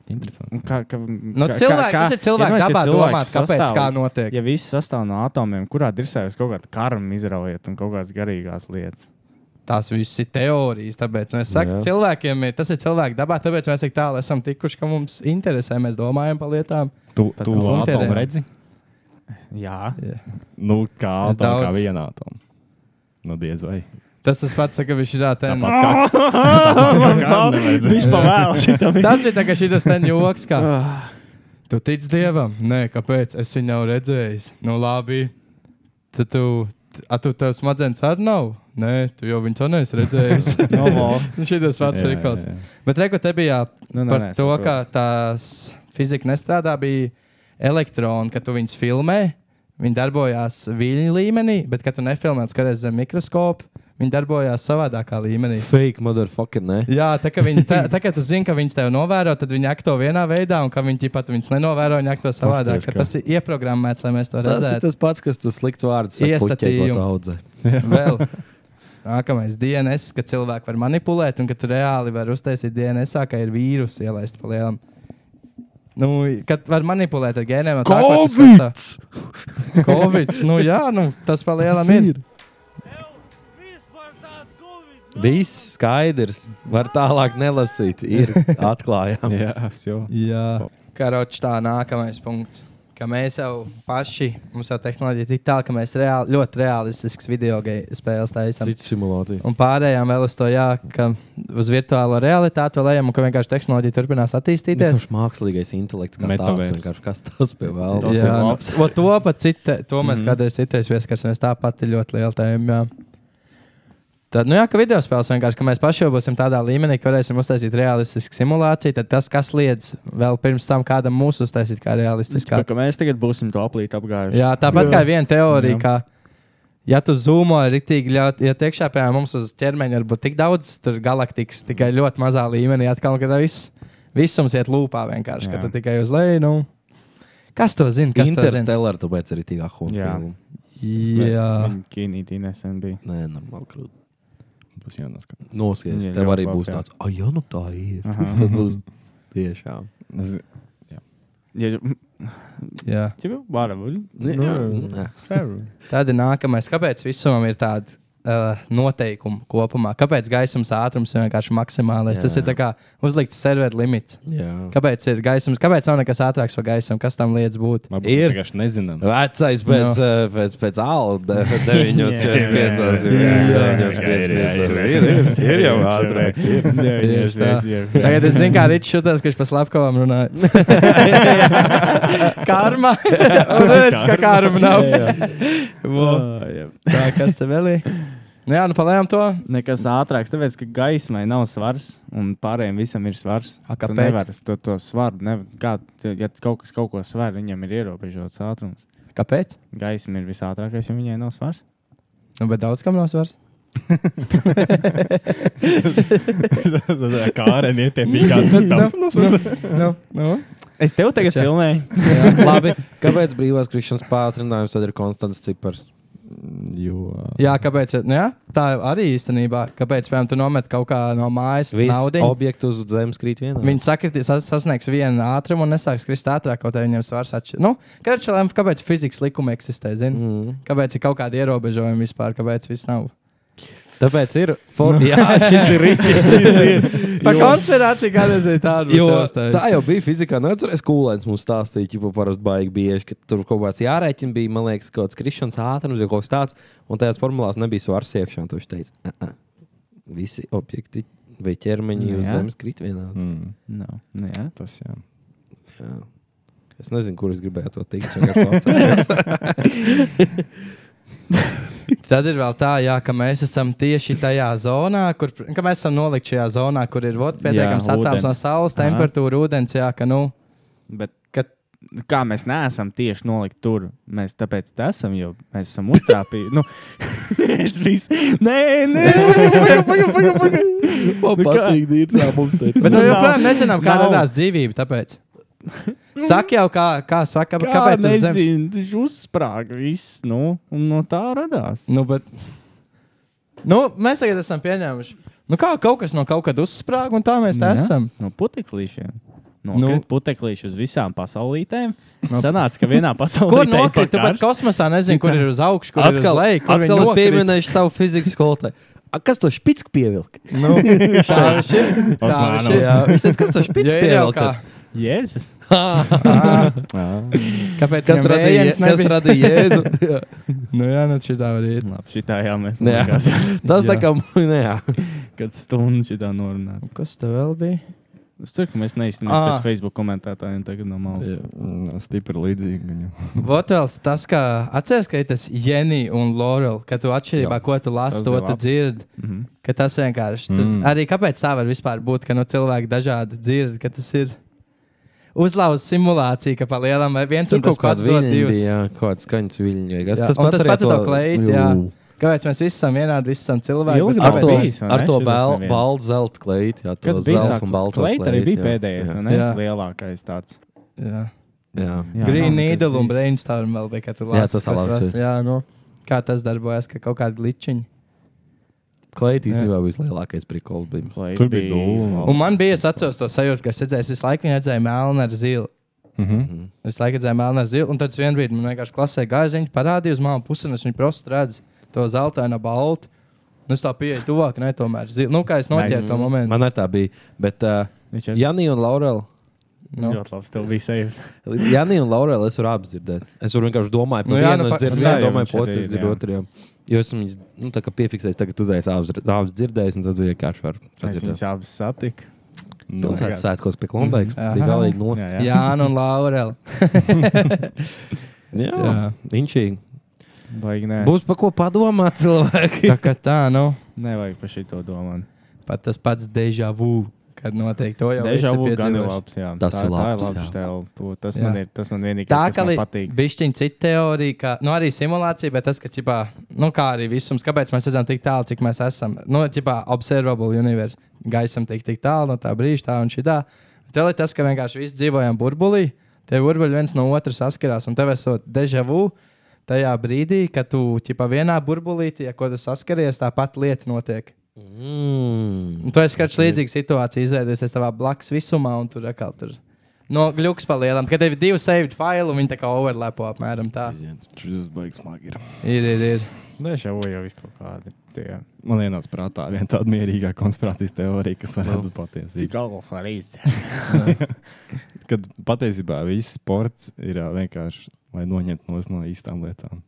[SPEAKER 9] Interesanti.
[SPEAKER 3] Kā, kā,
[SPEAKER 2] Nu,
[SPEAKER 3] kā-
[SPEAKER 2] cilvēki-
[SPEAKER 3] kā- kā-
[SPEAKER 2] tas ir cilvēku
[SPEAKER 3] nu, es,
[SPEAKER 2] dabā
[SPEAKER 3] cilvēks
[SPEAKER 2] domāt, kāpēc kā notiek.
[SPEAKER 3] Ja viss sastāv no atomiem, kurā dirzē jūs kaut kādu karmu izraujat un kaut kādas garīgās lietas?
[SPEAKER 2] Tās visas ir teorijas. Tāpēc nu, es saku,
[SPEAKER 10] Jā.
[SPEAKER 2] cilvēkiem ir tas ir cilvēku dabā. Tāpēc mēs tik tālu esam tikuši, ka mums interesē, mēs domājam par lietām.
[SPEAKER 9] Tu,
[SPEAKER 3] Tad
[SPEAKER 9] tu
[SPEAKER 3] tā
[SPEAKER 2] funkcija
[SPEAKER 9] atomu
[SPEAKER 2] ir-
[SPEAKER 9] redzi?
[SPEAKER 3] Jā,
[SPEAKER 9] Nu, kā
[SPEAKER 2] Es
[SPEAKER 9] atomu, kā
[SPEAKER 2] daudz-
[SPEAKER 9] vienu atomu. Nu, diez vai.
[SPEAKER 2] Tas tas pats, ka viņš ir tāds.
[SPEAKER 9] Tāpat kā- tāpat kā karmu neredzi.
[SPEAKER 3] viņš pavēl šitam.
[SPEAKER 2] Tas bija tā, ka šī tas ten joks. Kā.
[SPEAKER 9] Ah.
[SPEAKER 2] Tu tici dievam? Nē, kāpēc? Es viņu nav redzējis. Nu, labi. Tad tu, a, tu tev smadzenes arī nav? Nē, tu jau viņu to neesi redzējis.
[SPEAKER 3] No, no.
[SPEAKER 2] Šī tas pats
[SPEAKER 9] Jā, jā,
[SPEAKER 2] frikals.
[SPEAKER 9] jā.
[SPEAKER 2] Bet reko te bija
[SPEAKER 3] Nu, nē,
[SPEAKER 2] par
[SPEAKER 3] nē,
[SPEAKER 2] to,
[SPEAKER 3] saprotu.
[SPEAKER 2] ka tās fizika nestrādā, bija elektroni, kad tu viņus filmē. Viņi darbojās viļņu līmenī, bet, kad tu nefilmē, skaties zem mikroskopa, viņi darbojās savādākā līmenī.
[SPEAKER 10] Fake motherfucker, ne?
[SPEAKER 2] Jā, tā kā viņi tā, tā kā tu zini, ka viņi tevi novēro, tad viņi akto vienā veidā, un ka viņi pat viņus nenovēro, viņi akto savādāk.
[SPEAKER 9] Pasties,
[SPEAKER 2] Ka
[SPEAKER 9] ka-
[SPEAKER 2] tas ir ieprogrammēts, lai mēs to
[SPEAKER 10] Tas ir
[SPEAKER 2] redzētu.
[SPEAKER 10] tas pats, kas tu slikts vārds saki puķei, ko
[SPEAKER 2] Iestatījumu.
[SPEAKER 10] tu audzē.
[SPEAKER 2] Vēl. Nākamais DNS, ka cilvēki var manipulēt, un ka tu reāli var uztaisīt DNS, ka ir vīrusu ielaist pa lielam. Nu, kad var manipulēt ar gēniem, jau tādā formā, Covid. Nu, jā, nu, tas pa lielam ir. ir.
[SPEAKER 10] Viss skaidrs. Var tālāk nelasīt. Ir atklājām.
[SPEAKER 9] Jā, es jau.
[SPEAKER 2] Jā, karoči, tā nākamais punkts. Ka mēs jau paši, mums jau tehnoloģija ir tik tālu, ka mēs reāli, ļoti realistisks video ge- spēles taisām.
[SPEAKER 10] Cits simulācija.
[SPEAKER 2] Un pārējām vēl uz to, jā, ka uz virtuālo realitāti vēl ejam un ka vienkārši tehnoloģija turpinās attīstīties.
[SPEAKER 10] Vienkārši mākslīgais intelekts, kā tāds
[SPEAKER 9] Metavers.
[SPEAKER 10] vienkārši kas tas pie vēl.
[SPEAKER 9] Tas ir
[SPEAKER 2] nu,
[SPEAKER 9] labs. Mhm.
[SPEAKER 2] o, to, pat cita, to mēs mm. kādreiz citais pieskarsimies. Tā pati ļoti liela tēma. Jā. Tad, nu jā, ka video spēles vienkārši, ka mēs paši jau būsim tādā līmenī, ka varēsim uztaisīt realistisku simulāciju. Tad tas, kas liedz vēl pirms tam kādam mūsu uztaisīt, kā realistiskā.
[SPEAKER 3] Kā mēs tagad būsim to aplīt apgājuši?
[SPEAKER 2] Jā, tāpat kā viena teorija,
[SPEAKER 3] Jā.
[SPEAKER 2] ka, ja tu zūmo rītīgi, ļoti, ja tiekšā pie mums uz ķermeņa var būt tik daudz, tur galaktikas tikai ļoti mazā līmenī, atkal, kad viss visums iet lūpā vienkārši, ka
[SPEAKER 3] Jā.
[SPEAKER 2] tu tikai uz leju. Nu. Kas to zina? Kas to zina?
[SPEAKER 10] Interstellar, tāpēc arī tīkā
[SPEAKER 3] Jā.
[SPEAKER 10] homofilma.
[SPEAKER 2] Jā,
[SPEAKER 3] Kīnītī nesen bija.
[SPEAKER 10] Nē, normāli krūti.
[SPEAKER 9] Būs jānoskatās.
[SPEAKER 10] Noskies,
[SPEAKER 3] Viņa
[SPEAKER 10] tev
[SPEAKER 3] ļoti
[SPEAKER 10] arī
[SPEAKER 3] labi,
[SPEAKER 10] būs
[SPEAKER 3] jā. Mhm.
[SPEAKER 10] tāds, ah, ja nu tā ir.
[SPEAKER 3] Aha.
[SPEAKER 10] Tad būs tiešām.
[SPEAKER 9] Es-
[SPEAKER 3] Ja,
[SPEAKER 2] jā.
[SPEAKER 3] ja varam,
[SPEAKER 9] Nu,
[SPEAKER 10] Jā, nu,
[SPEAKER 2] Tad ir nākamais. Kāpēc visam ir tāda? Uh, noteikumi kopumā. Kāpēc gaismas ātrums ir vienkārši maksimālais? Jā. Tas
[SPEAKER 10] Jā.
[SPEAKER 2] ir tā kā uzlikts serveru limits.
[SPEAKER 10] jā.
[SPEAKER 2] Kāpēc ir gaismas? Kāpēc nav nekas ātrāks par gaismu? Kas tam liekas būt?
[SPEAKER 9] Varbūt mēs
[SPEAKER 10] Ir.
[SPEAKER 9] vienkārši nezinām.
[SPEAKER 10] Vecais
[SPEAKER 9] Nu.
[SPEAKER 10] pēc, eh, pēc, pēc alda 9,45.
[SPEAKER 3] ir jau
[SPEAKER 9] ātrāks,
[SPEAKER 2] Tieši tā. Tagad es zinu, kā Rīčs jutās, ka viņš pa slepkavam runāja. karma. Un redz, ka karma nav. Vo. Tā, kas te vēl ir? Nu jā, nu palējām to.
[SPEAKER 3] Nekas ātrāks, tāpēc, ka gaismai nav svars, un pārējiem visam ir svars.
[SPEAKER 2] A,
[SPEAKER 3] Tu
[SPEAKER 2] kāpēc?
[SPEAKER 3] nevari to, to svaru. Ne, kā, te- ja kaut kas kaut ko svar, viņam ir ierobežots ātrums.
[SPEAKER 2] Kāpēc?
[SPEAKER 3] Gaisma ir visātrākais, jo viņai nav svars.
[SPEAKER 2] Nu, bet daudz kam nav svars.
[SPEAKER 9] Kā ar nē, pīkā.
[SPEAKER 2] Nu, nu.
[SPEAKER 3] Es tev tagad
[SPEAKER 2] Taču-
[SPEAKER 3] filmēju.
[SPEAKER 10] Labi, kāpēc brīvās krišanas pātrinājums tad ir konstants cipars?
[SPEAKER 9] Jo.
[SPEAKER 2] Jā, kāpēc? Nu, jā, tā arī īstenībā. Kāpēc, piemēram, tu nomet kaut kā no mājas
[SPEAKER 10] Visi
[SPEAKER 2] naudu?
[SPEAKER 10] objekti uz zemes krīt vienā.
[SPEAKER 2] Viņi sakritīs, sas- sasniegs vienu ātrumu un nesāks krist ātrāk, kaut arī viņiem svars atšķiras. Nu, karču lēma, kāpēc fizikas likumi eksistē, zini? Mm.
[SPEAKER 10] Mm.
[SPEAKER 2] Kāpēc ir kaut kādi ierobežojumi vispār, kāpēc viss nav?
[SPEAKER 10] Tāpēc ir
[SPEAKER 2] Nu,
[SPEAKER 10] forma. Jā, šis ir rīķis.
[SPEAKER 2] Par konspirāciju kādreiz ir tāda.
[SPEAKER 10] Jo, tā jau bija fizikā. Neatceros, ka Kulēns mums stāstīja, ka parasti baigi bieži, ka tur kaut kāds jārēķina bija, man liekas, kaut kāds krišanas ātrums, jau kaut kas tāds, un tajās formulās nebija svars iekšā. un tad Viņš teica, "Ā, ā, visi objekti vai ķermeņi
[SPEAKER 3] Nu,
[SPEAKER 10] uz
[SPEAKER 3] jā.
[SPEAKER 10] zemes krīt vienā.
[SPEAKER 9] Mm,
[SPEAKER 3] No, nu, jā.
[SPEAKER 9] tas jā.
[SPEAKER 10] Es nezinu, kur es gribēju to teikt. es vienkārši atceros.
[SPEAKER 2] Tad ir vēl tā, jā, ka mēs esam tieši tajā zonā, kur ka mēs esam nolikti šajā zonā, kur ir vot, pietiekams
[SPEAKER 3] Jā,
[SPEAKER 2] attālums no
[SPEAKER 3] ūdens.
[SPEAKER 2] saules
[SPEAKER 3] Aha.
[SPEAKER 2] temperatūra, ūdens. Jā, ka, nu,
[SPEAKER 3] Bet
[SPEAKER 2] ka
[SPEAKER 3] kā mēs neesam tieši nolikti tur, mēs tāpēc te esam, jo mēs esam uztāpīti. nu, es visu. Nē, nē, pagaidi, pagaidi, pagaidi. Paga.
[SPEAKER 10] Man
[SPEAKER 3] kā?
[SPEAKER 10] patīk, dīrdzā mums te
[SPEAKER 2] Bet
[SPEAKER 3] Nu,
[SPEAKER 2] mēs
[SPEAKER 3] nav.
[SPEAKER 2] joprojām nezinām, kā
[SPEAKER 3] Nav.
[SPEAKER 2] radās dzīvība. Tāpēc. Saka jau, kā, kā saka, kā,
[SPEAKER 3] Kāpēc
[SPEAKER 2] kāpēc
[SPEAKER 3] tas
[SPEAKER 2] uz zemes?
[SPEAKER 3] nezinu, viņš uzsprāga viss, nu, un no tā radās.
[SPEAKER 2] Nu, bet, nu, mēs tagad esam pieņēmuši. Nu, kā kaut kas no kaut kad uzsprāga, un tā mēs te
[SPEAKER 3] Jā.
[SPEAKER 2] esam.
[SPEAKER 3] No puteklīšiem. No
[SPEAKER 2] Nu.
[SPEAKER 3] nu, puteklīša uz visām pasaulītēm. Sanāca, ka vienā pasaulē
[SPEAKER 2] Kur nokrita? Tu pat kosmosā nezini, kur ir uz augšu, kur ir uz
[SPEAKER 10] Atkal,
[SPEAKER 2] leju. kur viņi
[SPEAKER 10] atkal es
[SPEAKER 2] nokrita.
[SPEAKER 10] pieminēšu savu fizikas skolotāju. A, Kas to špicku pievilka?
[SPEAKER 2] Nu, tā viņš ir. Tā viņš ir.
[SPEAKER 10] Jā, viņš teica, kas to špicku
[SPEAKER 2] Ja ir jau
[SPEAKER 10] pievilka?
[SPEAKER 2] kā,
[SPEAKER 10] tad?
[SPEAKER 3] Jēzus.
[SPEAKER 2] kāpēc
[SPEAKER 10] Kas radīja,
[SPEAKER 2] viens
[SPEAKER 10] kas radīja Jēzu? Jā.
[SPEAKER 2] Nu, jā, nu, šī tā var iet.
[SPEAKER 3] Labi, šitā jā, mēs
[SPEAKER 10] Nu, jā.
[SPEAKER 3] mūkās,
[SPEAKER 10] Tas tā
[SPEAKER 2] Jā.
[SPEAKER 10] kā, nē, jā.
[SPEAKER 3] kad stundu šitā norunāt.
[SPEAKER 2] Kas tev vēl bija?
[SPEAKER 3] Es ceru, ka mēs neizstāmies
[SPEAKER 2] Ā.
[SPEAKER 3] pēc Facebook komentētājiem tagad no malas.
[SPEAKER 10] Jā.
[SPEAKER 9] Mm, Stipri līdzīgi. viņam.
[SPEAKER 2] Votels, tas, kā atceries, ka ir tas Jenny un Laurel, ka tu atšķirībā, ko tu lasi,
[SPEAKER 9] tas
[SPEAKER 2] to
[SPEAKER 9] bija
[SPEAKER 2] tu
[SPEAKER 9] labs.
[SPEAKER 2] dzirdi.
[SPEAKER 3] Mhm.
[SPEAKER 2] Ka tas vienkārši ir. Mm.
[SPEAKER 9] Mm.
[SPEAKER 2] Arī kāpēc tā var vispār būt, ka no cilvēki dažādi dzird, ka tas ir uzlauzts simulācija, ka pa lielam vai viens un
[SPEAKER 10] Tur
[SPEAKER 2] tas
[SPEAKER 10] kaut
[SPEAKER 2] pats
[SPEAKER 10] kāds
[SPEAKER 2] dod
[SPEAKER 10] viļņi
[SPEAKER 2] divus.
[SPEAKER 10] bija, jā, kaut kāds skaņas viļņi. vai kas.
[SPEAKER 2] Jā,
[SPEAKER 10] Tas
[SPEAKER 2] un
[SPEAKER 10] pats
[SPEAKER 2] tas
[SPEAKER 10] arī
[SPEAKER 2] pats ar
[SPEAKER 10] to-
[SPEAKER 2] to kleit,
[SPEAKER 10] Jū.
[SPEAKER 2] jā. Kāpēc mēs visi esam vienādi, visi esam cilvēki?
[SPEAKER 3] Ilgi
[SPEAKER 2] bet
[SPEAKER 10] Ar
[SPEAKER 3] Tāpēc
[SPEAKER 10] to,
[SPEAKER 2] kāpēc-
[SPEAKER 3] bijis, vai
[SPEAKER 10] ar
[SPEAKER 3] ne?
[SPEAKER 10] to
[SPEAKER 3] Šis
[SPEAKER 10] bal-
[SPEAKER 3] tas neviens.
[SPEAKER 10] baltu zelta kleitu, jā, to zelta un baltu
[SPEAKER 3] kleit arī bija
[SPEAKER 10] jā.
[SPEAKER 3] pēdējais, vai
[SPEAKER 10] Jā,
[SPEAKER 3] ne?
[SPEAKER 2] Jā.
[SPEAKER 3] Lielākais tāds.
[SPEAKER 2] Jā.
[SPEAKER 10] jā.
[SPEAKER 3] Jā,
[SPEAKER 2] Green
[SPEAKER 3] nav nekas
[SPEAKER 2] Needle un
[SPEAKER 3] bijis.
[SPEAKER 2] Brainstorm vēl bija, kad tu
[SPEAKER 10] Jā,
[SPEAKER 2] lasi.
[SPEAKER 10] tas tā
[SPEAKER 2] ka
[SPEAKER 10] labs
[SPEAKER 2] tu lasi,
[SPEAKER 10] ir.
[SPEAKER 2] Jā, nu. Kā tas darbojas, ka kaut kāda glitčiņa.
[SPEAKER 10] Kleit īstenībā bija vislielākais prikols. bija.
[SPEAKER 3] Kleit
[SPEAKER 9] Tur bija dūma.
[SPEAKER 2] Un man bija, es atceros to sajūtu, ka es redzēju, es visu laiku viņu redzēju melnu ar zilu.
[SPEAKER 9] Mhm.
[SPEAKER 2] Es laikam redzēju melnu ar zilu, un tad es vienā brīdī man vienkārši klasē gāja, viņa parādīja uz mām pusi, un es viņu prostu redzu to zeltainu baltu. Nu, es tā pieeju tuvāk, ne tomēr zilu. Nu, kā es noķēru to momentu.
[SPEAKER 10] Man arī tā bija. Bet uh,
[SPEAKER 3] Viņš ir
[SPEAKER 10] Janī un Laurel.
[SPEAKER 2] Nu.
[SPEAKER 3] ļoti labs, tev bija sejas.
[SPEAKER 10] Janī un Laurel es varu apdzirdēt. Es varu vienkārši domāt,
[SPEAKER 2] Nu
[SPEAKER 10] par
[SPEAKER 2] jā,
[SPEAKER 10] vienu
[SPEAKER 2] nu pa-
[SPEAKER 10] es dzirdu,
[SPEAKER 2] jā,
[SPEAKER 10] vienu
[SPEAKER 3] jau
[SPEAKER 10] domāju,
[SPEAKER 3] viņš
[SPEAKER 10] par
[SPEAKER 3] arī
[SPEAKER 10] otru
[SPEAKER 3] ir,
[SPEAKER 10] es dzirdu
[SPEAKER 3] jā.
[SPEAKER 10] otriem. Jo esmu viņus nu, tā kā piefiksējis, tagad tu esi apdzirdējis, un tad vienkārši var
[SPEAKER 3] Es
[SPEAKER 10] atdzirdēt.
[SPEAKER 3] viņus abus satiku.
[SPEAKER 9] Nu,
[SPEAKER 10] Pilsētas
[SPEAKER 3] Liekas.
[SPEAKER 10] svētkos pie Klondaikas
[SPEAKER 2] Mhm.
[SPEAKER 10] bija
[SPEAKER 2] Aha.
[SPEAKER 10] galīgi nost.
[SPEAKER 3] Jā, jā.
[SPEAKER 2] Jā, nu, un Laurel.
[SPEAKER 10] Jā,
[SPEAKER 2] Jā.
[SPEAKER 10] inčīgi.
[SPEAKER 3] Baigi nē.
[SPEAKER 10] Būs par ko padomāt cilvēki.
[SPEAKER 2] Tā kā tā, nu,
[SPEAKER 3] Nevajag par šito domāt.
[SPEAKER 2] pat tas pats deja vu, kad notiek to jau.
[SPEAKER 3] Deja
[SPEAKER 2] visi
[SPEAKER 3] vu gan ir
[SPEAKER 2] piedzīvojuši.
[SPEAKER 3] labs, jā.
[SPEAKER 10] Tas
[SPEAKER 3] tā,
[SPEAKER 10] ir
[SPEAKER 3] tā
[SPEAKER 10] labs,
[SPEAKER 3] ir labs
[SPEAKER 10] jā.
[SPEAKER 3] tev. To- Tas
[SPEAKER 2] Jā.
[SPEAKER 3] man ir, tas man vienīgais,
[SPEAKER 2] Tā
[SPEAKER 3] kas
[SPEAKER 2] kā
[SPEAKER 3] man
[SPEAKER 2] li-
[SPEAKER 3] patīk.
[SPEAKER 2] bišķiņ cita teorija, ka, nu, arī simulācija, bet tas, ka, ķipā, nu, kā arī visums, kāpēc mēs redzam tik tālu, cik mēs esam, nu, ķipā, observable universe, gaisam tik, tik tālu no tā brīža, tā un šitā. Bet vēl ir tas, ka vienkārši visi dzīvojam burbulī, tie burbuļi viens no otra saskarās, un tev esot deja vu. Tajā brīdī, kad tu ķipā, vienā burbulīte, ja ko tu saskaries, tā pati lieta notiek.
[SPEAKER 10] Mm.
[SPEAKER 2] Un tu esi kāds līdzīgs situācija, izveidojusies tavā blakus visumā, un tur atkal tur no gluks palielam, kad tev ir divi saved faili, un viņi tā kā overlapo apmēram tā.
[SPEAKER 9] Šis baigs smagi ir.
[SPEAKER 2] Ir, ir, ir.
[SPEAKER 3] Deja vu jau viss kaut kādi. Tie.
[SPEAKER 9] Man ienāca prātā viena tāda mierīgā konspirācijas teorija, kas varētu būt patiesība.
[SPEAKER 3] galvas var īsti.
[SPEAKER 9] Kad patiesībā viss sports ir ā, vienkārši, lai noņemtu nos no īstām lietām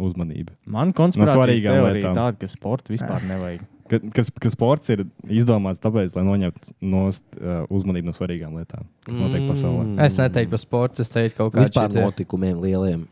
[SPEAKER 9] uzmanību.
[SPEAKER 3] Man konspirācijas
[SPEAKER 9] svarīgām
[SPEAKER 3] teorija
[SPEAKER 9] lietām.
[SPEAKER 3] tāda, ka sporta vispār nevajag.
[SPEAKER 9] Ka, kas, ka sports ir izdomāts tāpēc, lai noņemtu nost, uh, uzmanību no svarīgām lietām, kas notiek pasaulē.
[SPEAKER 2] Es neteiktu par sportu, es teiktu kaut kādu
[SPEAKER 10] Mm. Vispār notikumiem lieliem.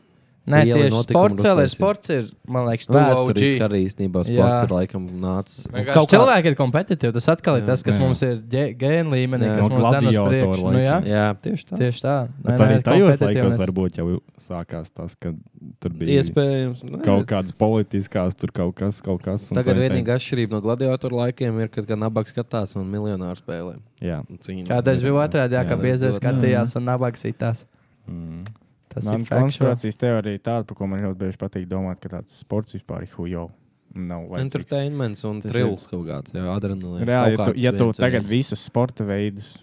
[SPEAKER 2] Nē,
[SPEAKER 10] lieli
[SPEAKER 2] tieši
[SPEAKER 10] notikumi
[SPEAKER 2] sports vēl ir.
[SPEAKER 10] uztaisīt.
[SPEAKER 2] Sports ir, man liekas,
[SPEAKER 10] Vēsturiski
[SPEAKER 2] tas
[SPEAKER 10] arī īstenībā
[SPEAKER 2] Jā.
[SPEAKER 10] sports ir laikam nācis. Un
[SPEAKER 2] Kaut
[SPEAKER 10] kā-
[SPEAKER 2] cilvēki ir kompetitīvi. Tas atkal ir
[SPEAKER 9] Jā,
[SPEAKER 2] tas, kas
[SPEAKER 9] jā.
[SPEAKER 2] mums ir ģe- gēnu līmenī,
[SPEAKER 10] Jā.
[SPEAKER 2] kas
[SPEAKER 9] No
[SPEAKER 2] mums dzen uz
[SPEAKER 9] gladiatoru
[SPEAKER 2] priekšu. Nu, jā,
[SPEAKER 9] laikiem.
[SPEAKER 10] Jā, tieši tā.
[SPEAKER 2] tieši tā. Nē,
[SPEAKER 9] Bet
[SPEAKER 2] nē,
[SPEAKER 9] arī tajos laikos
[SPEAKER 2] kompetitīvness.
[SPEAKER 9] varbūt jau sākās tas, ka tur bija
[SPEAKER 10] Iespējams. nu,
[SPEAKER 9] kaut kādas politiskās, tur kaut kas, kaut kas. un
[SPEAKER 10] Tagad
[SPEAKER 9] tā ir
[SPEAKER 10] vienīgā atšķirība no gladiatoru laikiem ir, kad gan abas skatās un miljonāru spēlē.
[SPEAKER 9] taisn- Jā.
[SPEAKER 10] un cīņā.
[SPEAKER 2] Kādreiz bija otrādi, jā,
[SPEAKER 10] Jā,
[SPEAKER 2] ka
[SPEAKER 10] tas
[SPEAKER 2] biezē
[SPEAKER 10] ļoti-
[SPEAKER 2] skatījās un nabaga sitās.
[SPEAKER 9] Mm.
[SPEAKER 2] Tas
[SPEAKER 3] Man
[SPEAKER 2] ir fakts.
[SPEAKER 3] konspirācijas teorija ir tāda, par ko man ļoti bieži patīk domāt, ka tāds sports vispār ir hujo. Nav vajadzīgs.
[SPEAKER 10] Entertainments un
[SPEAKER 3] Tas
[SPEAKER 10] trils kaut kāds. Jā, adrenalīns.
[SPEAKER 3] Reāli, ja
[SPEAKER 10] kaut
[SPEAKER 3] tu,
[SPEAKER 10] kāds
[SPEAKER 3] ja tu
[SPEAKER 10] viens
[SPEAKER 3] tagad
[SPEAKER 10] viens.
[SPEAKER 3] visus sporta veidus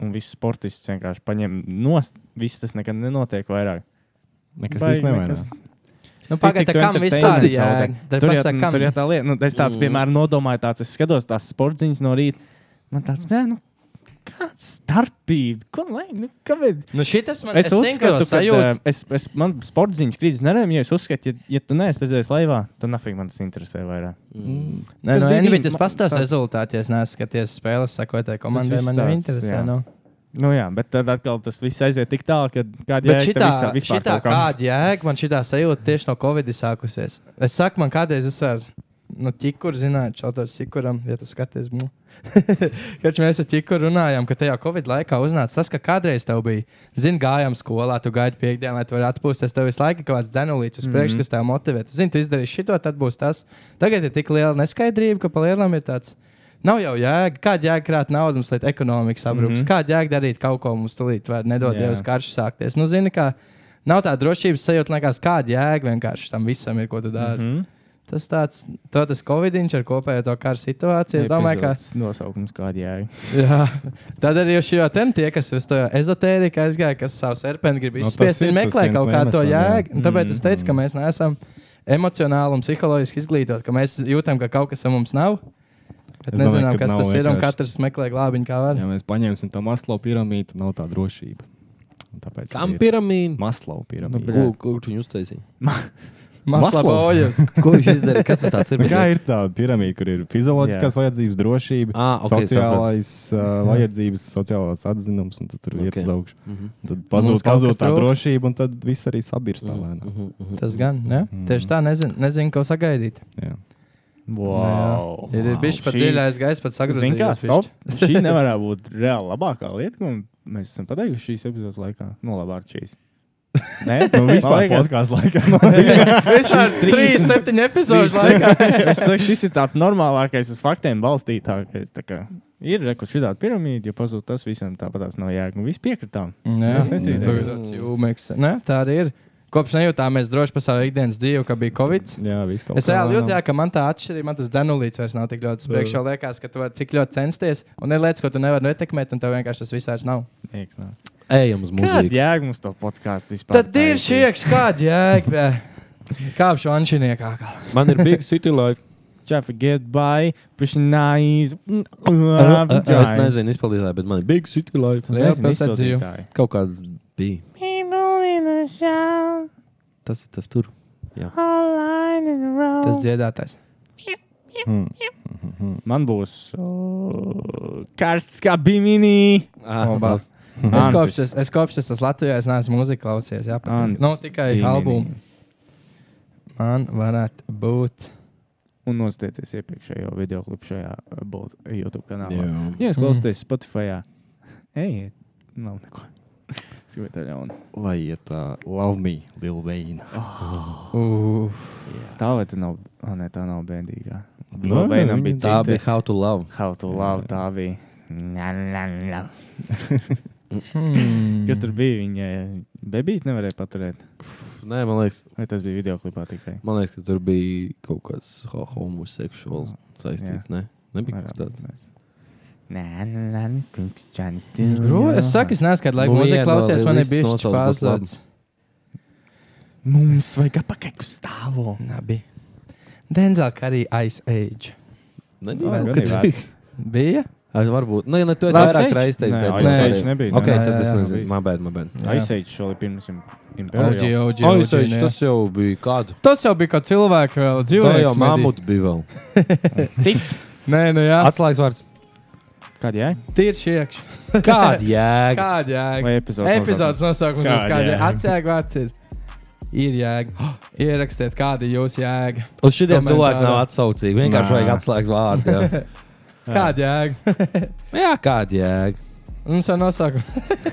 [SPEAKER 3] un visus sportistus vienkārši paņem nost, viss tas nekad nenotiek vairāk.
[SPEAKER 9] Nekas
[SPEAKER 3] Baigi
[SPEAKER 9] īsti nemainās.
[SPEAKER 3] nekas.
[SPEAKER 2] Nu,
[SPEAKER 3] Tik, cik
[SPEAKER 2] Pagaidiet,
[SPEAKER 3] tu
[SPEAKER 2] kam
[SPEAKER 3] entertainment
[SPEAKER 2] vispār ir
[SPEAKER 3] zaudē.
[SPEAKER 2] jēga? Tad
[SPEAKER 3] Tur jau
[SPEAKER 2] pasaka,
[SPEAKER 3] tā, tur jau
[SPEAKER 2] kam?
[SPEAKER 3] tā lieta, nu, es tāds,
[SPEAKER 10] Mm.
[SPEAKER 3] piemēram, nodomāju, tāds, es skatos tās sportziņas no rīta. Man tāds, nē, nu, kāda starpība, ko lai, nu, kāpēc?
[SPEAKER 2] Nu, šitas man
[SPEAKER 3] Es, es uzskatu, ka
[SPEAKER 2] sajūta.
[SPEAKER 3] eh, es, es, man sporta ziņas krīzes nerēm, jo es uzskatu, ja, ja tu neesi redzējis laivā, tad nafīgi man tas interesē vairāk.
[SPEAKER 10] Mm.
[SPEAKER 2] Nē,
[SPEAKER 3] Tas
[SPEAKER 2] no
[SPEAKER 3] bija
[SPEAKER 2] NBA
[SPEAKER 3] viņa-
[SPEAKER 2] tas pastāv
[SPEAKER 3] nu, tas-
[SPEAKER 2] rezultātā. Es neesmu skatījies spēles, sakoju, tā komandai
[SPEAKER 3] viss
[SPEAKER 2] man
[SPEAKER 3] tāds,
[SPEAKER 2] neinteresē.
[SPEAKER 3] jā.
[SPEAKER 2] Nu.
[SPEAKER 3] Nu jā, bet tad atkal tas viss aiziet tik tālu, ka kāda
[SPEAKER 2] Bet
[SPEAKER 3] jēga
[SPEAKER 2] šitā,
[SPEAKER 3] tam visam
[SPEAKER 2] šitā
[SPEAKER 3] kaut kam?
[SPEAKER 2] kāda jēga man šitā sajūta tieši no Covid sākusies. Es saku, man kādreiz es ar nu, Čikuru zināju, Čautars Čikuram, ja tu skaties. Nu. Kad mēs ar Čiku runājām, ka tajā Covid laikā uznāca tas, ka kādreiz tev bija, zini, gājām skolā, tu gaidi piekdienu, lai tu varētu atpūsties. Tev visu laiku ir kaut kāds dzenulīts uz
[SPEAKER 3] Mhm.
[SPEAKER 2] priekšu, kas tev motivē. Tu zini, tu izdarīsi šito, tad būs tas. Tagad ir tik liela neskaidrība, ka pa lielam ir tāds. Nav jau jēga, kāda jēga krāt naudu, mums, lai ekonomika
[SPEAKER 3] Mhm.
[SPEAKER 2] sabrūks. Mm -hmm. Kāda jēga darīt kaut ko mums tulīt, vai nedod
[SPEAKER 3] Jā.
[SPEAKER 2] Dievs karš sākties. Nu, zini, kā nav tā drošības sajūta, liekas, kāda jēga vienkārši tam visam ir, ko tu dari.
[SPEAKER 9] Mhm.
[SPEAKER 2] Mm
[SPEAKER 3] Mhm.
[SPEAKER 2] -hmm. Tas tāds - to tas Covid-19 ar kopējo to karu situāciju. Es domāju, ka
[SPEAKER 3] tas nosaukums kādā jēga.
[SPEAKER 2] jā, tad arī uz šī tēma tie, kas uz to ezotēriju aizgāja, kas savu serpentu grib
[SPEAKER 9] Nu, tas
[SPEAKER 2] izspiest,
[SPEAKER 9] ir
[SPEAKER 2] viņi
[SPEAKER 9] tas
[SPEAKER 2] meklē
[SPEAKER 9] viens
[SPEAKER 2] kaut kā
[SPEAKER 9] no
[SPEAKER 2] to
[SPEAKER 9] iemesliem, jā. Mm,
[SPEAKER 2] jēgu. Un Tāpēc es teicu, ka mēs neesam emocionāli un psiholoģiski izglītoti, ka mēs jūtam, ka kaut kas ar mums nav. Bet
[SPEAKER 9] Es domāju,
[SPEAKER 2] nezinām,
[SPEAKER 9] ka
[SPEAKER 2] kas
[SPEAKER 9] nav
[SPEAKER 2] tas ir, un
[SPEAKER 9] vienkārši.
[SPEAKER 2] katrs meklē glābiņu, kā var.
[SPEAKER 9] Ja mēs paņemsim to maslo piramīdu, nav tā drošība. Un Tāpēc
[SPEAKER 1] Kam piramīda?
[SPEAKER 9] Maslo piramīda.
[SPEAKER 1] Ko, ko viņš viņu uztaisīja? Maslovs.
[SPEAKER 2] Masla boļus.
[SPEAKER 1] Ko viņš izdarīja? Kas tas tāds ir?
[SPEAKER 9] Nu, Kā ir tā līnija, kur ir fizioloģiskās vajadzības, drošība,
[SPEAKER 2] Ah,
[SPEAKER 1] Ā, Ah, ok,
[SPEAKER 9] sociālais
[SPEAKER 2] Mhm.
[SPEAKER 9] uh, vajadzības, sociālās atzinums, un tad tur ir
[SPEAKER 1] Ok.
[SPEAKER 9] okay. augšup. Mm
[SPEAKER 1] Mhm.
[SPEAKER 9] -hmm. Tad
[SPEAKER 2] Mums kaut
[SPEAKER 9] pazūd,
[SPEAKER 2] kas
[SPEAKER 9] pazūd tā
[SPEAKER 2] trūkst. Mhm.
[SPEAKER 9] drošība, un tad viss arī sabirst tā lēnām. Mm
[SPEAKER 1] Mhm.
[SPEAKER 9] -hmm.
[SPEAKER 2] Tas gan, ne? Tieši tā, nezinu, nezinu ko sagaidīt.
[SPEAKER 3] Wow.
[SPEAKER 2] Ir bijis pats dziļais gaiss, pats
[SPEAKER 3] Zini, kā
[SPEAKER 2] sagrozījums.
[SPEAKER 3] stop.
[SPEAKER 2] bišķi.
[SPEAKER 3] Šī nevarētu būt reāli labākā lieta, ko mēs esam pateikuši šīs epizodes laikā. Nu, labāk šīs. Nē,
[SPEAKER 9] Nu, vispār
[SPEAKER 3] Man liekas,
[SPEAKER 9] podkāstu laikā. man-
[SPEAKER 2] Vispār trīs, septiņi epizodes laikā.
[SPEAKER 3] Es saku, šis ir tāds normālākais, uz faktiem balstītākais. tā kā. Ir rekuģis šāda piramīda, ja pazūd tas visam, tāpatās nav jēga. Un viss piekritām.
[SPEAKER 2] Nē,
[SPEAKER 3] Mēs nestrīdamies.
[SPEAKER 2] tas ir jūmeks. Nē, tā arī ir. Kopš nejūtāmies droši par savu ikdienas dzīvi, ka bija Covid.
[SPEAKER 9] Jā, viss kaut
[SPEAKER 2] Es
[SPEAKER 9] kā
[SPEAKER 2] reāli
[SPEAKER 9] lēnām.
[SPEAKER 2] jūtu, jā, ka man tā atšķirība, man tas denulīts vairs nav tik ļoti spriekš. Jau liekas, ka tu vari cik ļoti censties, un ir lietas, ko tu nevari ietekmēt, un tev vienkārši tas viss vairs nav.
[SPEAKER 3] Nieks nav.
[SPEAKER 1] Ejam uz
[SPEAKER 3] Kāda
[SPEAKER 1] muziku.
[SPEAKER 3] jēga mums to podkāstu vispār?
[SPEAKER 2] Tad ir šī iekšā kāda jēga. bē? Kāpšu anšiniekā. kā.
[SPEAKER 1] Man ir big city life.
[SPEAKER 3] Čafa, get by, push nice. Mm,
[SPEAKER 2] Uh,
[SPEAKER 1] Uh, Es nezinu, izpildītāji, bet man ir big city life.
[SPEAKER 2] Liela pilsēta dzīve.
[SPEAKER 1] Kaut kāda bija. Tas ir tas tur.
[SPEAKER 2] Tas dziedātais.
[SPEAKER 3] Man būs o, karsts kā bimini.
[SPEAKER 1] Ah,
[SPEAKER 2] labs. Es kopš tas, es kopš tas, tas Latvijā es neesmu mūziku klausījies. Jā, pat
[SPEAKER 3] Ants
[SPEAKER 2] nu, tikai
[SPEAKER 3] Bimini.
[SPEAKER 2] albumu. Man varētu būt.
[SPEAKER 3] Un nostieties iepriekšējo video klipu šajā eh, bot- YouTube kanālā.
[SPEAKER 1] Jā. Mm.
[SPEAKER 3] Ja jūs klausāties Spotify, ejiet, nav neko. Es gribēju tā ļaunu.
[SPEAKER 9] Lai iet tā, love me, Lil Wayne.
[SPEAKER 2] Uh,
[SPEAKER 3] Tā vai tā nav? Ah, nē, tā nav bendīgā.
[SPEAKER 1] Nu,
[SPEAKER 9] Nē,
[SPEAKER 3] Veinam
[SPEAKER 9] viņa-
[SPEAKER 3] bija
[SPEAKER 1] Tā
[SPEAKER 3] cita.
[SPEAKER 1] bija How to Love.
[SPEAKER 3] How to love, tā bija. Nā, nā, nā.
[SPEAKER 1] Mm.
[SPEAKER 2] Hmm.
[SPEAKER 3] Kas
[SPEAKER 2] Nu,
[SPEAKER 3] tur bija? Viņa eh, bebīte nevarēja paturēt.
[SPEAKER 1] Nē, man liekas,
[SPEAKER 3] Vai tas bija video klipā tikai?
[SPEAKER 1] man liekas ka tur bija kaut kas ho homoseksuāls saistīts. Ne? Nebija kaut kas tāds.
[SPEAKER 3] Nē, nē, kungs, Čānis.
[SPEAKER 1] Mm,
[SPEAKER 2] Grūti. Es saku, es neesmu kādu laiku
[SPEAKER 1] Nu,
[SPEAKER 2] mūziku
[SPEAKER 1] iedod,
[SPEAKER 2] klausījies. Man ir
[SPEAKER 1] release
[SPEAKER 2] bijis
[SPEAKER 1] nosauc, būs labi.
[SPEAKER 2] pārsteigts.
[SPEAKER 3] mums vajag apakaļ stāvo.
[SPEAKER 2] Nabi. Denzela arī Ice Age.
[SPEAKER 1] Nebija
[SPEAKER 3] gan
[SPEAKER 1] kaut
[SPEAKER 3] ir
[SPEAKER 1] kas
[SPEAKER 3] vērts.
[SPEAKER 1] tāds.
[SPEAKER 2] Bija?
[SPEAKER 1] Ai, Varbūt. Nē, nē, tu esi
[SPEAKER 2] Last
[SPEAKER 1] vairākas
[SPEAKER 2] Age?
[SPEAKER 1] reizes teicis.
[SPEAKER 3] Nē,
[SPEAKER 1] Dead
[SPEAKER 3] Ice
[SPEAKER 1] Blood
[SPEAKER 2] Age
[SPEAKER 1] arī.
[SPEAKER 3] nebija,
[SPEAKER 1] Ok, Oh,
[SPEAKER 2] nē.
[SPEAKER 1] tad
[SPEAKER 2] Jā,
[SPEAKER 1] es
[SPEAKER 2] jā,
[SPEAKER 1] nezinu.
[SPEAKER 3] jā.
[SPEAKER 1] Man bēd, man bēd.
[SPEAKER 3] Aizsēž šo pirms
[SPEAKER 2] OG,
[SPEAKER 3] impērijas.
[SPEAKER 2] OG,
[SPEAKER 1] Ice Age,
[SPEAKER 2] jā.
[SPEAKER 1] tas jau bija kādu.
[SPEAKER 2] Tas jau bija kā cilvēks, vēl
[SPEAKER 1] Tā
[SPEAKER 2] dzīvojis.
[SPEAKER 1] jau mamuta bija vēl.
[SPEAKER 3] Cits.
[SPEAKER 2] Nē, nu jā.
[SPEAKER 1] Atslēgas vārds.
[SPEAKER 3] Kāda jēga?
[SPEAKER 2] Tīri šiekš.
[SPEAKER 1] Kāda jēga?
[SPEAKER 2] Kāda jēga?
[SPEAKER 3] Vai epizodes?
[SPEAKER 2] Epizodes nosaukums
[SPEAKER 9] Kāda
[SPEAKER 2] mums kāda
[SPEAKER 9] jēga?
[SPEAKER 2] atslēga vārds ir. Ir jēga. Oh, Ierakstiet, kāda ir jūsu jēga.
[SPEAKER 1] Uz šitiem
[SPEAKER 2] Komentāri.
[SPEAKER 1] cilvēkiem nav atsaucīgi. Vienkārši
[SPEAKER 9] Nā.
[SPEAKER 1] vajag atslēgas vārdu. jā. Nu
[SPEAKER 2] Kāda jēga?
[SPEAKER 1] Jā, kāda jēga?
[SPEAKER 2] Mums jau nosaukums.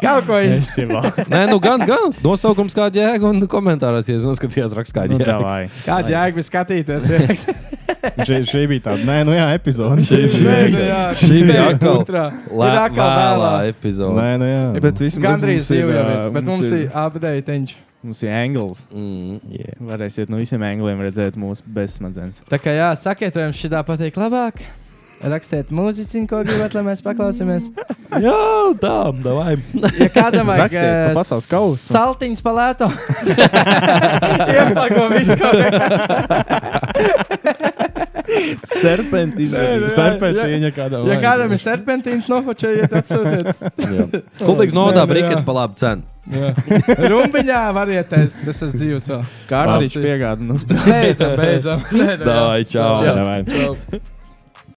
[SPEAKER 2] Kaut ko iz...
[SPEAKER 3] nosaukums.
[SPEAKER 1] Nē, nu gan, gan. Nosaukums kāda jēga un komentāros, ja es noskatījos, raksts kāda
[SPEAKER 3] Nu,
[SPEAKER 1] jēga.
[SPEAKER 3] davai.
[SPEAKER 2] Kāda jēga bija skatīties? ierakstīt?
[SPEAKER 9] Šī, šī bija tāda, nē, nu jā, epizode. Šī,
[SPEAKER 2] Nē, nu jā.
[SPEAKER 1] Šī bija
[SPEAKER 2] Nē,
[SPEAKER 1] atkal
[SPEAKER 2] otrā.
[SPEAKER 1] Lē,
[SPEAKER 2] Ir atkal
[SPEAKER 1] vēlā
[SPEAKER 2] vēlā.
[SPEAKER 1] epizode.
[SPEAKER 9] Nē, nu jā. Bet viss
[SPEAKER 2] Gandrīz divi jau ir,
[SPEAKER 3] ā,
[SPEAKER 2] bet mums ir update.
[SPEAKER 3] Mums ir angels.
[SPEAKER 1] Mm.
[SPEAKER 3] Varēsiet no visiem angliem redzēt mūsu bezsmadzenes.
[SPEAKER 2] Tā kā jā, sakiet, vai jums šī tā patīk labāk. Rakstiet mūziķi, ko gribat, lai mēs paklausāmies.
[SPEAKER 1] Jā, tā, davai.
[SPEAKER 2] Ja kādam vajag
[SPEAKER 3] Rakstiet pa
[SPEAKER 2] eh,
[SPEAKER 3] pasaules kausu.
[SPEAKER 2] saltiņas palēto, ieplako visu, ko
[SPEAKER 9] Serpentīna. Serpentīna kādā.
[SPEAKER 2] nu Ja
[SPEAKER 9] vajag.
[SPEAKER 2] kādam ir serpentīns, nofočējiet, atsūtiet.
[SPEAKER 1] Kultīgs nodā
[SPEAKER 2] Jā,
[SPEAKER 1] brikets
[SPEAKER 2] jā.
[SPEAKER 1] pa labu cenu.
[SPEAKER 2] Rumbiņā variet, es, tas esmu dzīvs vēl.
[SPEAKER 3] Kārtiņš piegāda mums.
[SPEAKER 2] Beidzam, beidzam. Nē, nē, jā.
[SPEAKER 1] Davai, čau.
[SPEAKER 9] Davai.
[SPEAKER 2] Čau.